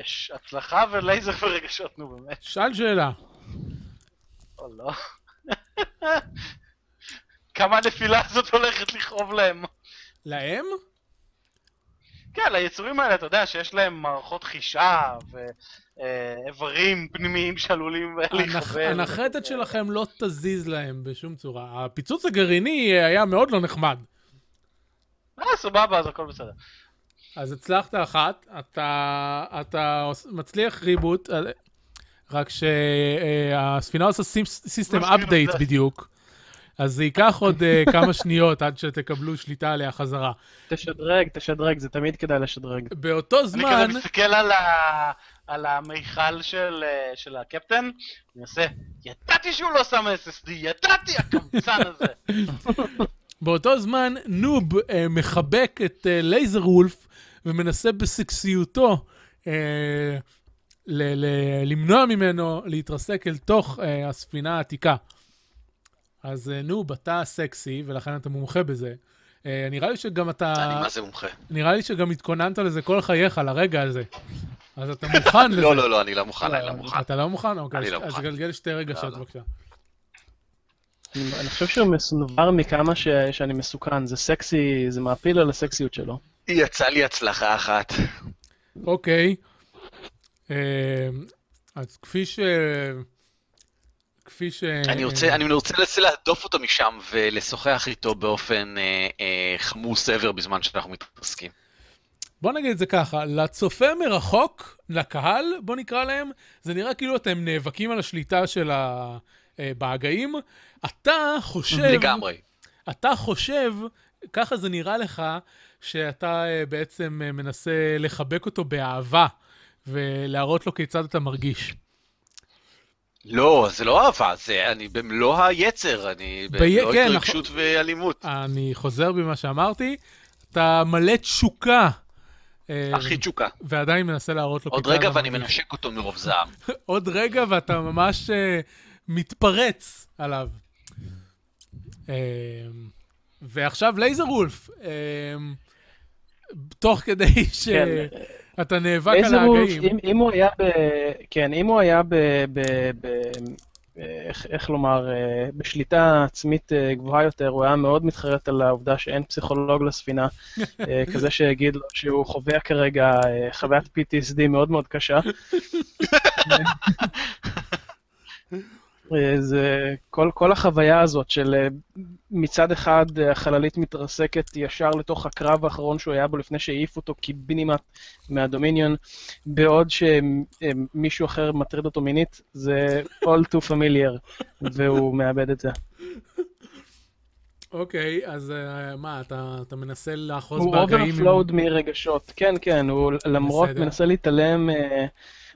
יש הצלחה ולייזר ורגשות, נו באמת. שאל שאלה. או לא. כמה הנפילה הזאת הולכת לכאוב להם. להם? כן, היצורים האלה, אתה יודע שיש להם מערכות חישה ואיברים פנימיים שעלולים הנח- להיחבר. הנחתת שלכם לא תזיז להם בשום צורה. הפיצוץ הגרעיני אה, היה מאוד לא נחמד. אה, סבבה, אז הכל בסדר. אז הצלחת אחת, אתה, אתה עוש- מצליח ריבוט, אה, רק שהספינה עושה סיסטם מזכיר את אפדייט זה. בדיוק, אז זה ייקח עוד אה, כמה שניות עד שתקבלו שליטה עליה חזרה. תשדרג, תשדרג, זה תמיד כדאי לשדרג. באותו אני כזה זמן, מסתכל על ה- על המיכל של אה, של הקפטן, אני עושה, ידעתי שהוא לא שם SSD, ידעתי, הקמצן הזה. [LAUGHS] באותו זמן, נוב אה, מחבק את אה, לייזר וולף ומנסה בסקסיותו אה, ל- ל- למנוע ממנו להתרסק אל תוך אה, הספינה העתיקה. אז אה, נוב, אתה סקסי, ולכן אתה מומחה בזה. אה, נראה לי שגם אתה... אני מה זה מומחה. נראה לי שגם התכוננת לזה כל חייך, לרגע הזה. אז אתה מוכן לזה. [LAUGHS] לא, לא, לא, אני לא מוכן, אני לא מוכן. אתה לא מוכן? אוקיי, אני אז- לא אז מוכן. תגלגל שתי רגשות, לא. בבקשה. אני אני חושב שהוא מסונבר מכמה ש- שאני מסוכן, זה סקסי, זה מעפיל על הסקסיות שלו. יצא לי הצלחה אחת. אוקיי. אה, אז כפי ש... כפי ש... אני רוצה, אני רוצה לנסה להדוף אותו משם ולשוחח איתו באופן אה, אה, חמוס עבר בזמן שאנחנו מתעסקים. בוא נגיד את זה ככה, לצופה מרחוק, לקהל, בוא נקרא להם, זה נראה כאילו אתם נאבקים על השליטה של ה... אה, בהגאים. אתה חושב... לגמרי. אתה חושב, ככה זה נראה לך, שאתה אה, בעצם אה, מנסה לחבק אותו באהבה ולהראות לו כיצד אתה מרגיש. לא, זה לא אהבה, זה אני במלוא היצר, אני במלוא כן, התרגשות ואלימות. אני חוזר במה שאמרתי, אתה מלא תשוקה. אה, הכי תשוקה. ועדיין מנסה להראות לו עוד כיצד רגע אתה ואני מרגיש. מנשק אותו מרוב לא זעם. עוד רגע ואתה ממש אה, מתפרץ עליו. אה, ועכשיו לייזר וולף, אה, תוך [LAUGHS] כדי כן, שאתה נאבק על לייזר וולף, ההגאים. אם- אם הוא היה ב... כן, אם הוא היה ב... ב... ב... איך- איך לומר, אה, בשליטה עצמית אה, גבוהה יותר, הוא היה מאוד מתחרט על העובדה שאין פסיכולוג לספינה, [LAUGHS] אה, כזה שיגיד לו שהוא חווה כרגע אה, חוויית PTSD מאוד מאוד קשה. אה, זה כל, כל החוויה הזאת של אה, מצד אחד אה, החללית מתרסקת ישר לתוך הקרב האחרון שהוא היה בו לפני שהעיף אותו קיבינימט מהדומיניון, בעוד שמישהו אחר מטריד אותו מינית, זה all too familiar, והוא מאבד את זה. אוקיי, אז אה, מה, אתה, אתה מנסה לאחוז הוא בהגאים? עם- אוברפלואוד מרגשות, כן, כן, הוא למרות, בסדר. מנסה להתעלם, אה,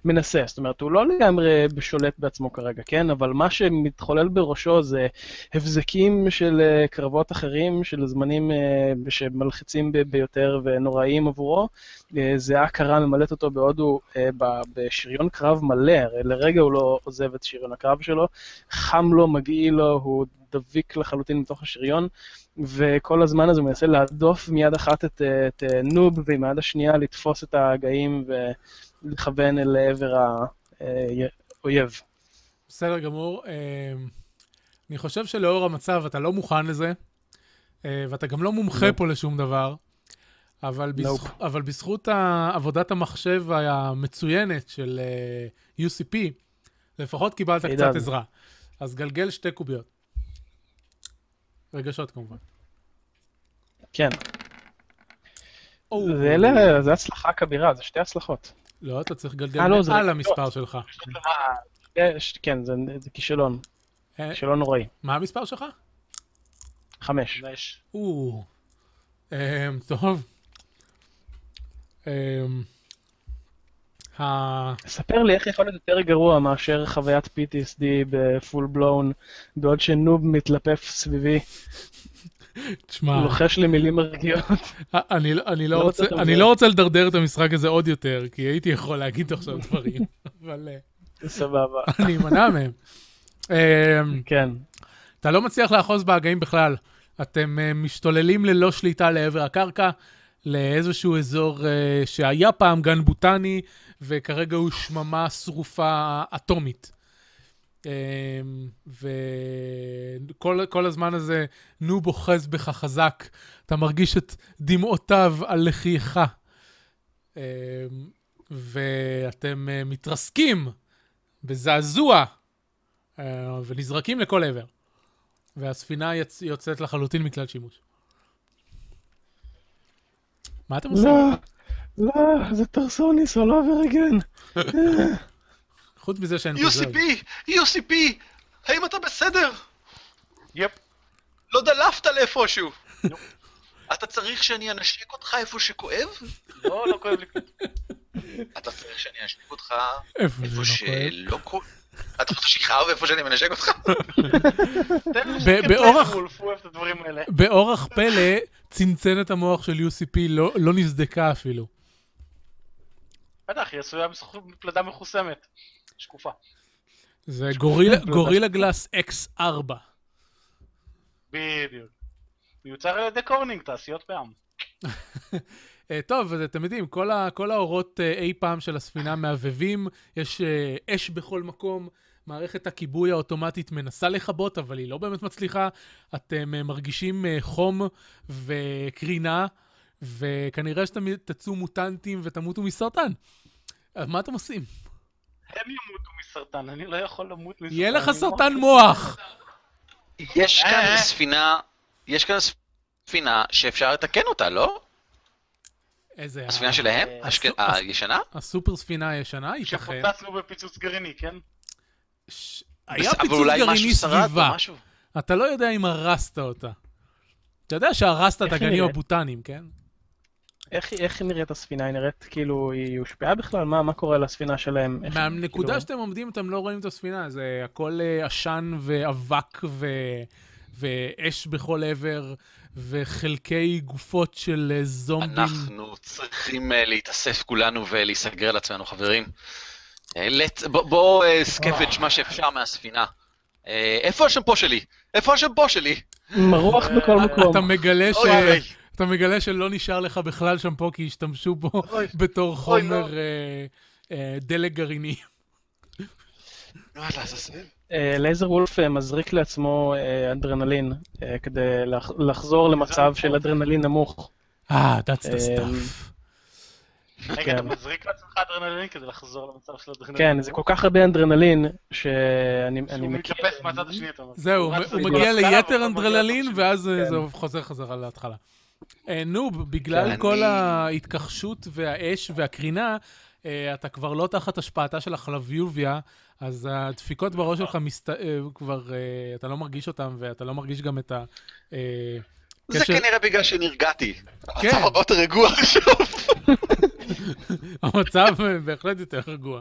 מנסה, זאת אומרת, הוא לא לגמרי שולט בעצמו כרגע, כן, אבל מה שמתחולל בראשו זה הבזקים של אה, קרבות אחרים, של זמנים אה, שמלחיצים ב- ביותר ונוראים עבורו, אה, זה ההכרה ממלאת אותו בהודו אה, ב- בשריון קרב מלא, הרי לרגע הוא לא עוזב את שריון הקרב שלו, חם לו, מגעיל לו, הוא דביק לחלוטין מתוך השריון, וכל הזמן הזה הוא מנסה להדוף מיד אחת את, אה, את אה, נוב, ועם היד השנייה לתפוס את ההגאים ולכוון אל עבר האויב. בסדר גמור. אה, אני חושב שלאור המצב אתה לא מוכן לזה, אה, ואתה גם לא מומחה פה לשום דבר, אבל לא. בזכ- אבל בזכות ה- עבודת המחשב המצוינת של אה, UCP, לפחות קיבלת עידן. קצת עזרה. אז גלגל שתי קוביות. רגשות כמובן. כן. או, זה אלה- זה הצלחה כבירה, זה שתי הצלחות. לא, אתה צריך לגלגל אה, לא, זה מעל רגשות. המספר שלך. "אה, יש- כן, זה זה כישלון, אה, כישלון נוראי. מה המספר שלך? חמש. יש. או, אמ, טוב. אמ, ה- ספר לי איך יכול להיות יותר גרוע מאשר חוויית PTSD בפול בלון, בעוד שנוב מתלפף סביבי, תשמע, לוחש לי מילים מרגיעות. [LAUGHS] א- אני לא- אני לא לא רוצה- רוצה לדבר. אני לא רוצה לדרדר את המשחק הזה עוד יותר, כי הייתי יכול להגיד עכשיו דברים, [LAUGHS] אבל אה, סבבה. [LAUGHS] אני אמנע מהם. אמ, כן. אתה לא מצליח לאחוז בהגאים בכלל. אתם אה, משתוללים ללא שליטה לעבר הקרקע, לאיזשהו אזור אה, שהיה פעם גן בוטני, וכרגע הוא שממה שרופה אטומית. אמ, וכל הזמן הזה, נו בוחז בך חזק, אתה מרגיש את דמעותיו על לחייך. אה, ואתם אה, מתרסקים בזעזוע אה, ונזרקים לכל עבר. והספינה יצ... יוצאת לחלוטין מכלל שימוש. מה אתם עושים? לא, לא, זה טרסוניס, הוא לא עובר הגן. חוץ מזה שאין פוזר. UCP! UCP! האם אתה בסדר? יפ. לא דלפת לאיפשהו. [LAUGHS] אתה צריך שאני אנשק אותך איפה שכואב? לא, לא כואב לי. אתה צריך שאני אנשק אותך איפה זה איפה לא כואב? שלא כואב? אתה רוצה שיכאב איפה שאני מנשק אותך? תן לי ב- שקט באורח- לוולף, הוא אוהב את הדברים האלה. באורח פלא, צנצנת המוח של UCP לא, לא נסדקה אפילו. בטח, היא עשויה מפלדה מחוסמת. שקופה. זה גורילה, גורילה גלאס X4. בדיוק. מיוצר על ידי קורנינג, תעשיות בעם. Uh, טוב, אז אתם יודעים, כל, ה, כל האורות uh, אי פעם של הספינה מהבהבים, יש uh, אש בכל מקום, מערכת הכיבוי האוטומטית מנסה לכבות, אבל היא לא באמת מצליחה. אתם uh, מרגישים uh, חום וקרינה, וכנראה שאתם תצאו מוטנטים ותמותו מסרטן. אז מה אתם עושים? הם ימותו מסרטן, אני לא יכול למות מסרטן. יהיה לך אני סרטן מוח! יש כאן אה. ספינה, יש כאן ספינה שאפשר לתקן אותה, לא? איזה... הספינה שלהם? אה, השק- אה, הישנה? הסופר ספינה הישנה, ייתכן. שפוצצנו בפיצוץ גרעיני, כן? ש- היה אבל פיצוץ אולי משהו גרעיני שרד או סביבה. משהו. אתה לא יודע אם הרסת אותה. אתה יודע שהרסת את איך הגנים נראית? הבוטניים, כן? איך איך היא נראית הספינה? היא נראית כאילו היא הושפעה בכלל? מה מה קורה לספינה שלהם? איך- מהנקודה כאילו- שאתם עומדים אתם לא רואים את הספינה, זה הכל אה, עשן ואבק ו... ואש בכל עבר, וחלקי גופות של אה, זומבים. אנחנו צריכים אה, להתאסף כולנו ולהיסגר על עצמנו, חברים. אה, let- ב- בואו אה, סקפג' מה שאפשר מהספינה. אה, איפה השמפו שלי? איפה השמפו שלי? מרוח בכל אה, מקום. אתה מגלה, ש... אוי, אוי. אתה מגלה שלא נשאר לך בכלל שם פה, כי השתמשו בו בתור לא. חומר אה, אה, דלק גרעיני. לא, וואלה, זה- אה, לייזר וולף אה, מזריק לעצמו אה, אדרנלין אה, כדי לח- לחזור למצב של אדרנלין נמוך. אה, that's the אה, stuff. רגע, כן. אתה מזריק לעצמך אדרנלין כדי לחזור למצב של אדרנלין. כן, זה כל כך הרבה אדרנלין שאני אני שהוא מכיר. מתלפס מהצד השני, אתה אומר. זהו, רץ הוא לי מגיע בסקאלה, ליתר והוא מגיע אנדרללין, לצד השני. ואז אה, זה חוזר חזרה להתחלה. אה, נוב, בגלל כן, כל אני- ההתכחשות והאש והקרינה, אה, אתה כבר לא תחת השפעתה של החלביוביה, אז הדפיקות בראש שלך מסת- אה, כבר, אה, אתה לא מרגיש אותן, ואתה לא מרגיש גם את ה... אה, זה קשר- כנראה בגלל שנרגעתי. כן. [LAUGHS] אתה הרבה יותר רגוע עכשיו. המצב אה, בהחלט יותר רגוע.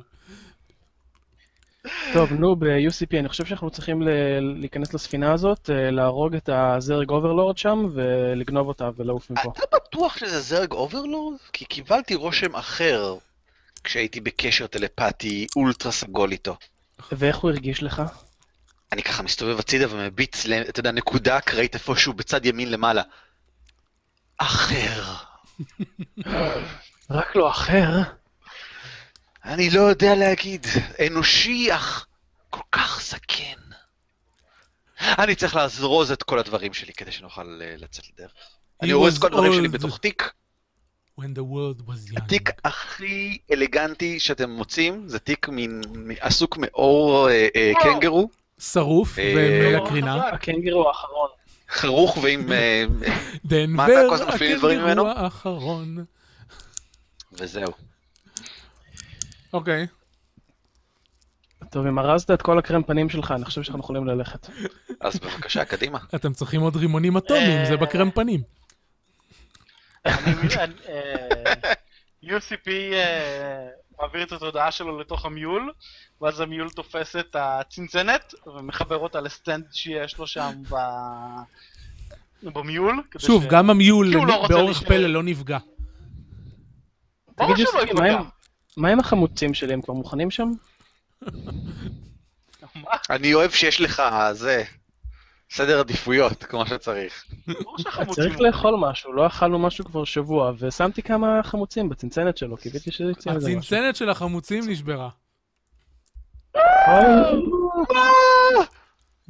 טוב, נו, ב-UCP, אני חושב שאנחנו צריכים ל- להיכנס לספינה הזאת, אה, להרוג את הזרג אוברלורד שם ולגנוב אותה ולעוף מפה. אתה בטוח שזה זרג אוברלורד? כי קיבלתי רושם אחר כשהייתי בקשר טלפתי אולטרה סגול איתו. ואיך הוא הרגיש לך? אני ככה מסתובב הצידה ומביט, ל- אתה יודע, נקודה אקראית איפשהו בצד ימין למעלה. אחר. רק לא אחר. אני לא יודע להגיד. אנושי, אך כל כך זקן. אני צריך לאזרוז את כל הדברים שלי כדי שנוכל אה, לצאת לדרך. He אני אורז was את כל הדברים שלי old. בתוך תיק. When the world was young. התיק הכי אלגנטי שאתם מוצאים, זה תיק מין מ- עסוק מאור אה, אה, וואו. קנגרו, שרוף אה, ומעי לא הקרינה. חזק. הקנגרו האחרון. חרוך ועם... אה, אה, לא. מה, אתה דנבר, כל הזמן מפעיל דברים הקנגרו ממנו? האחרון. וזהו. אוקיי. טוב, אם ארזת את כל הקרם פנים שלך, אני חושב שאנחנו יכולים ללכת. אז בבקשה, קדימה. אתם צריכים עוד רימונים אטומיים, זה אה. בקרם פנים. אני- אני- אה, UCP אה, מעביר את התודעה שלו לתוך המיול, ואז המיול תופס את הצנצנת ומחבר אותה לסטנד שיש לו שם ב- במיול. כדי שוב, ש- גם המיול כי הוא לא רוצה באורך להישאר. פלא לא נפגע. ברור תגיד, שלא יוסי, מה ייפגע. עם- מה עם החמוצים שלי, הם כבר מוכנים שם? מה? אני אוהב שיש לך, זה, סדר עדיפויות, כמו שצריך. ברור שהחמוצים- צריך לאכול משהו, לא אכלנו משהו כבר שבוע, ושמתי כמה חמוצים בצנצנת שלו, קיוויתי שזה יצא מזה משהו. הצנצנת של החמוצים [LAUGHS] נשברה. אה!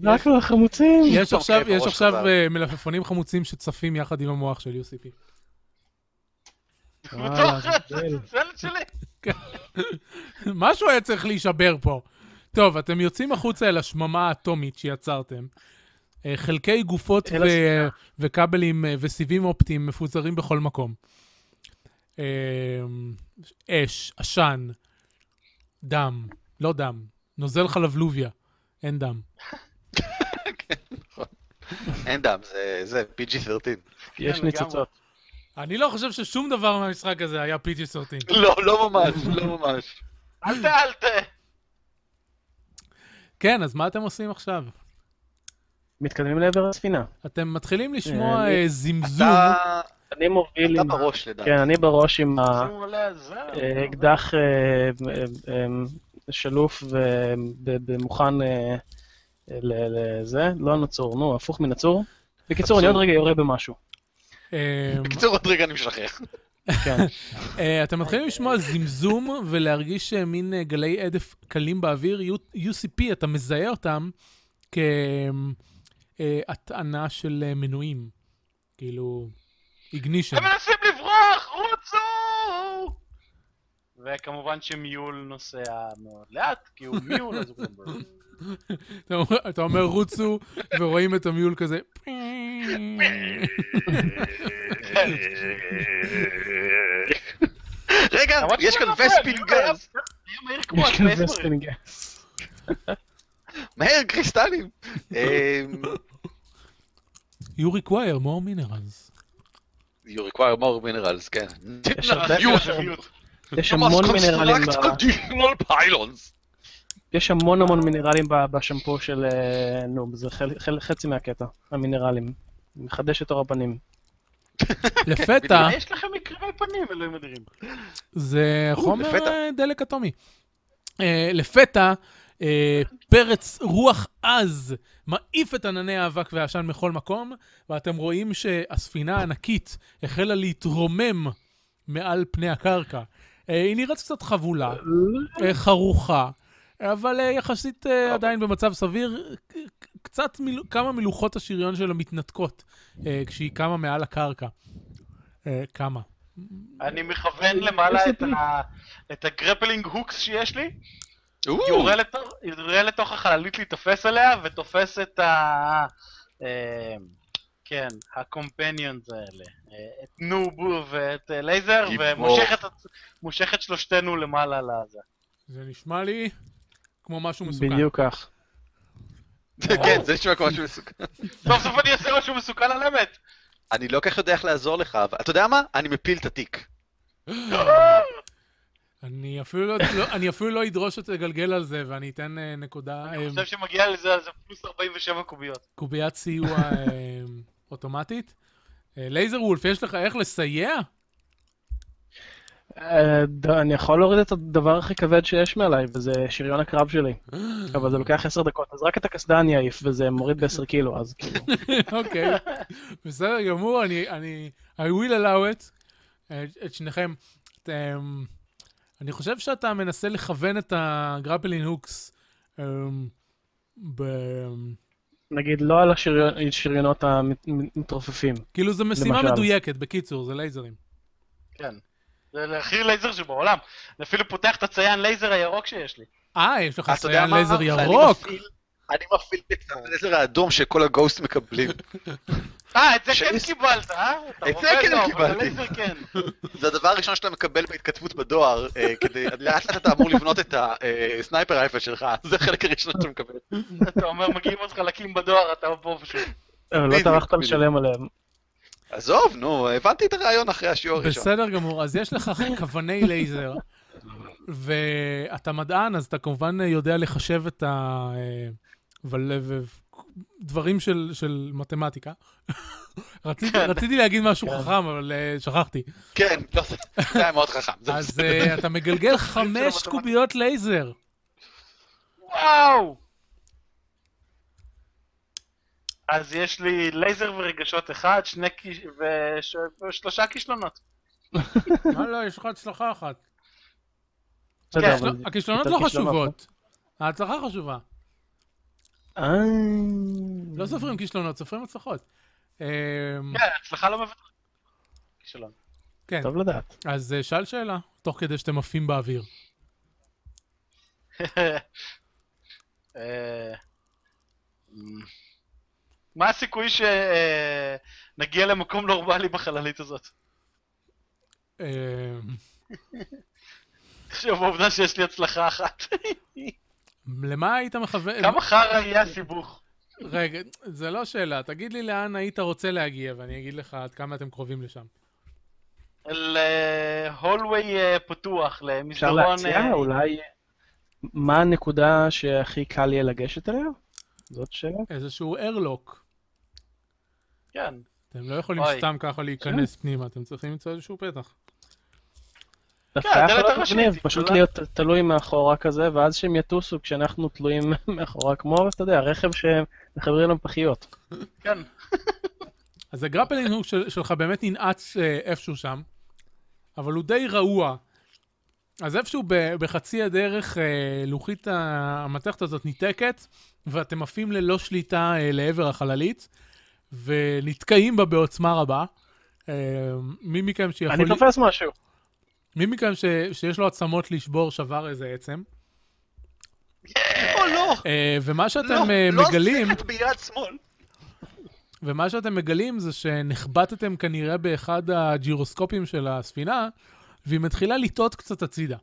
רק על [LAUGHS] החמוצים! יש אוקיי, עכשיו בראש יש עכשיו חזר. אה, מלפפונים חמוצים שצפים יחד עם המוח של UCP. וואלה, בתוך הצנצנת שלי. משהו היה צריך להישבר פה. טוב, אתם יוצאים החוצה אל השממה האטומית שיצרתם. אה, חלקי גופות אל ו... וכבלים אה, וסיבים אופטיים מפוזרים בכל מקום. אה, אש, עשן, דם, לא דם, נוזל חלבלוביה, אין דם. אה, אין דם, זה- זה PG-13. יש כן, לגמרי. ניצוצות. אני לא חושב ששום דבר מהמשחק הזה היה PG-13. לא, לא ממש, לא ממש. אל ת... אל ת... כן, אז מה אתם עושים עכשיו? מתקדמים לעבר הספינה. אתם מתחילים לשמוע אני- אה, זמזום. אתה אני מוביל אתה עם... ה- בראש לדעתי. כן, אני בראש עם ה- שימו לב, זה- אה, אקדח אה, אה, אה, שלוף ומוכן לזה, לא נצור, נו, הפוך מנצור. בקיצור, אני עוד רגע יורה במשהו. אה, בקיצור, עוד רגע אני משחרר. כן. אה, אתם מתחילים לשמוע זמזום ולהרגיש אה, מין אה, גלי הדף קלים באוויר. U- UCP, אתה מזהה אותם כהטענה של אה, מנועים. כאילו, איגנישן. הם מנסים לברוח, רוצו! וכמובן שמיול נוסע מאוד לאט, כי הוא מיול, אז הוא גם... ב- אתה אומר- אתה אומר רוצו, ורואים את המיול כזה. רגע, למרות יש שהוא כאן לא נופל, וספין מיול היה- גז. היה מהיר [LAUGHS] כמו יש כאן הווספין. וסטינג. מהר, קריסטלים. אמ, You require more minerals. You require more minerals, כן. לא, יש הרבה- יש המון מינרלים ב- יש המון המון מינרלים ב- בשמפו של אה, נוב, זה חל- חל- חצי מהקטע, המינרלים. מחדש את אור הפנים. לפתע, מה, יש לכם מקרי פנים, אלוהים אדירים. זה חומר לפתע. אה, דלק אטומי. אה, לפתע, אה, פרץ רוח עז מעיף את ענני האבק והעשן מכל מקום, ואתם רואים שהספינה הענקית החלה להתרומם מעל פני הקרקע. אה, היא נראית קצת חבולה, אה, חרוכה, אבל אה, יחסית אה, עדיין במצב סביר. ק- ק- קצת מיל... כמה מלוחות השריון שלה מתנתקות אה, כשהיא קמה מעל הקרקע. אה, כמה? אני מכוון למעלה את ה- את הגרפלינג הוקס שיש לי, יורה לתוך- יורה לתוך החללית להיתפס עליה, ותופס את ה... אה, כן, הקומפניונס האלה. אה, את נובו ואת אה, לייזר, גיבור. ומושך את הצ- מושך את שלושתנו למעלה לזה. זה נשמע לי כמו משהו מסוכן. בדיוק כך. כן, זה נשמע כמו משהו מסוכן. סוף סוף אני אעשה משהו מסוכן על אמת! אני לא כל כך יודע איך לעזור לך, אבל אתה יודע מה? אני מפיל את התיק. אני אפילו לא, לא, אני אפילו לא אדרוש שתגלגל על זה, ואני אתן אה, נקודה, אני אה, חושב שמגיע לזה על זה פלוס 47 קוביות. קוביית סיוע אה, אוטומטית. אה, לייזר וולף, יש לך איך לסייע? [LAUGHS] אה, ד- אני יכול להוריד את הדבר הכי כבד שיש מעליי, וזה שריון הקרב [GASPS] שלי. אבל זה לוקח עשר דקות, אז רק את הקסדה אני אעיף, וזה מוריד בעשר קילו, אז כאילו, אוקיי, בסדר גמור, אני, אני, I will allow it, אה, את שניכם. אתם, אני חושב שאתה מנסה לכוון את הגרפלין הוקס אמ, אה, ב, נגיד לא על השריונ- השריונות המתרופפים. כאילו זו משימה למשל. מדויקת, בקיצור, זה לייזרים. כן. זה הכי לייזר שבעולם. אני אפילו פותח את הציין לייזר הירוק שיש לי. אה, יש לך אתה יודע סיין מה? לייזר אני ירוק. מפעיל- אני מפעיל את הלזר האדום שכל הגוסט מקבלים. אה, את זה כן שיש- קיבלת, אה? אתה את זה רובד כן לא, אבל קיבלתי. הלייזר כן. זה הדבר הראשון שאתה מקבל בהתכתבות בדואר, אה, כדי, לאט לאט אתה אמור לבנות את הסנייפר רייפל שלך, זה החלק הראשון שאתה מקבל. אתה אומר, מגיעים עוד חלקים בדואר, אתה פה פשוט. אבל לא בדיוק, טרחת בדיוק. לשלם עליהם. עזוב, נו, הבנתי את הרעיון אחרי השיעור הראשון. בסדר גמור, אז יש לך [LAUGHS] כווני לייזר, ואתה מדען, אז אתה כמובן יודע לחשב את ה... אה, ול- ו- דברים של, של מתמטיקה. [LAUGHS] רציתי, רציתי להגיד משהו חכם, אבל אה, שכחתי. כן, לא, זה זה היה מאוד חכם. זה אז בסדר. אה, אתה [LAUGHS] מגלגל חמש המתמטיקה. קוביות [LAUGHS] לייזר. וואו! אז יש לי לייזר ורגשות אחד, שני כיש... וש... ושלושה כישלונות. מה לא, יש לך הצלחה אחת. בסדר, יש אבל- הכישלונות- הכישלונות יותר לא כישלונות, לא? חשובות. ההצלחה חשובה. אה... לא סופרים כישלונות, סופרים הצלחות. אה, כן, הצלחה לא מבטחת. כישלון. כן, טוב לדעת. אז אה, שאל שאלה, תוך כדי שאתם עפים באוויר. [LAUGHS] אה, מ- מה הסיכוי שנגיע למקום נורמלי בחללית הזאת? אה, עכשיו העובדה שיש לי הצלחה אחת. למה היית מכוון? כמה חרא יהיה הסיבוך? רגע, זה לא שאלה. תגיד לי לאן היית רוצה להגיע, ואני אגיד לך עד כמה אתם קרובים לשם. להולווי אה, פתוח, אפשר למסדרון... להציע אה, אולי מה הנקודה שהכי קל יהיה לגשת אליה? זאת שאלה. איזשהו איירלוק. כן. אתם לא יכולים אוי. סתם ככה להיכנס פנימה, אתם צריכים למצוא איזשהו פתח. דווקא כן, היה הדלת יכול להיות הראשית, מגניב, היא פשוט גדולה. להיות תלוי מאחורה כזה, ואז שהם יטוסו כשאנחנו תלויים [LAUGHS] מאחורה, כמו, אתה יודע, רכב שמחברים לו פחיות. כן. [LAUGHS] אז הגרפלינג הוק של- שלך באמת ננעץ אה, איפשהו שם, אבל הוא די רעוע. אז איפשהו ב- בחצי הדרך אה, לוחית ה- המתכת הזאת ניתקת, ואתם עפים ללא שליטה אה, לעבר החללית, ונתקעים בה בעוצמה רבה. אה, מי מכם שיכול... אני תופס משהו. מי מכם ש... שיש לו עצמות לשבור שבר איזה עצם, או לא, אה, ומה שאתם לא, אה, לא מגלים, שיחק ביד שמאל. ומה שאתם מגלים זה שנחבטתם כנראה באחד הג'ירוסקופים של הספינה, והיא מתחילה לטעות קצת הצידה.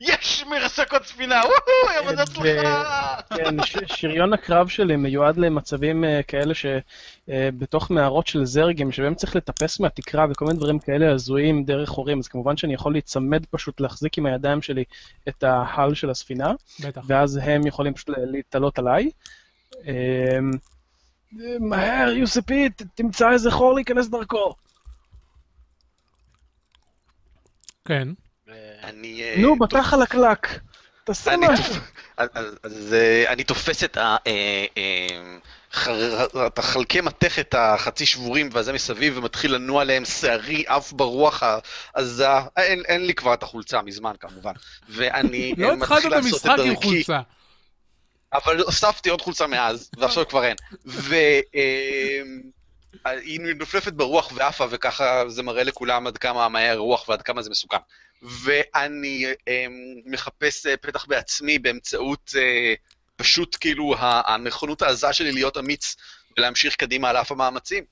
יש מרסק עוד ספינה, וואו, יא מזל הצלחה! כן, ש- שריון הקרב שלי מיועד למצבים אה, כאלה שבתוך מערות של זרגים, שבהם צריך לטפס מהתקרה וכל מיני דברים כאלה הזויים דרך חורים, אז כמובן שאני יכול להיצמד פשוט להחזיק עם הידיים שלי את ההל של הספינה, בטח. ואז הם יכולים פשוט להתעלות עליי. אמ, מהר, יוספי, ת- תמצא איזה חור להיכנס דרכו. כן. אני... אה, נו, תופס- בתא חלקלק. תעשה אני משהו. תופ- אז- אז- אז אה, אני תופס את ה- אה, אה, חר- את החלקי מתכת החצי שבורים והזה מסביב ומתחיל לנוע עליהם שערי עף ברוח העזה. אין- אין לי כבר את החולצה מזמן כמובן. ואני לא אה, התחלת מתחיל את לעשות המשחק עם דרכי. חולצה. אבל הוספתי עוד חולצה מאז, ועכשיו כבר אין. והיא נופלפת ברוח ועפה, וככה זה מראה לכולם עד כמה מהר רוח ועד כמה זה מסוכן. ואני אה, מחפש אה, פתח בעצמי באמצעות אה, פשוט כאילו ה- הנכונות העזה שלי להיות אמיץ ולהמשיך קדימה על אף המאמצים,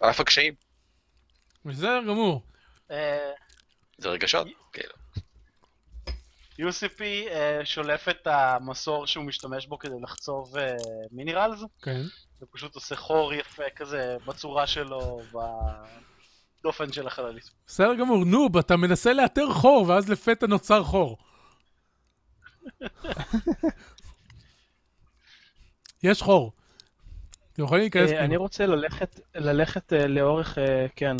על אף הקשיים. בסדר גמור. אה, זה רגשות, כאילו. יוסיפי אה, שולף את המסור שהוא משתמש בו כדי לחצוב אה, מינרלס, כן. ופשוט עושה חור יפה כזה בצורה שלו, בדופן של החללית. בסדר גמור. נוב, אתה מנסה לאתר חור, ואז לפתע נוצר חור. יש חור. אתם יכולים להיכנס אה, אני פנימה. רוצה ללכת, ללכת אה, לאורך, אה, כן.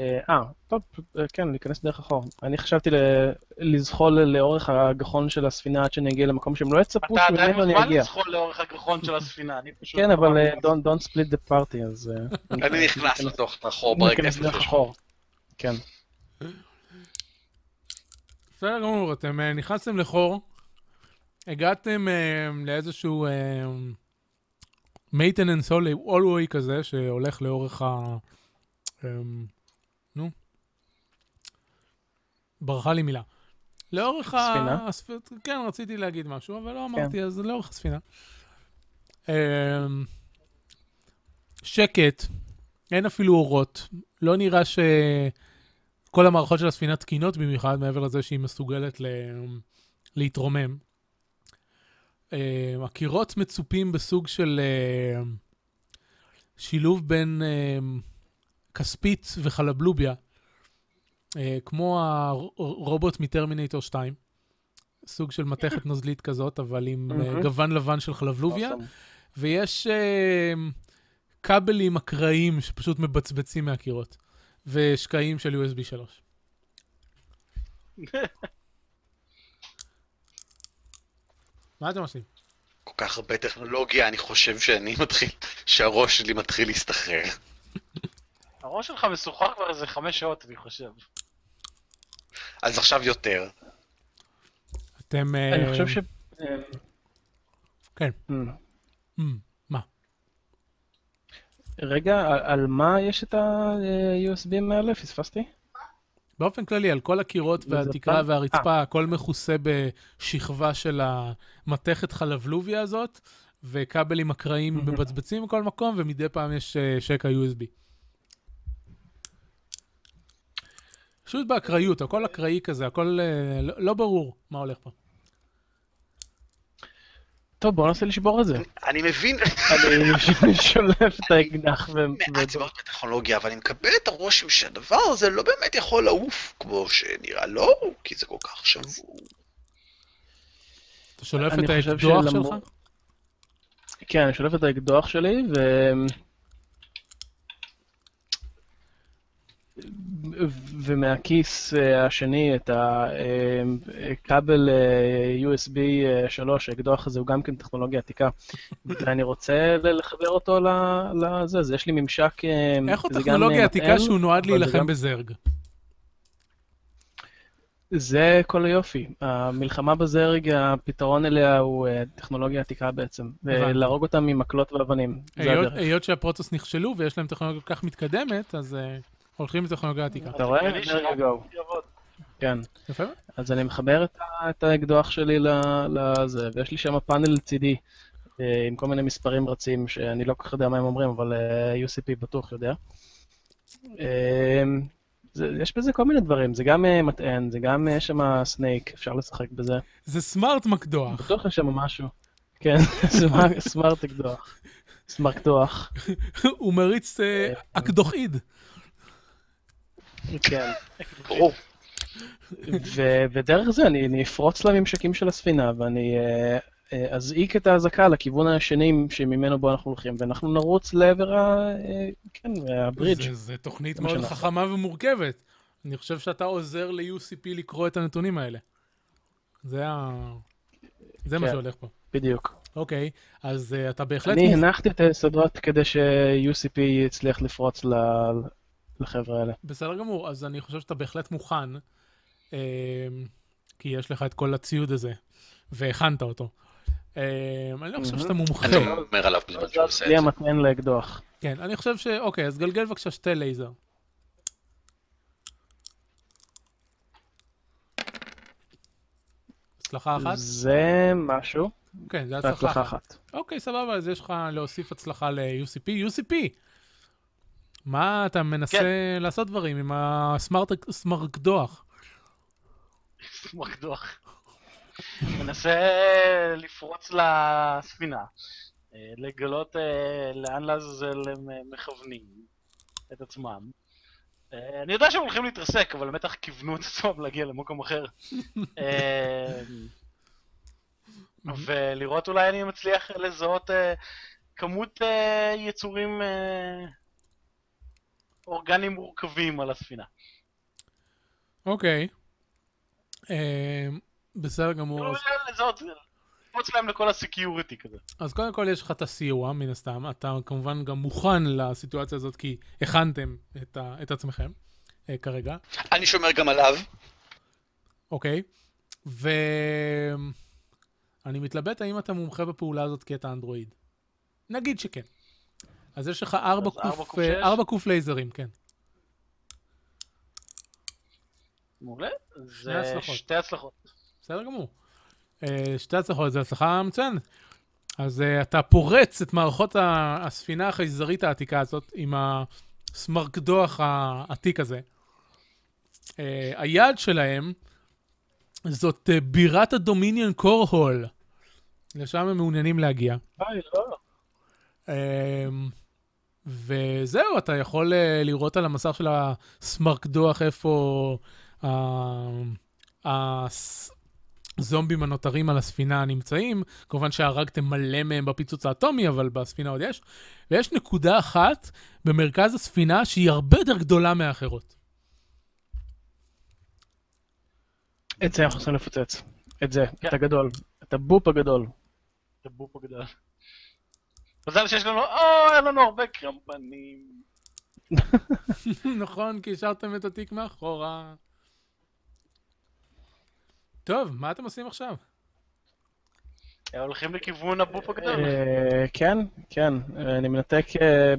אה, אה, טוב, אה, כן, להיכנס דרך החור. אני חשבתי ל- לזחול לאורך הגחון של הספינה עד שאני אגיע למקום שהם לא יצפו אתה עדיין שממנו אני מוזמן אגיע. לזחול לאורך הגחון של הספינה, אני פשוט... כן, אבל אה, don't don't split the party, אז... אה, אני נכנס לתוך החור אני ברגע אכנס דרך החור. כן. בסדר גמור, אתם אה, נכנסתם לחור, הגעתם אה, לאיזשהו מייטננס אולווי כזה, שהולך לאורך ה... אה, נו? ברחה לי מילה. לאורך ה... ספינה? הספ... כן, רציתי להגיד משהו, אבל לא אמרתי, אז לאורך הספינה. אה, שקט, אין אפילו אורות. לא נראה שכל המערכות של הספינה תקינות במיוחד, מעבר לזה שהיא מסוגלת ל... להתרומם. אה, הקירות מצופים בסוג של אה, שילוב בין אה, כספית וחלבלוביה, אה, כמו הרובוט מטרמינטור 2, סוג של מתכת נוזלית כזאת, אבל עם אה, מהמם. גוון לבן של חלבלוביה. awesome. ויש אה, כבלים אקראיים שפשוט מבצבצים מהקירות, ושקעים של USB 3. מה אתם עושים? כל כך הרבה טכנולוגיה, אני חושב שאני מתחיל, שהראש שלי מתחיל להסתחרר. הראש שלך משוחרר כבר איזה חמש שעות, אני חושב. אז עכשיו יותר. אתם... אה, אני חושב ש... כן. אמ, Mm, מה? רגע, על- על מה יש את ה-USBים האלה? פספסתי? באופן כללי, על כל הקירות וזה והתקרה פעם- אה. והרצפה, הכל מכוסה בשכבה של המתכת חלבלוביה הזאת, וכבלים אקראיים מהמם. מבצבצים בכל מקום, ומדי פעם יש אה, שקע USB. פשוט באקראיות, הכל אקראי כזה, הכל אה, לא- לא ברור מה הולך פה. טוב, בואו ננסה לשבור את זה. אני מבין אני [LAUGHS] שולף את האקדח ו... מעט מאוד בטכנולוגיה, אבל אני מקבל את הרושם שהדבר הזה לא באמת יכול לעוף כמו שנראה לו, כי זה כל כך שבור. אתה שולף אני את חושב האקדוח שלמור- שלך? כן, אני שולף את האקדוח שלי ו... ו- ומהכיס אה, השני את הכבל USB אה, 3, האקדוח הזה הוא גם כן טכנולוגיה [LAUGHS] עתיקה. ואני רוצה ל- לחבר אותו ל- לזה, אז יש לי ממשק... אה, איך הוא זה גם, טכנולוגיה אה, עתיקה מטען, שהוא נועד אבל זה להילחם גם- בזרג? זה כל היופי. המלחמה בזרג, הפתרון אליה הוא אה, טכנולוגיה עתיקה בעצם. הבנתי. להרוג אותם עם מקלות ואבנים. זה היות- הדרך. היות שהפרוצס נכשלו ויש להם טכנולוגיה כל כך מתקדמת, אז אה, הולכים לטכנולוגיה עתיקה. אתה רואה? הגיוני There you go. יעבוד. כן. יפה מאוד. אז אני מחבר את ה- את האקדוח שלי ל- לזה, ויש לי שם פאנל לצידי אה, עם כל מיני מספרים רצים, שאני לא כל כך יודע מה הם אומרים, אבל אה, UCP בטוח יודע. אה, זה- יש בזה כל מיני דברים, זה גם אה, מטען, זה גם אה, יש שם סנייק, אפשר לשחק בזה. זה סמארט מקדוח. [LAUGHS] בטוח יש שם משהו. כן, [LAUGHS] סמאר- סמארט אקדוח. סמרקדוח. הוא מריץ אה, אקדוחעיד. כן. [LAUGHS] ברור. ו- ודרך זה אני, אני אפרוץ לממשקים של הספינה ואני אה, אה, אזעיק את האזעקה לכיוון השני שממנו בו אנחנו הולכים, ואנחנו נרוץ לעבר ה... אה, כן, הברידג'. זה- זה תוכנית זה מה מאוד שנעשה. חכמה ומורכבת. אני חושב שאתה עוזר ל-UCP לקרוא את הנתונים האלה. זה ה... זה מה כן. שהולך פה. בדיוק. אוקיי, אז אה, אתה בהחלט... אני מוב- הנחתי את היסודות כדי ש-UCP יצליח לפרוץ ל- לחבר'ה האלה. בסדר גמור, אז אני חושב שאתה בהחלט מוכן, אמ, כי יש לך את כל הציוד הזה, והכנת אותו. אמ, אני לא חושב מהמם. שאתה מומחה. אני לא אומר עליו בזמן שהוא עושה את בלי זה. המטען לאקדוח. כן, אני חושב ש... אוקיי, אז גלגל בבקשה שתי לייזר. הצלחה אחת? זה משהו. כן, זה הצלחה בהצלחה אחת. אחת. אוקיי, סבבה, אז יש לך להוסיף הצלחה ל-UCP. UCP! מה, אתה מנסה לעשות דברים עם הסמרקדוח. מקדוח. מנסה לפרוץ לספינה, אה, לגלות אה, לאן לעזאזל הם אה, מכוונים את עצמם. אה, אני יודע שהם הולכים להתרסק, אבל בטח כיוונו את עצמם להגיע למקום אחר. אה, ולראות אולי אני מצליח לזהות אה, כמות אה, יצורים אה, אורגניים מורכבים על הספינה. אוקיי. אמ, בסדר גמור. כאילו, אז- לזהות, לקפוץ להם לכל הסקיוריטי כזה. אז קודם כל יש לך את הסיוע, מן הסתם. אתה כמובן גם מוכן לסיטואציה הזאת, כי הכנתם את ה- את עצמכם אה, כרגע. אני שומר גם עליו. אוקיי. ו... אני מתלבט האם אתה מומחה בפעולה הזאת כי אתה אנדרואיד. נגיד שכן. אז יש לך ארבע אז ארבע קוף, קוף שש? אה, ארבע קוף לייזרים, כן. מעולה. זה הצלחות. שתי הצלחות. בסדר גמור. אה, שתי הצלחות, זו הצלחה מצוינת. אז אה, אתה פורץ את מערכות ה- הספינה החייזרית העתיקה הזאת עם הסמרקדוח העתיק הזה. אה, היעד שלהם זאת אה, בירת הדומיניון קורהול. לשם הם מעוניינים להגיע. היי, לא. אמ, וזהו, אתה יכול אה, לראות על המסך של הסמרקדוח איפה אה, הס- הזומבים הנותרים על הספינה נמצאים. כמובן שהרגתם מלא מהם בפיצוץ האטומי, אבל בספינה עוד יש. ויש נקודה אחת במרכז הספינה שהיא הרבה יותר גדולה מהאחרות. [LAUGHS] את זה אנחנו צריכים לפוצץ. את זה, כן. את הגדול. את הבופ הגדול. את הבופ הגדול. מזל שיש לנו, או, היה לנו הרבה קרמפנים. נכון, כי השארתם את התיק מאחורה. טוב, מה אתם עושים עכשיו? אה, הולכים לכיוון הבופ הגדול. אה, כן, כן. אה, אני מנתק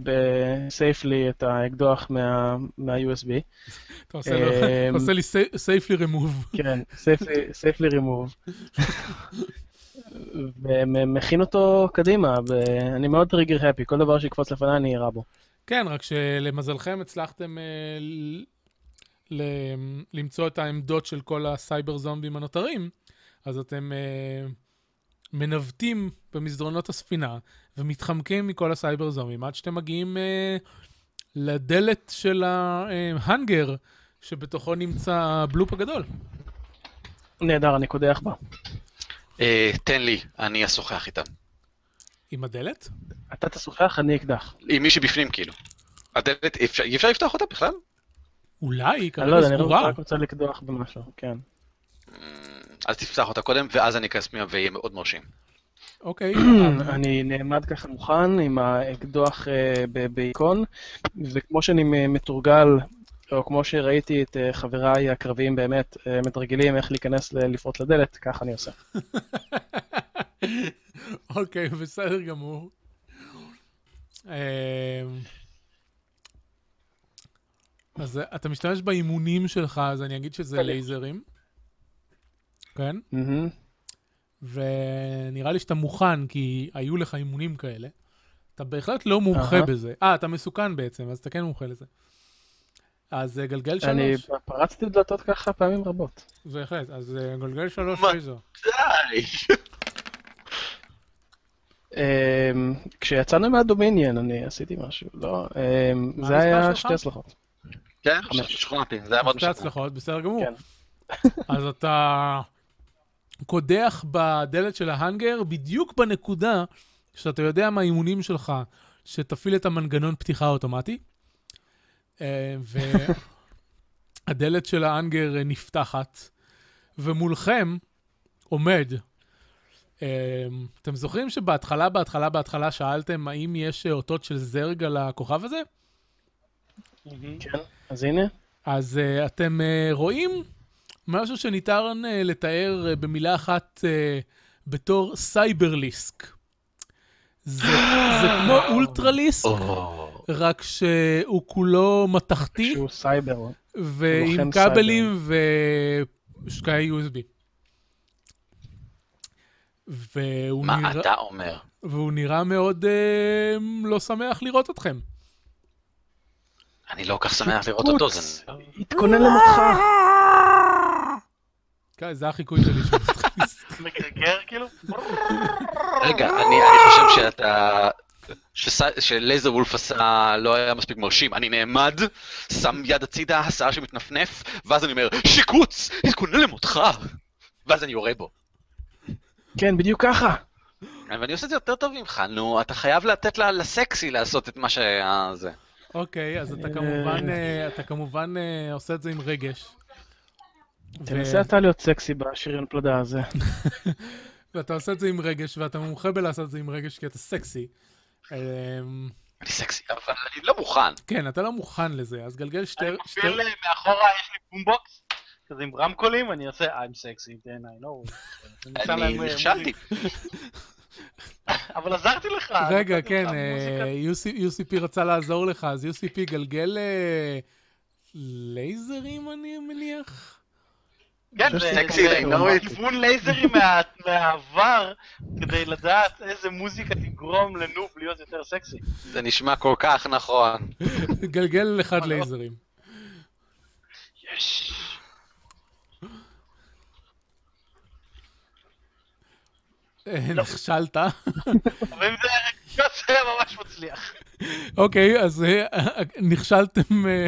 בסייפלי את האקדוח מה- מה-USB. אתה עושה לו- אתה [LAUGHS] אמ, עושה לי סייפלי רמוב. כן, סייפלי רימוב. [LAUGHS] ומכין אותו קדימה, ואני מאוד טריגר הפי, כל דבר שיקפוץ לפניי אני אירה בו. כן, רק שלמזלכם הצלחתם אה, ל... ל... למצוא את העמדות של כל הסייבר זומבים הנותרים, אז אתם אה, מנווטים במסדרונות הספינה ומתחמקים מכל הסייבר זומבים עד שאתם מגיעים אה, לדלת של ההנגר שבתוכו נמצא הבלופ הגדול. נהדר, אני קודח בה. אה, תן לי, אני אשוחח איתם. עם הדלת? אתה תשוחח, אני אקדח. עם מי שבפנים, כאילו. הדלת, אפשר- אי אפשר לפתוח אותה בכלל? אולי, היא אני לא יודע, כרגע אני רק- סגורה. רק רוצה לקדוח במשהו, כן. Mm, אז תפתח אותה קודם, ואז אני אכנס פנימה ויהיה מאוד מרשים. אוקיי. אני נעמד ככה מוכן עם האקדוח אה, ב- בעיקון, וכמו שאני מ- מתורגל, או כמו שראיתי את אה, חבריי הקרביים באמת אה, מתרגלים איך להיכנס ל- לפרוץ לדלת, ככה אני עושה. אוקיי, בסדר גמור. אמ, אז אתה משתמש באימונים שלך, אז אני אגיד שזה לייזרים. כן? מהמם. ונראה לי שאתה מוכן, כי היו לך אימונים כאלה. אתה בהחלט לא מומחה אהה. בזה. אה, אתה מסוכן בעצם, אז אתה כן מומחה לזה. אז אה, גלגל אני שלוש. פרצתי דלתות ככה פעמים רבות. בהחלט, אז אה, גלגל שלוש מה? לייזר. די! אמ, כשיצאנו מהדומיניאן אני עשיתי משהו, לא? אמ, מה זה המספר היה שלך? שתי הצלחות. כן? חמש. שכנעתי, זה היה מאוד שתי משכנע. הצלחות, בסדר גמור. כן. [LAUGHS] אז אתה קודח בדלת של ההאנגר בדיוק בנקודה שאתה יודע מהאימונים שלך שתפעיל את המנגנון פתיחה האוטומטי, אה, והדלת של ההאנגר אה, נפתחת, ומולכם עומד. אה, אתם זוכרים שבהתחלה, בהתחלה, בהתחלה שאלתם האם יש אה, אותות של זרג על הכוכב הזה? מהמם. כן, אז הנה. אז uh, אתם uh, רואים משהו שניתן uh, לתאר uh, במילה אחת uh, בתור סייברליסק. זה, זה כמו אולטרליסק, או, רק שהוא כולו מתכתי שהוא סייבר. ועם לוחם כבלים ושקעי USB. והוא מה נרא... אתה אומר? והוא נראה מאוד אה, לא שמח לראות אתכם. אני לא כל כך שמח לראות אותו, פוץ. זה... התכונן למותך. כן, זה החיקוי שלי של סטריס. מגרגר כאילו? רגע, אני אני חושב שאתה... שס- שלייזר וולף עשה לא היה מספיק מרשים. אני נעמד, שם יד הצידה, השיער שמתנפנף, ואז אני אומר, שיקוץ! התכונן למותך! ואז אני יורה בו. כן, בדיוק ככה. ואני עושה את זה יותר טוב ממך, נו, אתה חייב לתת לה- לסקסי לעשות את מה שהיה זה. אוקיי, אז אתה אה, כמובן, אה, אתה כמובן אה, עושה את זה עם רגש. ו- תנסה אתה להיות סקסי בשריון פלדה הזה. ואתה עושה את זה עם רגש, ואתה מומחה בלעשות את זה עם רגש כי אתה סקסי. אמ, אני סקסי, אבל אני לא מוכן. כן, אתה לא מוכן לזה, אז גלגל שתי... אני שתי- מוביל אה, מאחורה, יש לי בומבוקס. כזה עם רמקולים, אני עושה I'm sexy, then I know. ונמצא אני להם, אה, נכשלתי. מוזיקה. אבל עזרתי לך. רגע, נתתי כן, לך אה, מוזיקה. UC UCP רצה לעזור לך, אז UCP גלגל אה, לייזרים, אני מניח? כן, זה זה- סקסי, זה- I know it. כיוון לייזרים מה- מהעבר, כדי לדעת איזה מוזיקה תגרום לנוב להיות יותר סקסי. זה נשמע כל כך נכון. גלגל אחד אבל לא. לייזרים. יש. אה, נכשלת. אבל אם זה היה רגע, זה היה ממש מצליח. אוקיי, אז אה, אה, נכשלתם אה,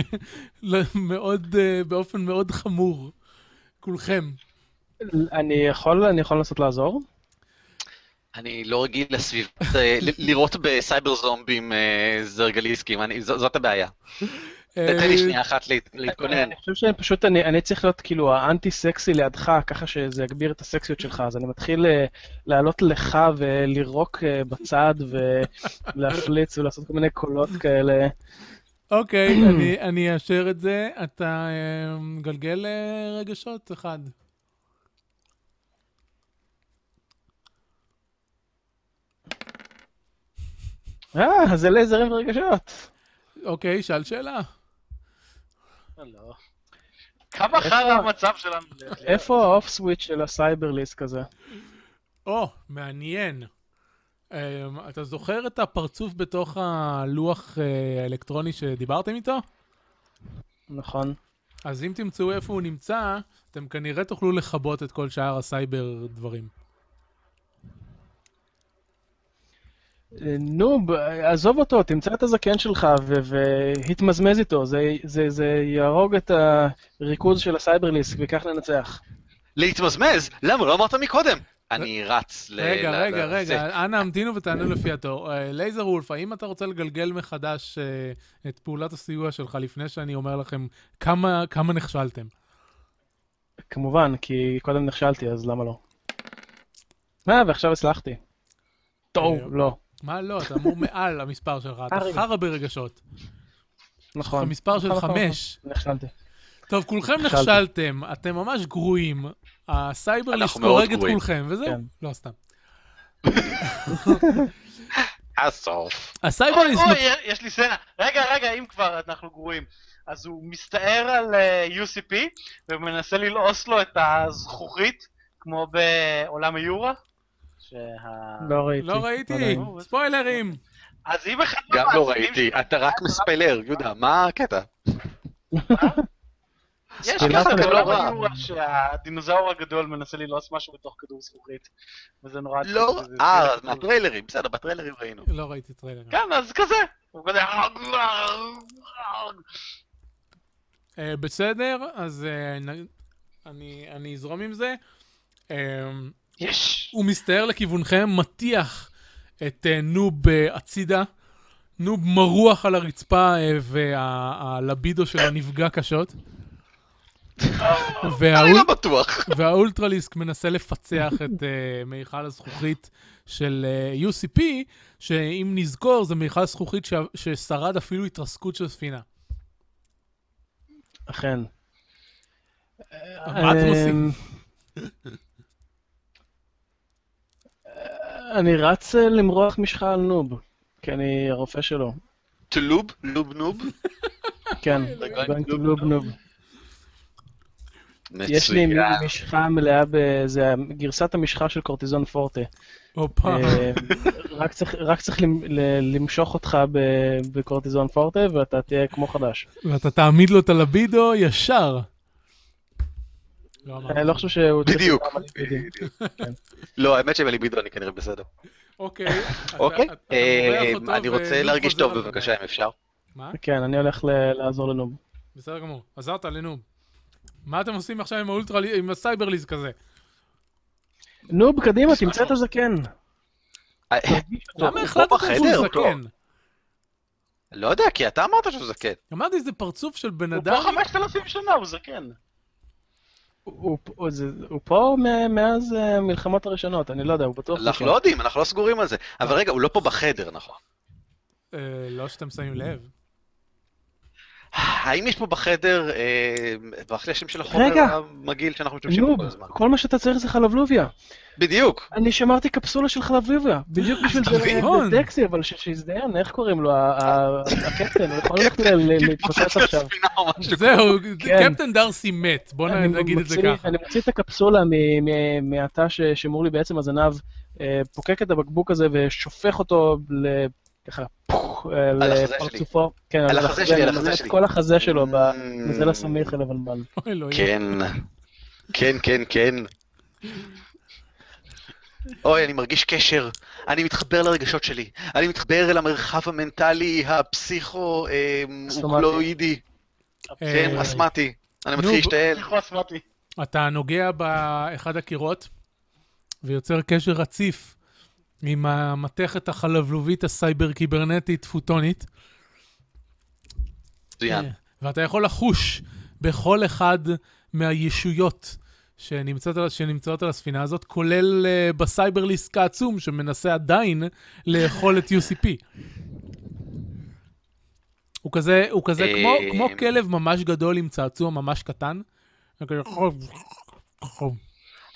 ל- מאוד, אה, באופן מאוד חמור, כולכם. אני יכול, אני יכול לנסות לעזור? אני לא רגיל לסביב, אה, ל- לראות בסייבר זומבים אה, זרגליסקים, אני- ז- זאת הבעיה. אה, תן לי שנייה אחת להת- להתכונן. אני חושב שפשוט אני, אני צריך להיות כאילו האנטי סקסי לידך, ככה שזה יגביר את הסקסיות שלך, אז אני מתחיל אה, לעלות לך ולרוק אה, בצד ולהפליץ [LAUGHS] ולעשות כל מיני קולות כאלה. אוקיי, אני- אני אאשר את זה. אתה אה, מגלגל אה, רגשות? אחד. אה, זה לייזרים ורגשות. אוקיי, שאל שאלה. לא. כמה חרא המצב שלנו. איפה האוף סוויץ' של הסייברליסט כזה? או, מעניין. אמ, אתה זוכר את הפרצוף בתוך הלוח אה, האלקטרוני שדיברתם איתו? נכון. אז אם תמצאו איפה הוא נמצא, אתם כנראה תוכלו לכבות את כל שאר הסייבר דברים. אה, נו, ב- עזוב אותו, תמצא את הזקן שלך ו- והתמזמז איתו, זה, זה, זה יהרוג את הריכוז של הסייברליסט וכך ננצח. להתמזמז? למה לא אמרת מקודם? אני רץ ל... רגע, ל- רגע, ל- זה. רגע, אנא המתינו ותענו לפי התור. אה, לייזר וולף, האם אתה רוצה לגלגל מחדש אה, את פעולת הסיוע שלך לפני שאני אומר לכם כמה כמה נכשלתם? כמובן, כי קודם נכשלתי, אז למה לא? אה, ועכשיו הצלחתי. טוב, לא. מה לא, אתה אמור מעל המספר שלך, אתה אה, רגע. חרא ברגשות. נכון. המספר של נכון, נכון, חמש. נכון, נכשלתי. טוב, כולכם נכשלתי. נכשלתם, אתם ממש גרועים. הסייברליסט אנחנו מאוד הורג את גרועים. כולכם, וזהו. כן. לא, סתם. הסוף. הסייברליסט... אוי, אוי, יש לי סצנה. רגע, רגע, אם כבר אנחנו גרועים. אז הוא מסתער על אה, UCP ומנסה ללעוס לו את הזכוכית, כמו בעולם היורה. שה- לא ראיתי. לא ראיתי, עדיין. ספוילרים. אז אם אחד גם לא מהמאזינים ראיתי, אתה רק מספיילר, יהודה, מה הקטע? יש ספינת ככה הנבלה. בעולם היורה שהדינוזאור הגדול מנסה ללעוס משהו בתוך כדור זכוכית. וזה נורא... לא, זה- זה- אה, זה- מהטריילרים, בסדר, בטריילרים ראינו. לא ראיתי טריילרים. כן, אז כזה. הוא כזה... אה, בסדר, אז אה, נ- אני אני אזרום עם זה. אה, יש! הוא מסתער לכיוונכם, מטיח את אה, נוב אה, הצידה. נוב מרוח על הרצפה, אה, והלבידו שלו נפגע קשות. אני והאול... לא בטוח. והאולטרליסק מנסה לפצח את uh, מיכל הזכוכית של uh, UCP, שאם נזכור, זה מיכל זכוכית ש... ששרד אפילו התרסקות של ספינה. אכן. אמ, מה אתם עושים? אה, אני רץ אה, למרוח משחה על נוב, כי אני הרופא [LAUGHS] שלו. טלוב, לוב נוב. כן, אלוהים. going to lube נוב. יש לי מצוין. משחה מלאה ב... זה גרסת המשחה של קורטיזון פורטה. הופה. אה, רק צריך- רק צריך למ- ל- למשוך אותך ב- בקורטיזון פורטה ואתה תהיה כמו חדש. ואתה תעמיד לו את הלבידו ישר. לא אמרתי. אני לא חושב שהוא צריך... בדיוק. לדעת מה זה בדיוק. [LAUGHS] לא, האמת שבליבידו אני כנראה בסדר. אוקיי. אתה- אוקיי, אתה- אתה אה, מורח אותו, אני רוצה ונוב להרגיש חוזר טוב על זה. בבקשה, אם אפשר. מה? כן, אני הולך ל- לעזור לנוב. בסדר גמור. עזרת לנוב. מה אתם עושים עכשיו עם האולטרה, עם הסייברליז כזה? נוב, קדימה, תמצא את הזקן. אה, תרגיש אותו. למה לא, הוא החלטתם בחדר? שהוא זקן? לא יודע, כי אתה אמרת כן. שהוא זקן. לא אמרתי, זה פרצוף של בן הוא אדם. פה 5,000 שנה, הוא זקן. הוא- הוא- זה- הוא פה מ- מאז אה, המלחמות הראשונות, אני לא יודע, הוא בטוח... אנחנו זקן. לא יודעים, אנחנו לא סגורים על זה. אבל רגע, הוא לא פה בחדר, נכון? אה, לא שאתם שמים לב. האם יש פה בחדר, אה, ואחרי השם של החומר רגע. המגעיל שאנחנו משתמשים בו נו, כל הזמן? כל מה שאתה צריך זה חלבלוביה. בדיוק. אני שמרתי קפסולה של חלבלוביה, בדיוק בשביל אה, אתה זה מבין? דקסי, אבל ש- שיזדיין, איך קוראים לו, ה- ה- הקפטן, הוא יכול ללכת ל- ל- להתפוצץ התפוצץ עכשיו. לספינה [LAUGHS] או משהו. זהו, כן. קפטן דארסי מת, בוא אני נגיד את זה מוציא- ככה. אני מוציא את הקפסולה מ- מ- מהתא ש- שמור לי בעצם הזנב, אה, פוקק את הבקבוק הזה ושופך אותו ל... ככה, פוח, אה, על החזה לפרצופו. כן, על החזה שלי, על אני החזה מלא את שלי. כל החזה שלו Mm. בזה לסמיך אל הבלבן. אוי, אלוהים. כן, כן, כן, כן. אוי, אני מרגיש קשר. אני מתחבר לרגשות שלי. אני מתחבר אל המרחב המנטלי, הפסיכו-אוקלואידי. אה, כן, אסמטי. אני מתחיל נו, להשתעל. איך הוא אסמטי? אתה נוגע באחד הקירות ויוצר קשר רציף עם המתכת החלבלובית הסייבר קיברנטית פוטונית, מצוין. אה, ואתה יכול לחוש בכל אחד מהישויות שנמצאות על, שנמצאות על הספינה הזאת, כולל uh, בסייברליסק העצום שמנסה עדיין לאכול את UCP. הוא כזה, הוא כזה אה, כמו, כמו כלב ממש גדול עם צעצוע ממש קטן. הוא כזה,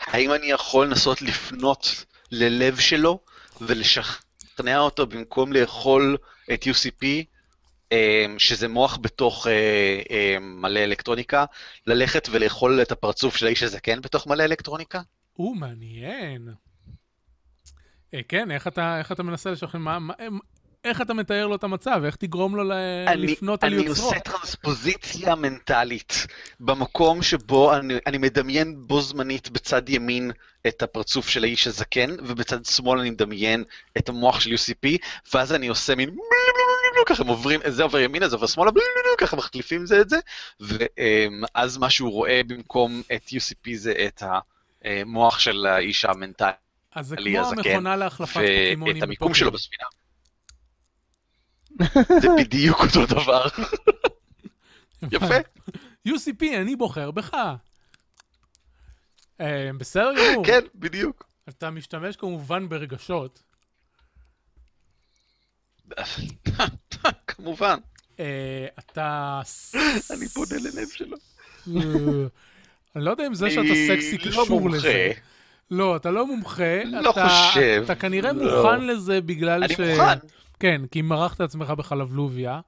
האם אני יכול לנסות לפנות ללב שלו ולשכנע אותו במקום לאכול את UCP, אמ, שזה מוח בתוך אה, אה, מלא אלקטרוניקה, ללכת ולאכול את הפרצוף של האיש הזקן בתוך מלא אלקטרוניקה? הוא מעניין. אה, כן, איך אתה, איך אתה מנסה לשכנע, מה, מה, איך אתה מתאר לו את המצב, איך תגרום לו ל- אני, לפנות על אני יוצרו. עושה טרנספוזיציה מנטלית במקום שבו אני, אני מדמיין בו זמנית בצד ימין את הפרצוף של האיש הזקן, ובצד שמאל אני מדמיין את המוח של UCP, ואז אני עושה מין ככה הם עוברים, זה עובר ימינה, זה עובר שמאלה, ככה מחליפים זה את זה, ואז מה שהוא רואה במקום את UCP זה את המוח של האיש המנטלי, אז זה עלי כמו הזקן, המכונה להחלפת פוקימונים. ואת המיקום שלו בפוקימון. בספינה. זה בדיוק אותו [LAUGHS] דבר, יפה. UCP, אני בוחר בך. אה, בסדר גמור. כן, בדיוק. אתה משתמש כמובן ברגשות. כמובן, אה, אתה... [LAUGHS] אני פונה ללב שלו. אה, [LAUGHS] אני לא יודע אם זה שאתה סקסי אני לא קשור מומחה. לזה. לא, אתה לא מומחה. לא אתה- חושב, אתה כנראה לא. מוכן לזה בגלל אני ש... מוכן. כן, כי מרחת עצמך בחלבלוביה.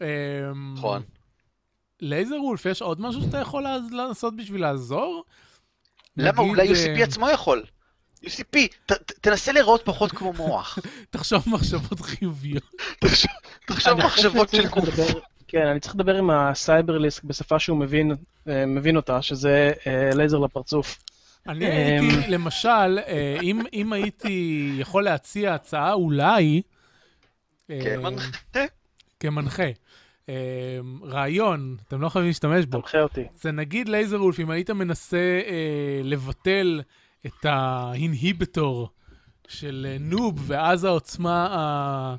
אמ, נכון. לייזר וולף, יש עוד משהו שאתה יכול לעז- לעשות בשביל לעזור? למה נגיד, אולי אה, UCP עצמו יכול? UCP, ת- ת- תנסה להיראות פחות כמו [LAUGHS] מוח. תחשוב מחשבות חיוביות. [LAUGHS] תחשוב- תחשוב אני חושב מחשבות שאני של צריך גוף. לדבר- כן, אני צריך לדבר עם הסייברליסק בשפה שהוא מבין, אה, מבין אותה, שזה אה, לייזר לפרצוף. אני אמ. הייתי, למשל, אה, אם- אם הייתי יכול להציע הצעה, אולי... אה, כן, מנחה. כמנחה. אה, רעיון, אתם לא חייבים להשתמש בו. תמחה אותי. זה נגיד לייזר וולף, אם היית מנסה אה, לבטל את האינהיביטור של אה, נוב, ואז העוצמה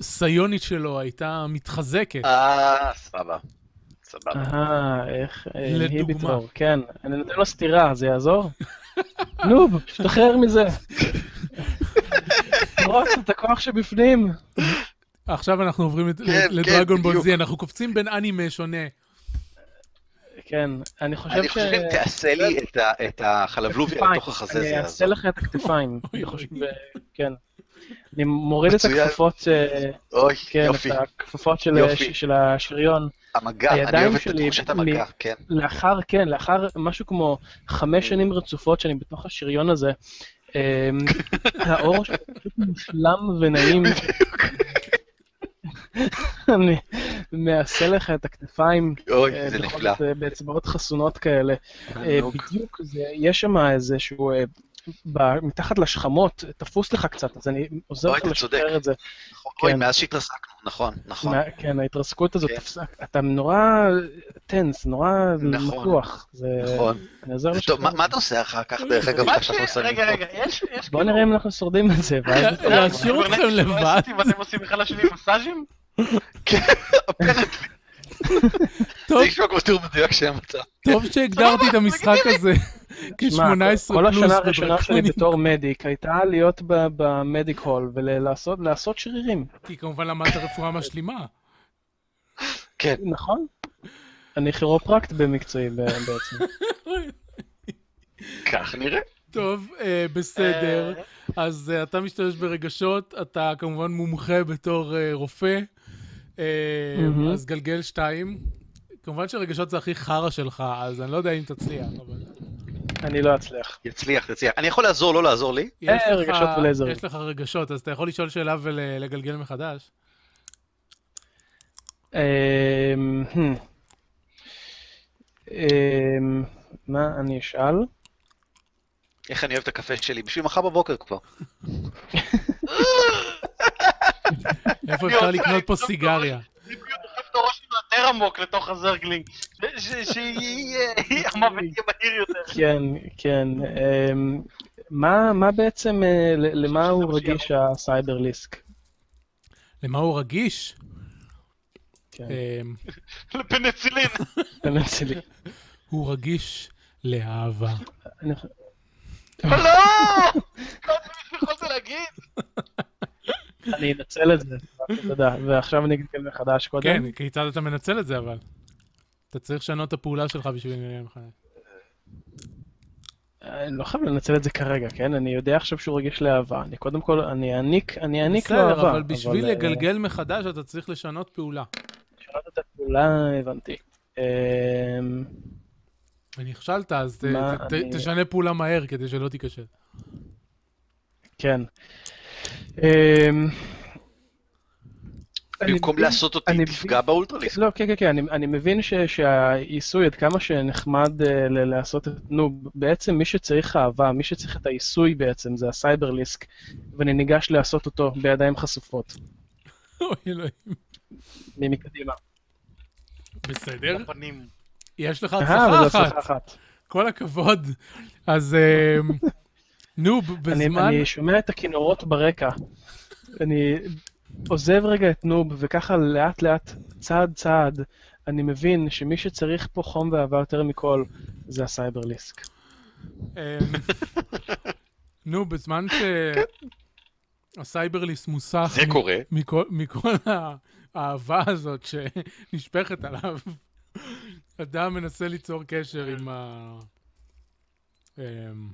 הסיונית שלו הייתה מתחזקת. אה, סבבה. סבבה. אהה, איך... אה, לדוגמה. inhibitor, כן, אני נותן לו סטירה, זה יעזור? [LAUGHS] נוב, שתחרר [LAUGHS] מזה. תרוץ את הכוח שבפנים. עכשיו אנחנו עוברים לד- כן, לדרגון כן, בול בדיוק. זי, אנחנו קופצים בין אנימה שונה. כן, אני חושב ש... אני חושב שאם תעשה לי את ה- את החלבלוביה כתפיים. לתוך החזה, זה אני אעשה יעזור. לך את [LAUGHS] הכתפיים. אוי, אני חושב- ו- כן. אני מוריד את מצוין. הכפפות, אה, אוי, כן, יופי. את הכפפות של- יופי. של השריון. המגע, אני הידיים אוהב את שלי תחושת מ- המגע, כן. לאחר, כן, לאחר משהו כמו Mm. חמש שנים רצופות שאני בתוך השריון הזה, [LAUGHS] אמ, האור שלו פשוט מושלם ונעים. [LAUGHS] אני מעשה לך את הכתפיים, אוי, אה, זה בכל נפלא. זאת, אה, באצבעות חסונות כאלה. אה, תענוג. בדיוק, זה- יש שם איזשהו, אה, ב- מתחת לשכמות, תפוס לך קצת, אז אני עוזר אוי, לך אתה צודק. לשחרר את זה. נכון. אוי, כן. מאז שהתרסקנו, נכון, נכון. מה- כן, ההתרסקות הזאת, כן. תפסה- אתה נורא טנס, נורא נכון. מתוח. זה- נכון. אני עוזר זה לשחרר טוב, את מה זה. מה אתה עושה אחר כך, דרך אגב, לא מה כשאתה ש... עושה אוקיי, רגע, מיקרופון? רגע, יש... יש בוא כאילו- אה, נראה אם אנחנו שורדים את זה. ואז [LAUGHS] לה- נראה. להשאיר קיברנטים אתכם שלא לבד? לא עשיתי ואתם עושים אחד לשני מסאז'ים? [LAUGHS] טוב, [LAUGHS] זה נשמע כמו תיאור מדויק של המצב. טוב שהגדרתי את המשחק הזה [LAUGHS] שמע, כ-18 כל השנה פלוס הראשונה שלי בדרקונים, בתור מדיק הייתה להיות ב- במדיק הול ולעשות לעשות שרירים. כי כמובן למדת רפואה משלימה. כן. נכון. אני כירופרקט במקצועי ב- [LAUGHS] בעצם. כך נראה. טוב, אה, בסדר. אה, אז אה, אתה משתמש ברגשות, אתה כמובן מומחה בתור אה, רופא, אה, מהמם. אז גלגל שתיים. כמובן שרגשות זה הכי חרא שלך, אז אני לא יודע אם תצליח, אבל... אה, אני לא אצליח. יצליח, יצליח. אני יכול לעזור, לא לעזור לי? יש לך- רגשות ולייזרים. יש לך רגשות, אז אתה יכול לשאול שאלה ולגלגל [LAUGHS] מחדש. אמ, הם. אמ, מה אני אשאל? איך אני אוהב את הקפה שלי? בשביל מחר בבוקר כבר. איפה אני אפשר רוצה לקנות פה לבדוק סיגריה? אני בדיוק דוחף את הראש שלו יותר עמוק לתוך הזרגלינג, ש- [LAUGHS] ש- שיהיה המוות יהיה מהיר יותר. כן, כן. אמ, מה מה בעצם, אה, ל- למה הוא שזה מה רגיש הסייבר ליסק? למה הוא רגיש? כן, אה, לפניצילין. תנסי לי. הוא רגיש לאהבה. אני- לא! לא יודעת מה יכולת להגיד. אני אנצל את זה, תודה. ועכשיו אני אגלגל מחדש קודם. כן, כיצד אתה מנצל את זה אבל? אתה צריך לשנות את הפעולה שלך בשביל לגלגל מחדש. אני לא חייב לנצל את זה כרגע, כן? אני יודע עכשיו שהוא רגיש לאהבה. אני קודם כל, אני אעניק, אני אעניק לו אהבה. בסדר, אבל בשביל אה, לגלגל מחדש אתה צריך לשנות פעולה. לשנות את הפעולה, הבנתי. אמ, ונכשלת, אז ת- מה ת- ת- אני- תשנה פעולה מהר כדי שלא תיכשל. [LAUGHS] כן. אמ, אני במקום מבין- לעשות אותי, אני תפגע באולטרליסט. לא, כן, כן, כן, אני, אני מבין ש, שהעיסוי, עד כמה שנחמד uh, לעשות את... נו, בעצם מי שצריך אהבה, מי שצריך את העיסוי בעצם, זה הסייברליסק, ואני ניגש לעשות אותו בידיים חשופות, אוי לא, אלוהים. מי מקדימה. בסדר, הפנים. יש לך אה, אבל הצלחה זו הצלחה אחת. אחת. כל הכבוד. אז [LAUGHS] אמ, נו, ב- אני, בזמן... אני שומע את הכינורות ברקע. אני עוזב רגע את נוב, וככה לאט לאט, צעד צעד, אני מבין שמי שצריך פה חום ואהבה יותר מכל, זה הסייברליסק. אמ, נו, בזמן ש... הסייברליס מוסך זה מ- קורה. מכל, מכל האהבה הזאת שנשפכת עליו, [LAUGHS] אדם מנסה ליצור קשר עם ה... אמ,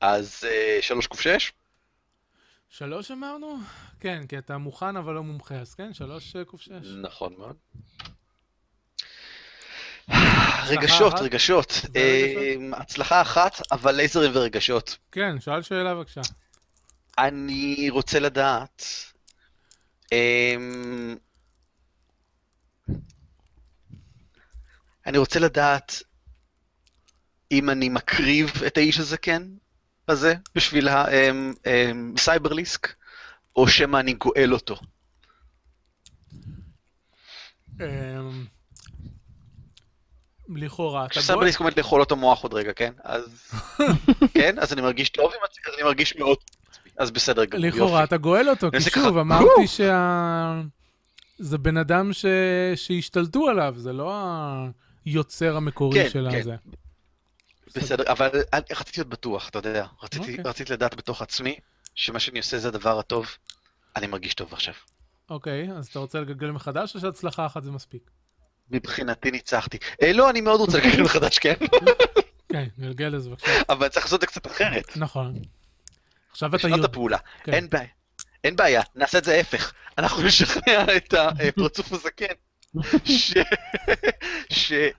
אז אה, שלוש קוף שש? שלוש אמרנו? כן, כי אתה מוכן אבל לא מומחה, אז כן, שלוש אה, קוף שש. נכון מאוד. רגשות, אחת? רגשות. ורגשות? אה, הצלחה אחת, אבל לייזרים ורגשות. כן, שאל שאלה בבקשה. אני רוצה לדעת... אה, אני רוצה לדעת אם אני מקריב את האיש הזקן הזה בשביל הסייברליסק, או שמא אני גואל אותו. אמ, לכאורה, אתה גואל, כשסבליסק עומד לאכול אותו מוח עוד רגע, כן? [LAUGHS] אז... כן? אז אני מרגיש טוב עם עצמי, אז אני מרגיש מאוד... טוב עם עצמי. אז בסדר גמור, לכאורה יופי. אתה גואל אותו, כי נשק שוב, אחד. אמרתי וואו. שה... זה בן אדם ש... שהשתלטו עליו, זה לא היוצר המקורי כן, של כן. הזה. בסדר, אבל אני- רציתי להיות בטוח, אתה יודע. רציתי- אוקיי. רציתי לדעת בתוך עצמי שמה שאני עושה זה הדבר הטוב. אני מרגיש טוב עכשיו. אוקיי, אז אתה רוצה לגלגל מחדש או שהצלחה אחת זה מספיק? מבחינתי ניצחתי. אה, לא, אני מאוד רוצה לקרוא מחדש, כן? [LAUGHS] כן, גלגל אז בבקשה. אבל צריך לעשות את זה קצת אחרת. נכון. עכשיו אתה לשנות את יודע... הפעולה. כן. אין בעיה. אין בעיה, נעשה את זה ההפך. אנחנו [LAUGHS] נשכנע את הפרצוף הזקן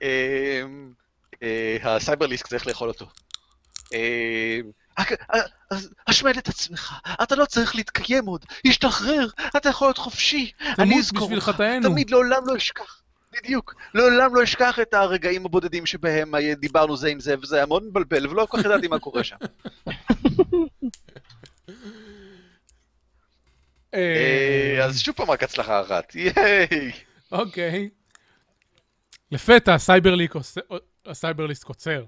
אמ, שהסייברליסק אה, צריך לאכול אותו. אה, "הק- אה, אז השמד את עצמך, אתה לא צריך להתקיים עוד, השתחרר, אתה יכול להיות חופשי, אני תמות אזכור בשביל אותך, חטאינו. תמיד לעולם לא אשכח, בדיוק, לעולם לא אשכח את הרגעים הבודדים שבהם היה- דיברנו זה עם זה, וזה היה מאוד מבלבל, ולא כל כך ידעתי מה קורה שם. אה, אה, אז שוב פעם רק הצלחה אחת, [LAUGHS] ייי! אוקיי. לפתע הסייברליק עושה- הסייברליסק עוצר.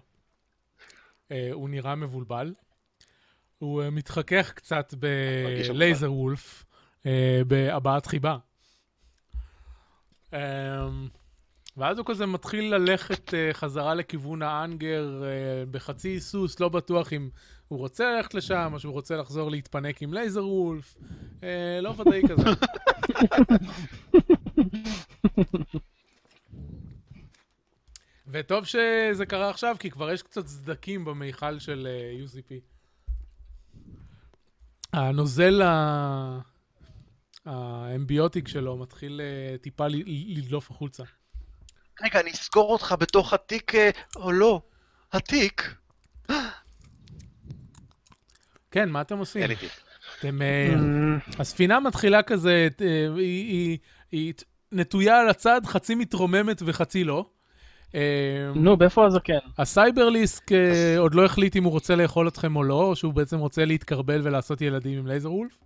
אה, הוא נראה מבולבל. הוא אה, מתחכך קצת מרגיש בלייזר וולף, אה, בהבעת חיבה. אמ, ואז הוא כזה מתחיל ללכת אה, חזרה לכיוון האנגר אה, בחצי היסוס, לא בטוח אם הוא רוצה ללכת לשם, או שהוא רוצה לחזור להתפנק עם לייזר וולף. אה, לא ודאי כזה. וטוב שזה קרה עכשיו, כי כבר יש קצת סדקים במיכל של אה, UCP. הנוזל ה- האמביוטיק שלו מתחיל אה, טיפה ל- ל- לדלוף החוצה. רגע, אני אסגור אותך בתוך התיק, אה, או לא, התיק. כן, מה אתם עושים? אין לי תיק. אתם... אה, Mm, הספינה מתחילה כזה, אה, היא, היא, היא ת- נטויה על הצד, חצי מתרוממת וחצי לא. אה, נו, באיפה הזקן? הסייברליסק אה, עוד לא החליט אם הוא רוצה לאכול אתכם או לא, או שהוא בעצם רוצה להתקרבל ולעשות ילדים עם לייזר וולף.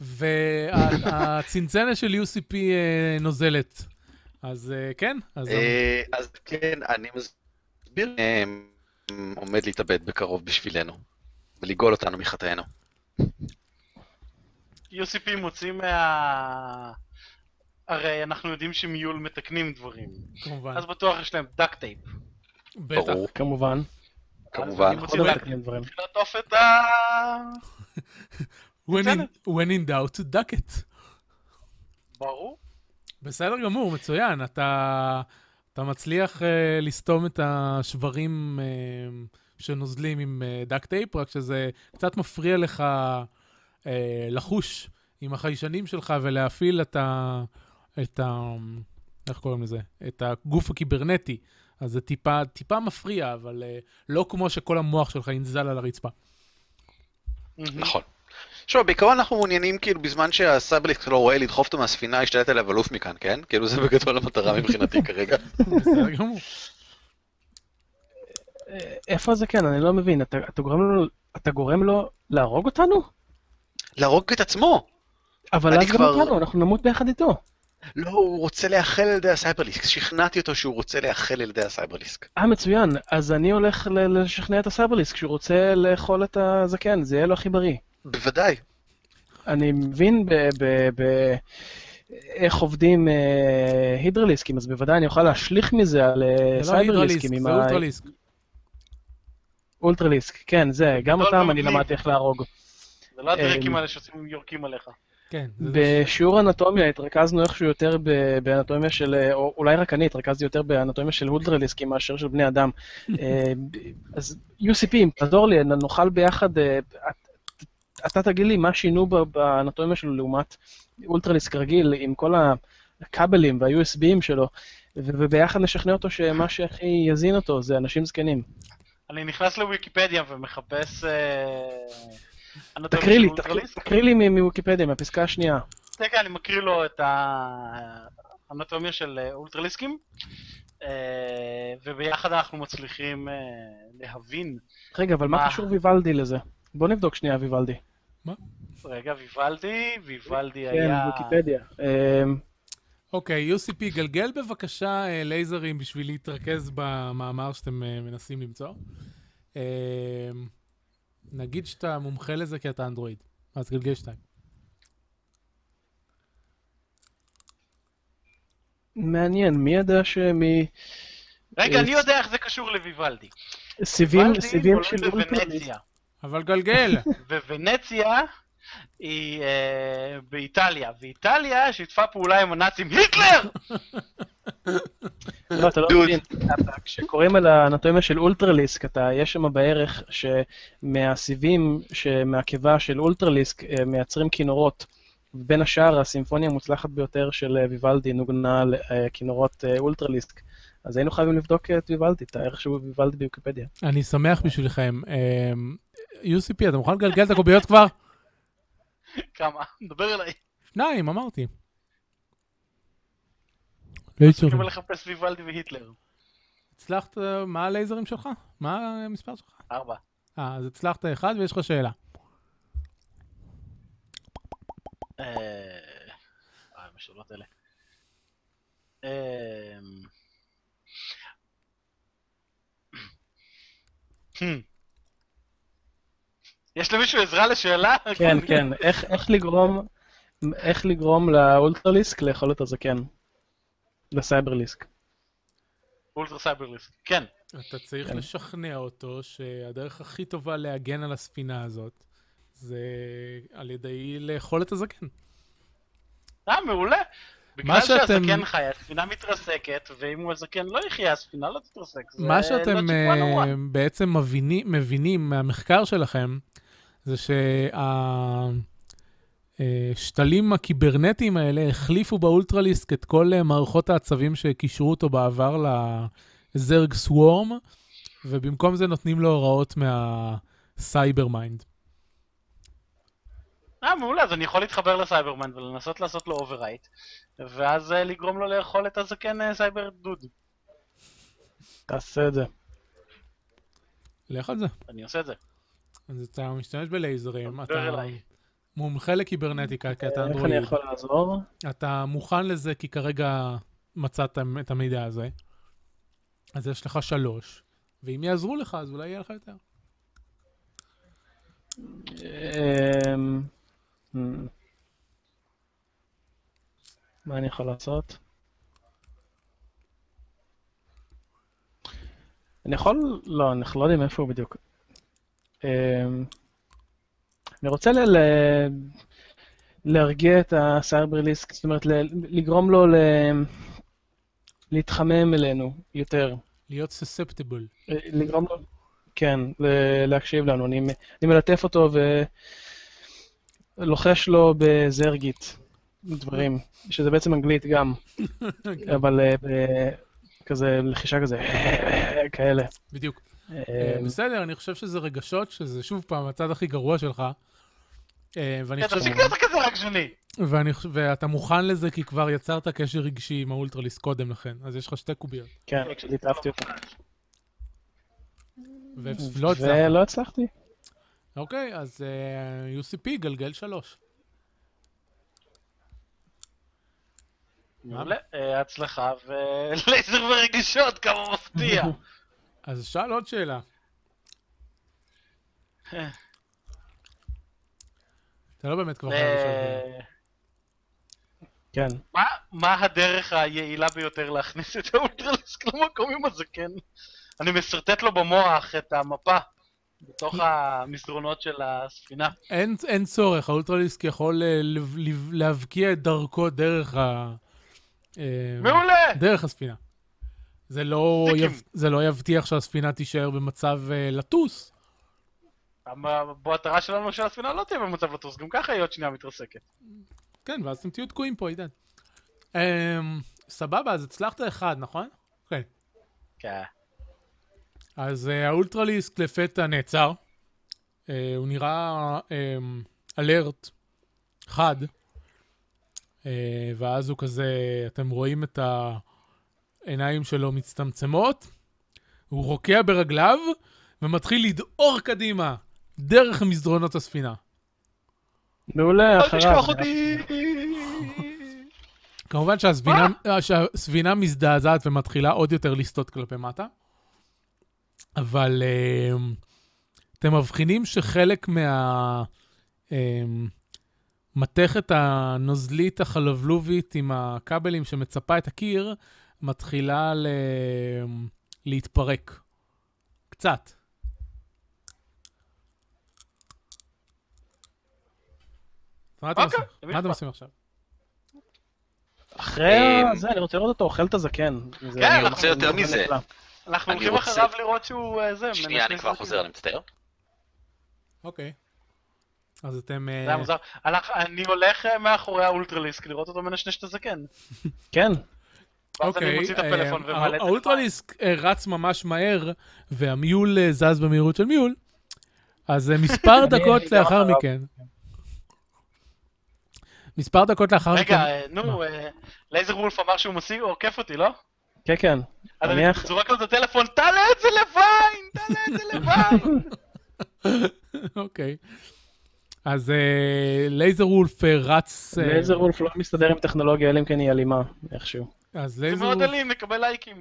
והצנצנת של UCP אה, נוזלת. אז אה, כן, אז... אה, אז כן, אני מסביר. אה, עומד להתאבד בקרוב בשבילנו, ולגאול אותנו מחטאינו. UCP מוצאים מה... הרי אנחנו יודעים שמיול מתקנים דברים. כמובן, אה. אז בטוח יש להם דאק טייפ. בטח. ברור, לא כמובן. כמובן. אני מוציא עוד אבל- מתקנים דברים. לעטוף את ה... When in- בסדר. when in doubt, duck it. ברור. בסדר גמור, מצוין. אתה, אתה מצליח uh, לסתום את השברים uh, שנוזלים עם דאק טייפ, רק שזה קצת מפריע לך uh, לחוש עם החיישנים שלך ולהפעיל את ה... את ה... איך קוראים לזה? את הגוף הקיברנטי. אז זה טיפה, טיפה מפריע, אבל uh, לא כמו שכל המוח שלך ינזל על [LAUGHS] הרצפה. נכון. תשמע, בעיקרון אנחנו מעוניינים, כאילו, בזמן שהסאבליקס לא רואה לדחוף אותו מהספינה, השתלט עליו אלוף מכאן, כן? כאילו, זה בגדול המטרה [LAUGHS] מבחינתי כרגע. בסדר גמור. אה, איפה הזקן? אני לא מבין. אתה אתה גורם לו- אתה גורם לו להרוג אותנו? להרוג את עצמו! אבל אני אז גם כבר- אותנו, אנחנו נמות ביחד איתו. לא, הוא רוצה להיאכל על ידי הסייברליסק. שכנעתי אותו שהוא רוצה להיאכל על ידי הסייברליסק. אה, מצוין. אז אני הולך ל- לשכנע את הסייברליסק כשהוא רוצה לאכול את הזקן, זה יהיה לו הכי בריא. בוודאי. אני מבין ב... ב, ב איך עובדים אה, הידרליסקים, אז בוודאי אני אוכל להשליך מזה על אה, זה לא הידרליסק, סייברליסקים עם זה אולטרליסק. האולטרליסק. כן, זה, גם לא, אותם לא אני מגניב. למדתי איך להרוג. זה לא הדרקים אה, האלה שעושים יורקים עליך. כן. זה- בשיעור אנטומיה התרכזנו איכשהו יותר ב- באנטומיה של, אה, או אולי רק אני התרכזתי יותר באנטומיה של הולטרליסקים מאשר של בני אדם. אה, אז UCP, אם תעזור לי, נאכל ביחד, אה, את- אתה תגיד לי מה שינו ב- באנטומיה שלו לעומת אולטרליסק רגיל, עם כל הכבלים וה-USBים שלו, ו- וביחד נשכנע אותו שמה שהכי יזין אותו זה אנשים זקנים. אני נכנס לוויקיפדיה ומחפש... אה, אנטומיה תקריא של לי, אולטרליסק. תקריא- תקריא לי מ- מוויקיפדיה, מהפסקה השנייה. כן, כן, אני מקריא לו את האנטומיה של אה, אולטרליסקים, אה, וביחד אנחנו מצליחים אה, להבין. רגע, אבל מה מה? קשור ויוולדי לזה? בוא נבדוק שנייה ויוולדי. רגע, ויוולדי, ויוולדי כן, היה... ויקיפדיה. אמ, אוקיי, UCP, גלגל בבקשה אה, לייזרים בשביל להתרכז במאמר שאתם אה, מנסים למצוא. אה, נגיד שאתה מומחה לזה כי אתה אנדרואיד, אז גלגל שתיים. מעניין, מי ידע שמסיבים רגע, אני יודע איך זה קשור לויוולדי. אה, סיבים ויוולדי של נולד אולטרליסק, בוונציה, אבל גלגל! וונציה היא אה, באיטליה, ואיטליה שיתפה פעולה עם הנאצים היטלר! [LAUGHS] לא, אתה לא דוד. מבין, אתה- כשקוראים על האנטומיה של אולטרליסק, אתה, יש שם בערך שמהסיבים, מהקיבה של אולטרליסק אה, מייצרים כינורות. בין השאר, הסימפוניה המוצלחת ביותר של אה, ויוולדי נוגנה על אה, כינורות אה, אולטרליסק. אז היינו חייבים לבדוק את ויוולדי, את הערך שהוא ויוולדי בוויקיפדיה. אני שמח בשבילכם. אה, UCP, אתה מוכן לגלגל את הקוביות כבר? כמה? [LAUGHS] דבר אליי. שניים, אמרתי. לייזרים. אני לחפש ויוולדי והיטלר. הצלחת, מה הלייזרים שלך? מה המספר שלך? ארבע. אה, אז הצלחת אחד ויש לך שאלה. אה, אה, המשוללות האלה. [CLEARS THROAT] אמ. Hmm. יש למישהו עזרה לשאלה? כן, כן, איך- איך לגרום, איך לגרום לאולטרליסק לאכול את הזקן? לסייברליסק. אולטרה סייברליסט. כן. אתה צריך כן. לשכנע אותו שהדרך הכי טובה להגן על הספינה הזאת זה על ידי לאכול את הזקן. אה, מעולה. בגלל שאתם- שהזקן חי, הספינה מתרסקת, ואם הזקן לא יחיה, הספינה לא תתרסק. זה מה לא שאתם תשובה נורא. אה, בעצם מבינים, מבינים מהמחקר שלכם, זה שהשתלים הקיברנטיים האלה החליפו באולטרליסק את כל אה, מערכות העצבים שקישרו אותו בעבר לזרג סוורם, ובמקום זה נותנים לו הוראות מהסייבר מיינד. אה, מעולה, אז אני יכול להתחבר לסייברמן ולנסות לעשות לו אוברייט, ואז אה, לגרום לו לאכול את הזקן אה, סייבר דוד. תעשה את זה. לך על זה. אני עושה את זה. אז אתה משתמש בלייזרים, דבר אתה אליי. מומחה לקיברנטיקה, כי אתה איך אני אנדרואיד. יכול לעזור? אתה מוכן לזה כי כרגע מצאת את המידע הזה, אז יש לך שלוש, ואם יעזרו לך, אז אולי יהיה לך יותר. אמ, אמ. מה אני יכול לעשות? אני יכול... לא, אנחנו לא יודעים איפה הוא בדיוק. אמ, אני רוצה ל... ל- להרגיע את הסייברליסק, זאת אומרת, ל- לגרום לו ל... להתחמם אלינו יותר. להיות סספטיבול. [LAUGHS] אה, לגרום לו, כן, ל- להקשיב לנו. אני, מ- אני מלטף אותו ולוחש לו בזרגית דברים, שזה בעצם אנגלית גם, כן. אבל אה, ב- כזה לחישה כזה, [LAUGHS] כאלה. בדיוק. אה, בסדר, אני חושב שזה רגשות, שזה שוב פעם הצד הכי גרוע שלך. אה, ואני כן, חושב- תפסיק להיות כזה רק שני. ואני חושב- ואתה מוכן לזה כי כבר יצרת קשר רגשי עם האולטרליסט קודם לכן, אז יש לך שתי קוביות. כן, אוקיי. כשליטפתי אותו. לא ולא לא הצלחת. ולא הצלחתי. אוקיי, אז אה, UCP גלגל שלוש. מעולה, אה, הצלחה ולייזר [LAUGHS] ורגישות, כמה [LAUGHS] מפתיע. אז שאל עוד שאלה. אתה לא באמת כבר חייב לשאול. שאלה. אה, כן. מה- מה הדרך היעילה ביותר להכניס את האולטרליסק למקום עם הזקן? כן. אני משרטט לו במוח את המפה בתוך כן. המסדרונות של הספינה. אין, אין צורך, האולטרליסק יכול אה, לב- לב- להבקיע את דרכו דרך ה... כן. אה, מעולה! כן. דרך הספינה. זה לא, טיקים. יב... זה לא יבטיח שהספינה תישאר במצב אה, לטוס. המטרה שלנו שהספינה לא תהיה במצב לטוס, גם ככה היא עוד שנייה מתרסקת. כן, ואז אתם תהיו תקועים פה, עידן. אה, סבבה, אז הצלחת אחד, נכון? כן. כן. אז אה, האולטרליסק לפתע נעצר. אה, הוא נראה אה, אלרט, חד. אה, ואז הוא כזה, אתם רואים את העיניים שלו מצטמצמות, הוא רוקע ברגליו ומתחיל לדהור קדימה דרך מסדרונות הספינה. מעולה, אל אחריו. תשכח אותי! כמובן שהספינה, שהספינה מזדעזעת ומתחילה עוד יותר לסטות כלפי מטה, אבל אמ, אתם מבחינים שחלק מה... אמ, מתכת הנוזלית החלבלובית עם הכבלים שמצפה את הקיר, מתחילה ל... אמ, להתפרק. קצת. מה אתם אוקיי, עושים- מה אתם עושים עכשיו? אחרי אמ, זה, אני רוצה לראות אותו אוכל את הזקן. זה- לא כן, אני רוצה יותר זה מזה. נפלא. אנחנו אני הולכים רוצה- אחריו לראות שהוא אה, זה. שנייה, אני מנשנש כבר את זה. חוזר, אני מצטער. אוקיי. אז אתם... זה היה אה, מוזר. הלך- אני הולך אה, מאחורי האולטרליסק לראות אותו מנשנש את הזקן. כן, ואז אני מוציא את אה, הפלאפון אה, ומעלה את זה. האולטרליסק אה, רץ ממש מהר, והמיול אה, זז במהירות של מיול, אז אה, [LAUGHS] מספר דקות אני גם לאחר אחריו. מכן. מספר דקות לאחר מכן. רגע, אה, נו, אה, לייזר וולף אמר שהוא משיג, הוא עוקף אותי, לא? כן, כן. אז אני נניח. זורק לו את הטלפון, תעלה את זה לווין! תעלה [LAUGHS] את זה לווין! אה, אוקיי. אז אה, לייזר וולף אה, רץ... אה, לייזר וולף לא מסתדר עם טכנולוגיה, אלא אם כן היא אלימה, איכשהו. אז זה לייזר מאוד וולף- אלים, נקבל לייקים.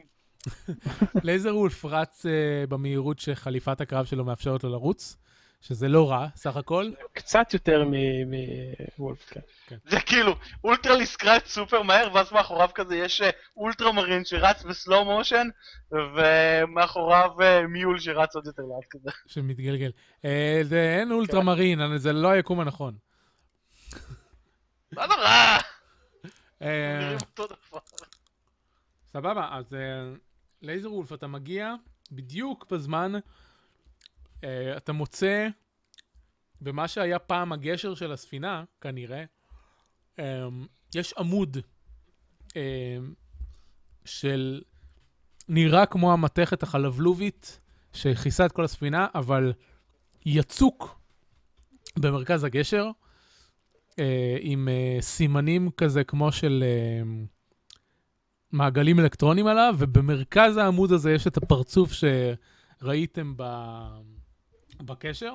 לייזר וולף רץ אה, במהירות שחליפת הקרב שלו מאפשרת לו לרוץ, שזה לא רע, סך הכל. קצת יותר מ- מוולף, כן. זה כאילו, אולטרליסק רץ סופר מהר, ואז מאחוריו כזה יש אה, אולטרמרין שרץ בסלואו מושן, ומאחוריו אה, מיול שרץ עוד יותר לאט כזה. [LAUGHS] שמתגלגל. אה, זה אין אולטרמרין, אה, זה לא היקום הנכון. לא נורא! אה, אה, נראים אותו דבר. סבבה, אז אה, לייזר וולף, אתה מגיע בדיוק בזמן, אה, אתה מוצא במה שהיה פעם הגשר של הספינה, כנראה, אה, יש עמוד אה, של... נראה כמו המתכת החלבלובית שכיסה את כל הספינה, אבל יצוק במרכז הגשר, אה, עם אה, סימנים כזה כמו של... אה, מעגלים אלקטרונים עליו, ובמרכז העמוד הזה יש את הפרצוף שראיתם ב... בקשר,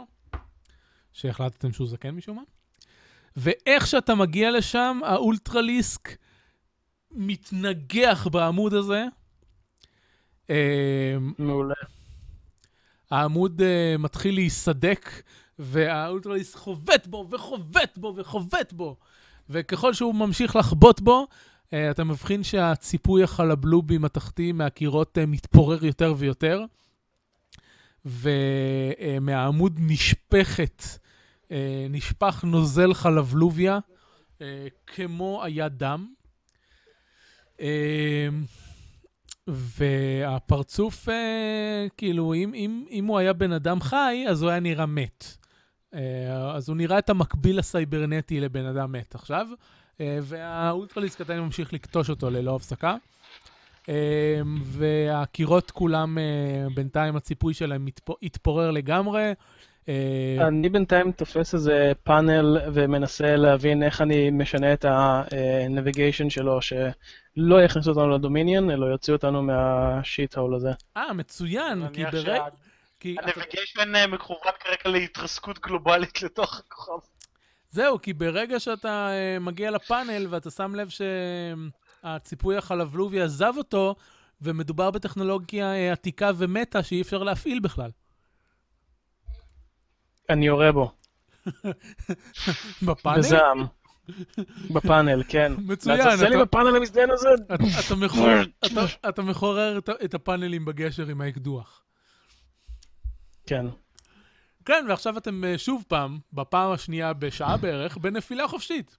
שהחלטתם שהוא זקן משום מה. ואיך שאתה מגיע לשם, האולטרליסק מתנגח בעמוד הזה. אה, מעולה. העמוד uh, מתחיל להיסדק, והאולטרליסט חובט בו, וחובט בו, וחובט בו. וככל שהוא ממשיך לחבוט בו, uh, אתה מבחין שהציפוי החלבלובים התחתי מהקירות uh, מתפורר יותר ויותר, ומהעמוד נשפכת, uh, נשפך נוזל חלבלוביה, uh, כמו היה דם. Uh, והפרצוף, אה, כאילו, אם, אם, אם הוא היה בן אדם חי, אז הוא היה נראה מת. אה, אז הוא נראה את המקביל הסייברנטי לבן אדם מת עכשיו, אה, והאולטרליסט קטן ממשיך לקטוש אותו ללא הפסקה. אה, והקירות כולם, אה, בינתיים הציפוי שלהם מתפ- התפורר לגמרי. אה, אני בינתיים תופס איזה פאנל ומנסה להבין איך אני משנה את ה-navigation שלו, שלא יכניסו אותנו לדומיניון, אלא יוציאו אותנו מהשיט הול הזה. אה, מצוין, כי נניח ברגע... כי אתה- שהנביגיישן אה, מכוון כרגע להתרסקות גלובלית לתוך הכוכב. זהו, כי ברגע שאתה אה, מגיע לפאנל ואתה שם לב שהציפוי החלבלובי עזב אותו, ומדובר בטכנולוגיה אה, עתיקה ומטה שאי אפשר להפעיל בכלל. אני יורה בו, בפאנל? בזעם. בפאנל, כן. מצוין, לעזאזל אתה- לי בפאנל המזדיין הזה. אתה- אתה מחורר- אתה- אתה מחורר את ה- את הפאנלים בגשר עם האקדוח. כן. כן, ועכשיו אתם אה, שוב פעם, בפעם השנייה בשעה בערך, בנפילה חופשית.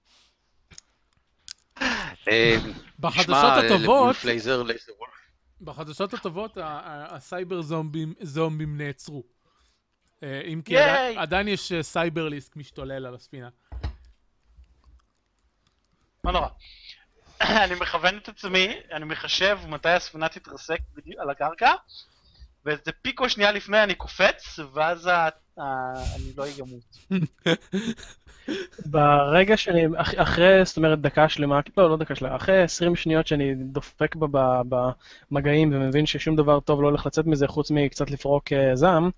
אה, בחדשות שמע, אה, הטובות, וולף לייזר, לייזר וולף. בחדשות הטובות ה- ה- הסייבר זומבים, זומבים נעצרו. אה, אם כי ייי! עדיין, עדיין יש אה, סייברליסק משתולל על הספינה. לא נורא. [CLEARS THROAT] אני מכוון את עצמי, אני מחשב מתי הספינה תתרסק בדיוק על הקרקע, ואיזה פיקו שנייה לפני אני קופץ, ואז ה- ה- אני לא [LAUGHS] אגמות. ברגע שאני, אח- אחרי, זאת אומרת, דקה שלמה, לא, לא דקה שלמה, אחרי 20 שניות שאני דופק בה ב- במגעים ומבין ששום דבר טוב לא הולך לצאת מזה חוץ מקצת לפרוק אה, זעם,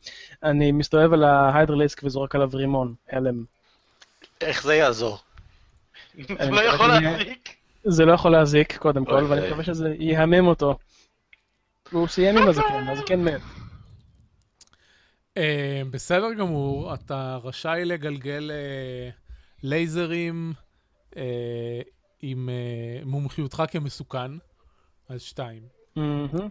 אני מסתובב על ההיידרליסק וזורק עליו רימון, הלם. איך זה יעזור? זה לא מקווה יכול שאני- להחזיק. זה לא יכול להזיק, קודם כל, אוי, ואני אוי. מקווה שזה יהמם אותו. והוא סיים עם אוקיי. הזקן, הזקן מת. אה, בסדר גמור, אתה רשאי לגלגל אה, לייזרים אה, עם אה, מומחיותך כמסוכן, אז שתיים. מהמם.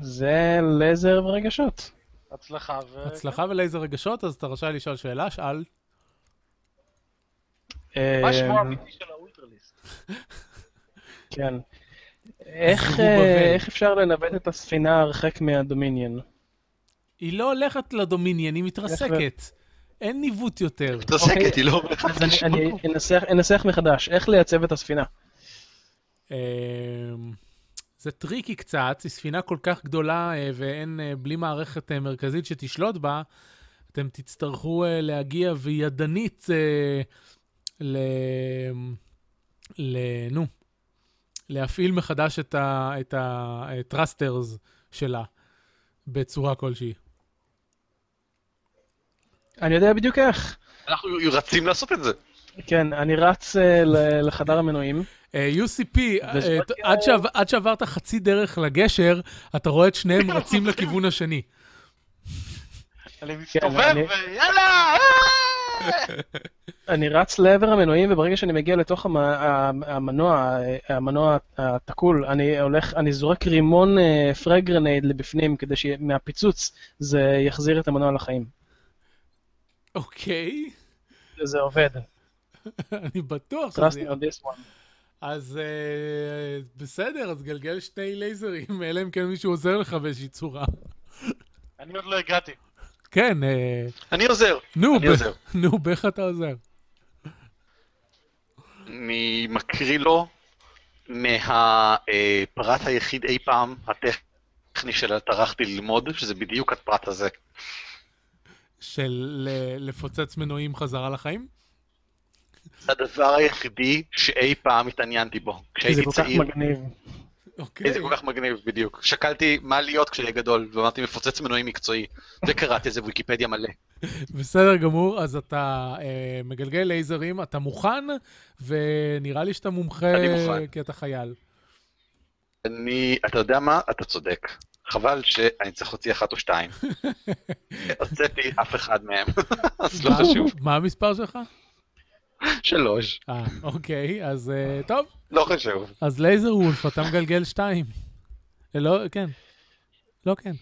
זה לייזר ורגשות. הצלחה ו... הצלחה ולייזר רגשות, אז אתה רשאי לשאול שאלה, שאל. מה שמו אה, האמיתי של האולטרליסט? כן. איך, זירו אה, בבל. איך אפשר לנווט את הספינה הרחק מהדומיניון? היא לא הולכת לדומיניאן, היא מתרסקת. אין ניווט יותר. מתרסקת, היא לא... אוקיי. אז אני, אני אנסח, אנסח מחדש, איך לייצב את הספינה? אמ, זה טריקי קצת, היא ספינה כל כך גדולה אה, ואין, אה, בלי מערכת אה, מרכזית שתשלוט בה, אתם תצטרכו אה, להגיע וידנית אה, ל... ל... נו, להפעיל מחדש את ה- את הטרסטרס שלה בצורה כלשהי. אני יודע בדיוק איך. אנחנו רצים לעשות את זה. כן, אני רץ אה, ל- לחדר המנועים. אה, UCP, אה, ת- עד שעב- עד שעברת חצי דרך לגשר, אתה רואה את שניהם רצים לכיוון השני. אני מסתובב כן, אני- ויאללה! אה! אני רץ לעבר המנועים, וברגע שאני מגיע לתוך המ... המ- המנוע, אה, המנוע התקול, אני הולך, אני זורק רימון אה, פרגרנייד לבפנים, כדי שמהפיצוץ זה יחזיר את המנוע לחיים. אוקיי. זה עובד. אני בטוח Trust שזה me יהיה. on this one. אז אה, בסדר, אז גלגל שני לייזרים, [LAUGHS] אלא אם כן מישהו עוזר לך באיזושהי צורה. אני עוד לא הגעתי. כן, אה, אני עוזר. נו, אני ב- עוזר. [LAUGHS] נו, באיך אתה עוזר? אני מקריא לו מהפרט היחיד אי פעם, הטכני של טרחתי ללמוד, שזה בדיוק הפרט הזה. של ל- לפוצץ מנועים חזרה לחיים? זה הדבר היחידי שאי פעם התעניינתי בו. כי זה כשהייתי כל כך צעיר, מגניב. אוקיי. זה כל כך מגניב, בדיוק. שקלתי מה להיות כשאני גדול, ואמרתי מפוצץ מנועים מקצועי, וקראתי את זה בוויקיפדיה מלא. בסדר גמור, אז אתה אה, מגלגל לייזרים, אתה מוכן, ונראה לי שאתה מומחה, אני מוכן. כי אתה חייל. אני, אתה יודע מה? אתה צודק. חבל שאני צריך להוציא אחת או [LAUGHS] שתיים. הוצאתי אף אחד מהם, אז לא מה- חשוב. מה המספר שלך? שלוש, אה, אוקיי, אז אה, טוב. לא חשוב. אז לייזר וולף, אתה מגלגל שתיים. אה, לא, כן. לא כן.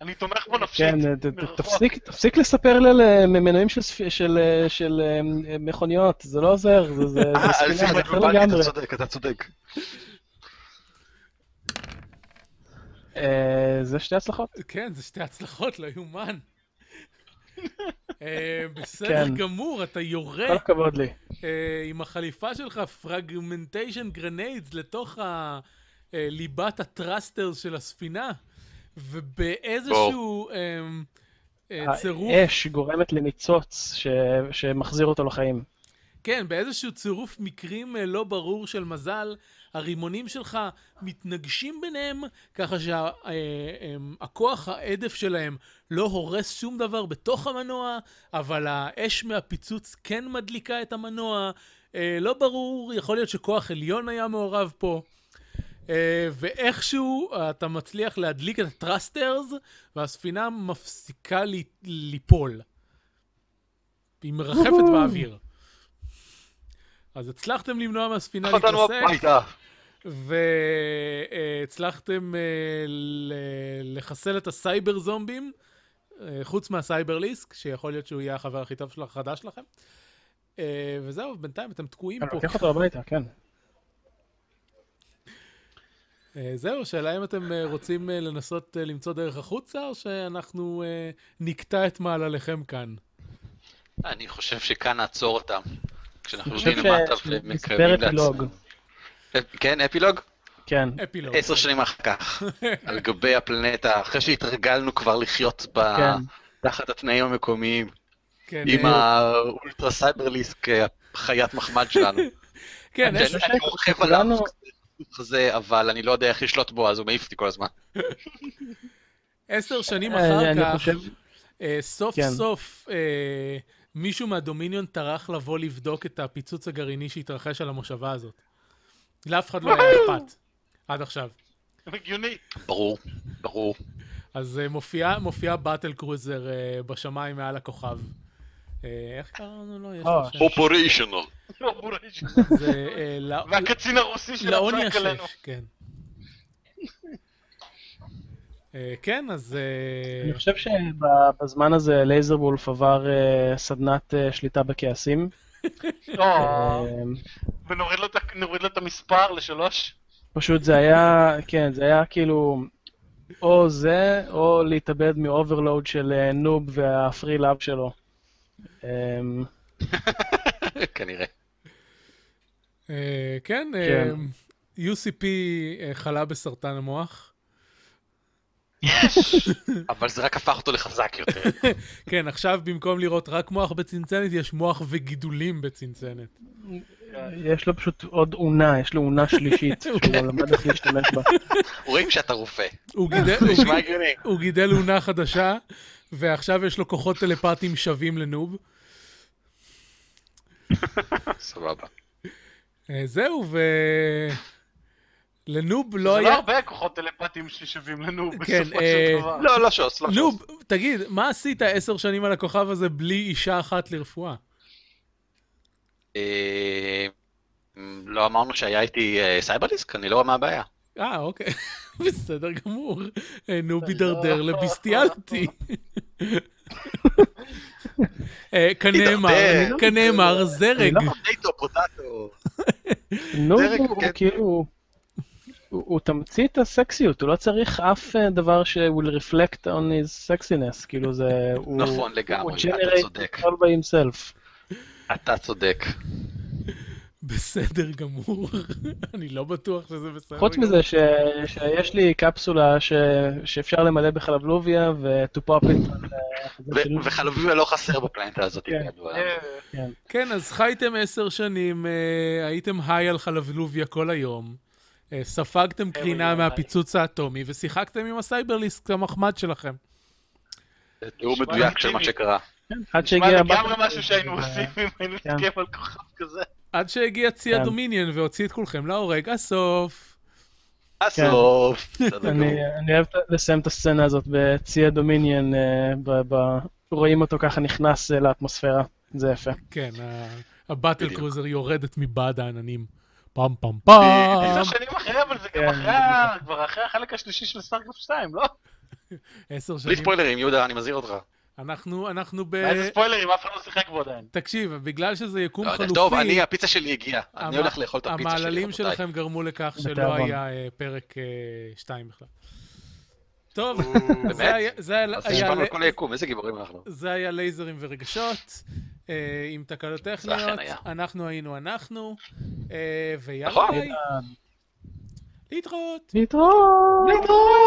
אני תומך בו נפשית. כן, ת- ת- מרחוק. תפסיק- תפסיק לספר לי על אה, מנועים של ספ- של, אה, של אה, מכוניות, זה לא עוזר, זה- זה זה אה, אני צריך ספינה, זה אחר לגלובלי, לגמרי. אתה צודק, אתה צודק. אה, זה שתי הצלחות. כן, זה שתי הצלחות, לא יאומן. אה, בסדר כן. גמור, אתה כל יורה הכבוד לי. אה, עם החליפה שלך, פרגמנטיישן גרניידס, לתוך ה- אה, ליבת הטרסטר של הספינה, ובאיזשהו אמ, אה, צירוף, האש גורמת לניצוץ ש- שמחזיר אותו לחיים. כן, באיזשהו צירוף מקרים אה, לא ברור של מזל, הרימונים שלך מתנגשים ביניהם, ככה שהכוח העדף שלהם לא הורס שום דבר בתוך המנוע, אבל האש מהפיצוץ כן מדליקה את המנוע. אה, לא ברור, יכול להיות שכוח עליון היה מעורב פה. אה, ואיכשהו אתה מצליח להדליק את הטרסטרס, והספינה מפסיקה לי- ליפול. היא מרחפת באוויר. אז הצלחתם למנוע מהספינה קח אותנו להתרסק. הביתה. והצלחתם אה, לחסל את הסייבר זומבים, אה, חוץ מהסייבר ליסק, שיכול להיות שהוא יהיה החבר הכי טוב של- החדש שלכם. אה, וזהו, בינתיים אתם תקועים אני פה. לוקח אותו הביתה, כן. אה, זהו, השאלה אם אתם אה, רוצים אה, לנסות אה, למצוא דרך החוצה, או שאנחנו אה, נקטע את מעלליכם כאן. אני חושב שכאן נעצור אותם. כשאנחנו אני חושב יורדים למטה ומקרבים שנספר אפילוג. לעצמנו. כן, אפילוג? כן. אפילוג. עשר שנים אחר [LAUGHS] כך, על גבי הפלנטה, אחרי שהתרגלנו כבר לחיות אה, ב- כן. תחת התנאים המקומיים, כן, עם אה, האולטרה סייברליסק, חיית מחמד שלנו. כן, אני יש- אני רוכב עליו כולנו- כזה, אבל אני לא יודע איך לשלוט בו, אז הוא מעיף אותי כל הזמן. עשר שנים אה, אחר אני כך, חושב- אה, סוף כן. סוף אה, מישהו מהדומיניון טרח לבוא לבדוק את הפיצוץ הגרעיני שהתרחש על המושבה הזאת. לאף אחד לא היה אכפת, עד עכשיו. [LAUGHS] הגיוני. [LAUGHS] ברור, [LAUGHS] ברור. אז אה, מופיעה מופיע באטל קרוזר אה, בשמיים מעל הכוכב. אה, איך קראנו לו? יש לו אה, שם. אופוריישנל. לא זה, אה, לא- [LAUGHS] והקצין הרוסי שלה לעוני צועק עלינו. השש, כן. אה, כן, אז... אה, אני חושב שבזמן הזה לייזר וולף עבר אה, סדנת אה, שליטה בכעסים. לא, אה, ונוריד לו את ה- נוריד לו את המספר לשלוש. פשוט זה היה, כן, זה היה כאילו או זה, או להתאבד מאוברלואוד של אה, נוב והפרי לאב שלו. אמ, [LAUGHS] כנראה. אה, כן, כן. אה, UCP אה, חלה בסרטן המוח. יש! אבל זה רק הפך אותו לחזק יותר. כן, עכשיו במקום לראות רק מוח בצנצנת, יש מוח וגידולים בצנצנת. יש לו פשוט עוד אונה, יש לו אונה שלישית, שהוא למד איך להשתמש בה. רואים שאתה רופא. הוא גידל, הוא, נשמע גידל, הגיוני. הוא גידל אונה חדשה, ועכשיו יש לו כוחות טלפטיים שווים לנוב. [LAUGHS] סבבה. אה, זהו, ו... לנוב לא זה לא היה... הרבה הכוחות טלפטיים שלי שווים לנו כן, בסופו אה, של דבר. לא, לא שוס, לא שוס. נוב, תגיד, מה עשית עשר שנים על הכוכב הזה בלי אישה אחת לרפואה? אה, לא אמרנו שהיה איתי אה, סייברליסק? אני לא רואה מה הבעיה. אה, אוקיי, [LAUGHS] בסדר גמור. אה, נוב הידרדר לביסטיאליטי. [LAUGHS] אה, כנאמר, הידרדר. כנאמר זרג. אני לא- פוטטו, פוטטו. נו, דרג, הוא כן. כאילו... הוא הוא תמצית הסקסיות, הוא לא צריך אף אה, דבר ש- will reflect on his sexiness, כאילו זה... הוא- נכון לגמרי, הוא אתה generate צודק. all by himself. אתה צודק. בסדר גמור. [LAUGHS] אני לא בטוח שזה בסדר. חוץ גמור. מזה ש... שיש לי קפסולה ש... שאפשר למלא בחלבלוביה ו-to pop it אה, על החזה שלי. ו- וחלביה לא חסר בפלנטה הזאת. כן. כידוע. אה, כן, אז חייתם עשר שנים, אה, הייתם היי על חלבלוביה כל היום, אה, ספגתם קרינה היי. מהפיצוץ האטומי, ושיחקתם עם הסייברליסק המחמד שלכם. זה תיאור נשמע מדויק של מה לגיטימי. שקרה. עד נשמע שהגיע... לגמרי הבת- משהו שהיינו עושים אם היינו אה, כן. נתקף על כוכב כזה. עד שהגיע צי כן. הדומיניאן והוציא את כולכם להורג, הסוף. הסוף. כן. בסדר גמור. אה, אני, אני אוהב את- לסיים את הסצנה הזאת בצי הדומיניאן, אה, ב, ב, רואים אותו ככה נכנס אה, לאטמוספירה, זה יפה. כן, ה- הבטל בדיוק. קרוזר יורדת מבעד העננים. פעם פעם פעם. עשר שנים אחרי, אבל זה גם כן, אחרי ה- כבר אחרי החלק השלישי של סטארקרפט 2, לא? עשר בלי שנים. ספוילרים, יהודה, אני מזהיר אותך. אנחנו, אנחנו ב... איזה ספוילרים, אף אחד לא שיחק בו עדיין. תקשיב, בגלל שזה יקום לא יודע, חלופי... טוב, אני, הפיצה שלי הגיעה. המ- אני הולך לאכול את הפיצה שלי. המעללים רבותיי. שלכם גרמו לכך שלא בתיאבון. היה אה, פרק 2 בכלל. טוב, באמת? זה היה- זה היה- אז היה נשמענו ל- על כל היקום, איזה גיבורים אנחנו. זה היה לייזרים ורגשות, אה, עם תקלות טכניות, היה. אנחנו היינו אנחנו, אה, ויאללה נכון. ביי, להתראות. להתראות! להתראות.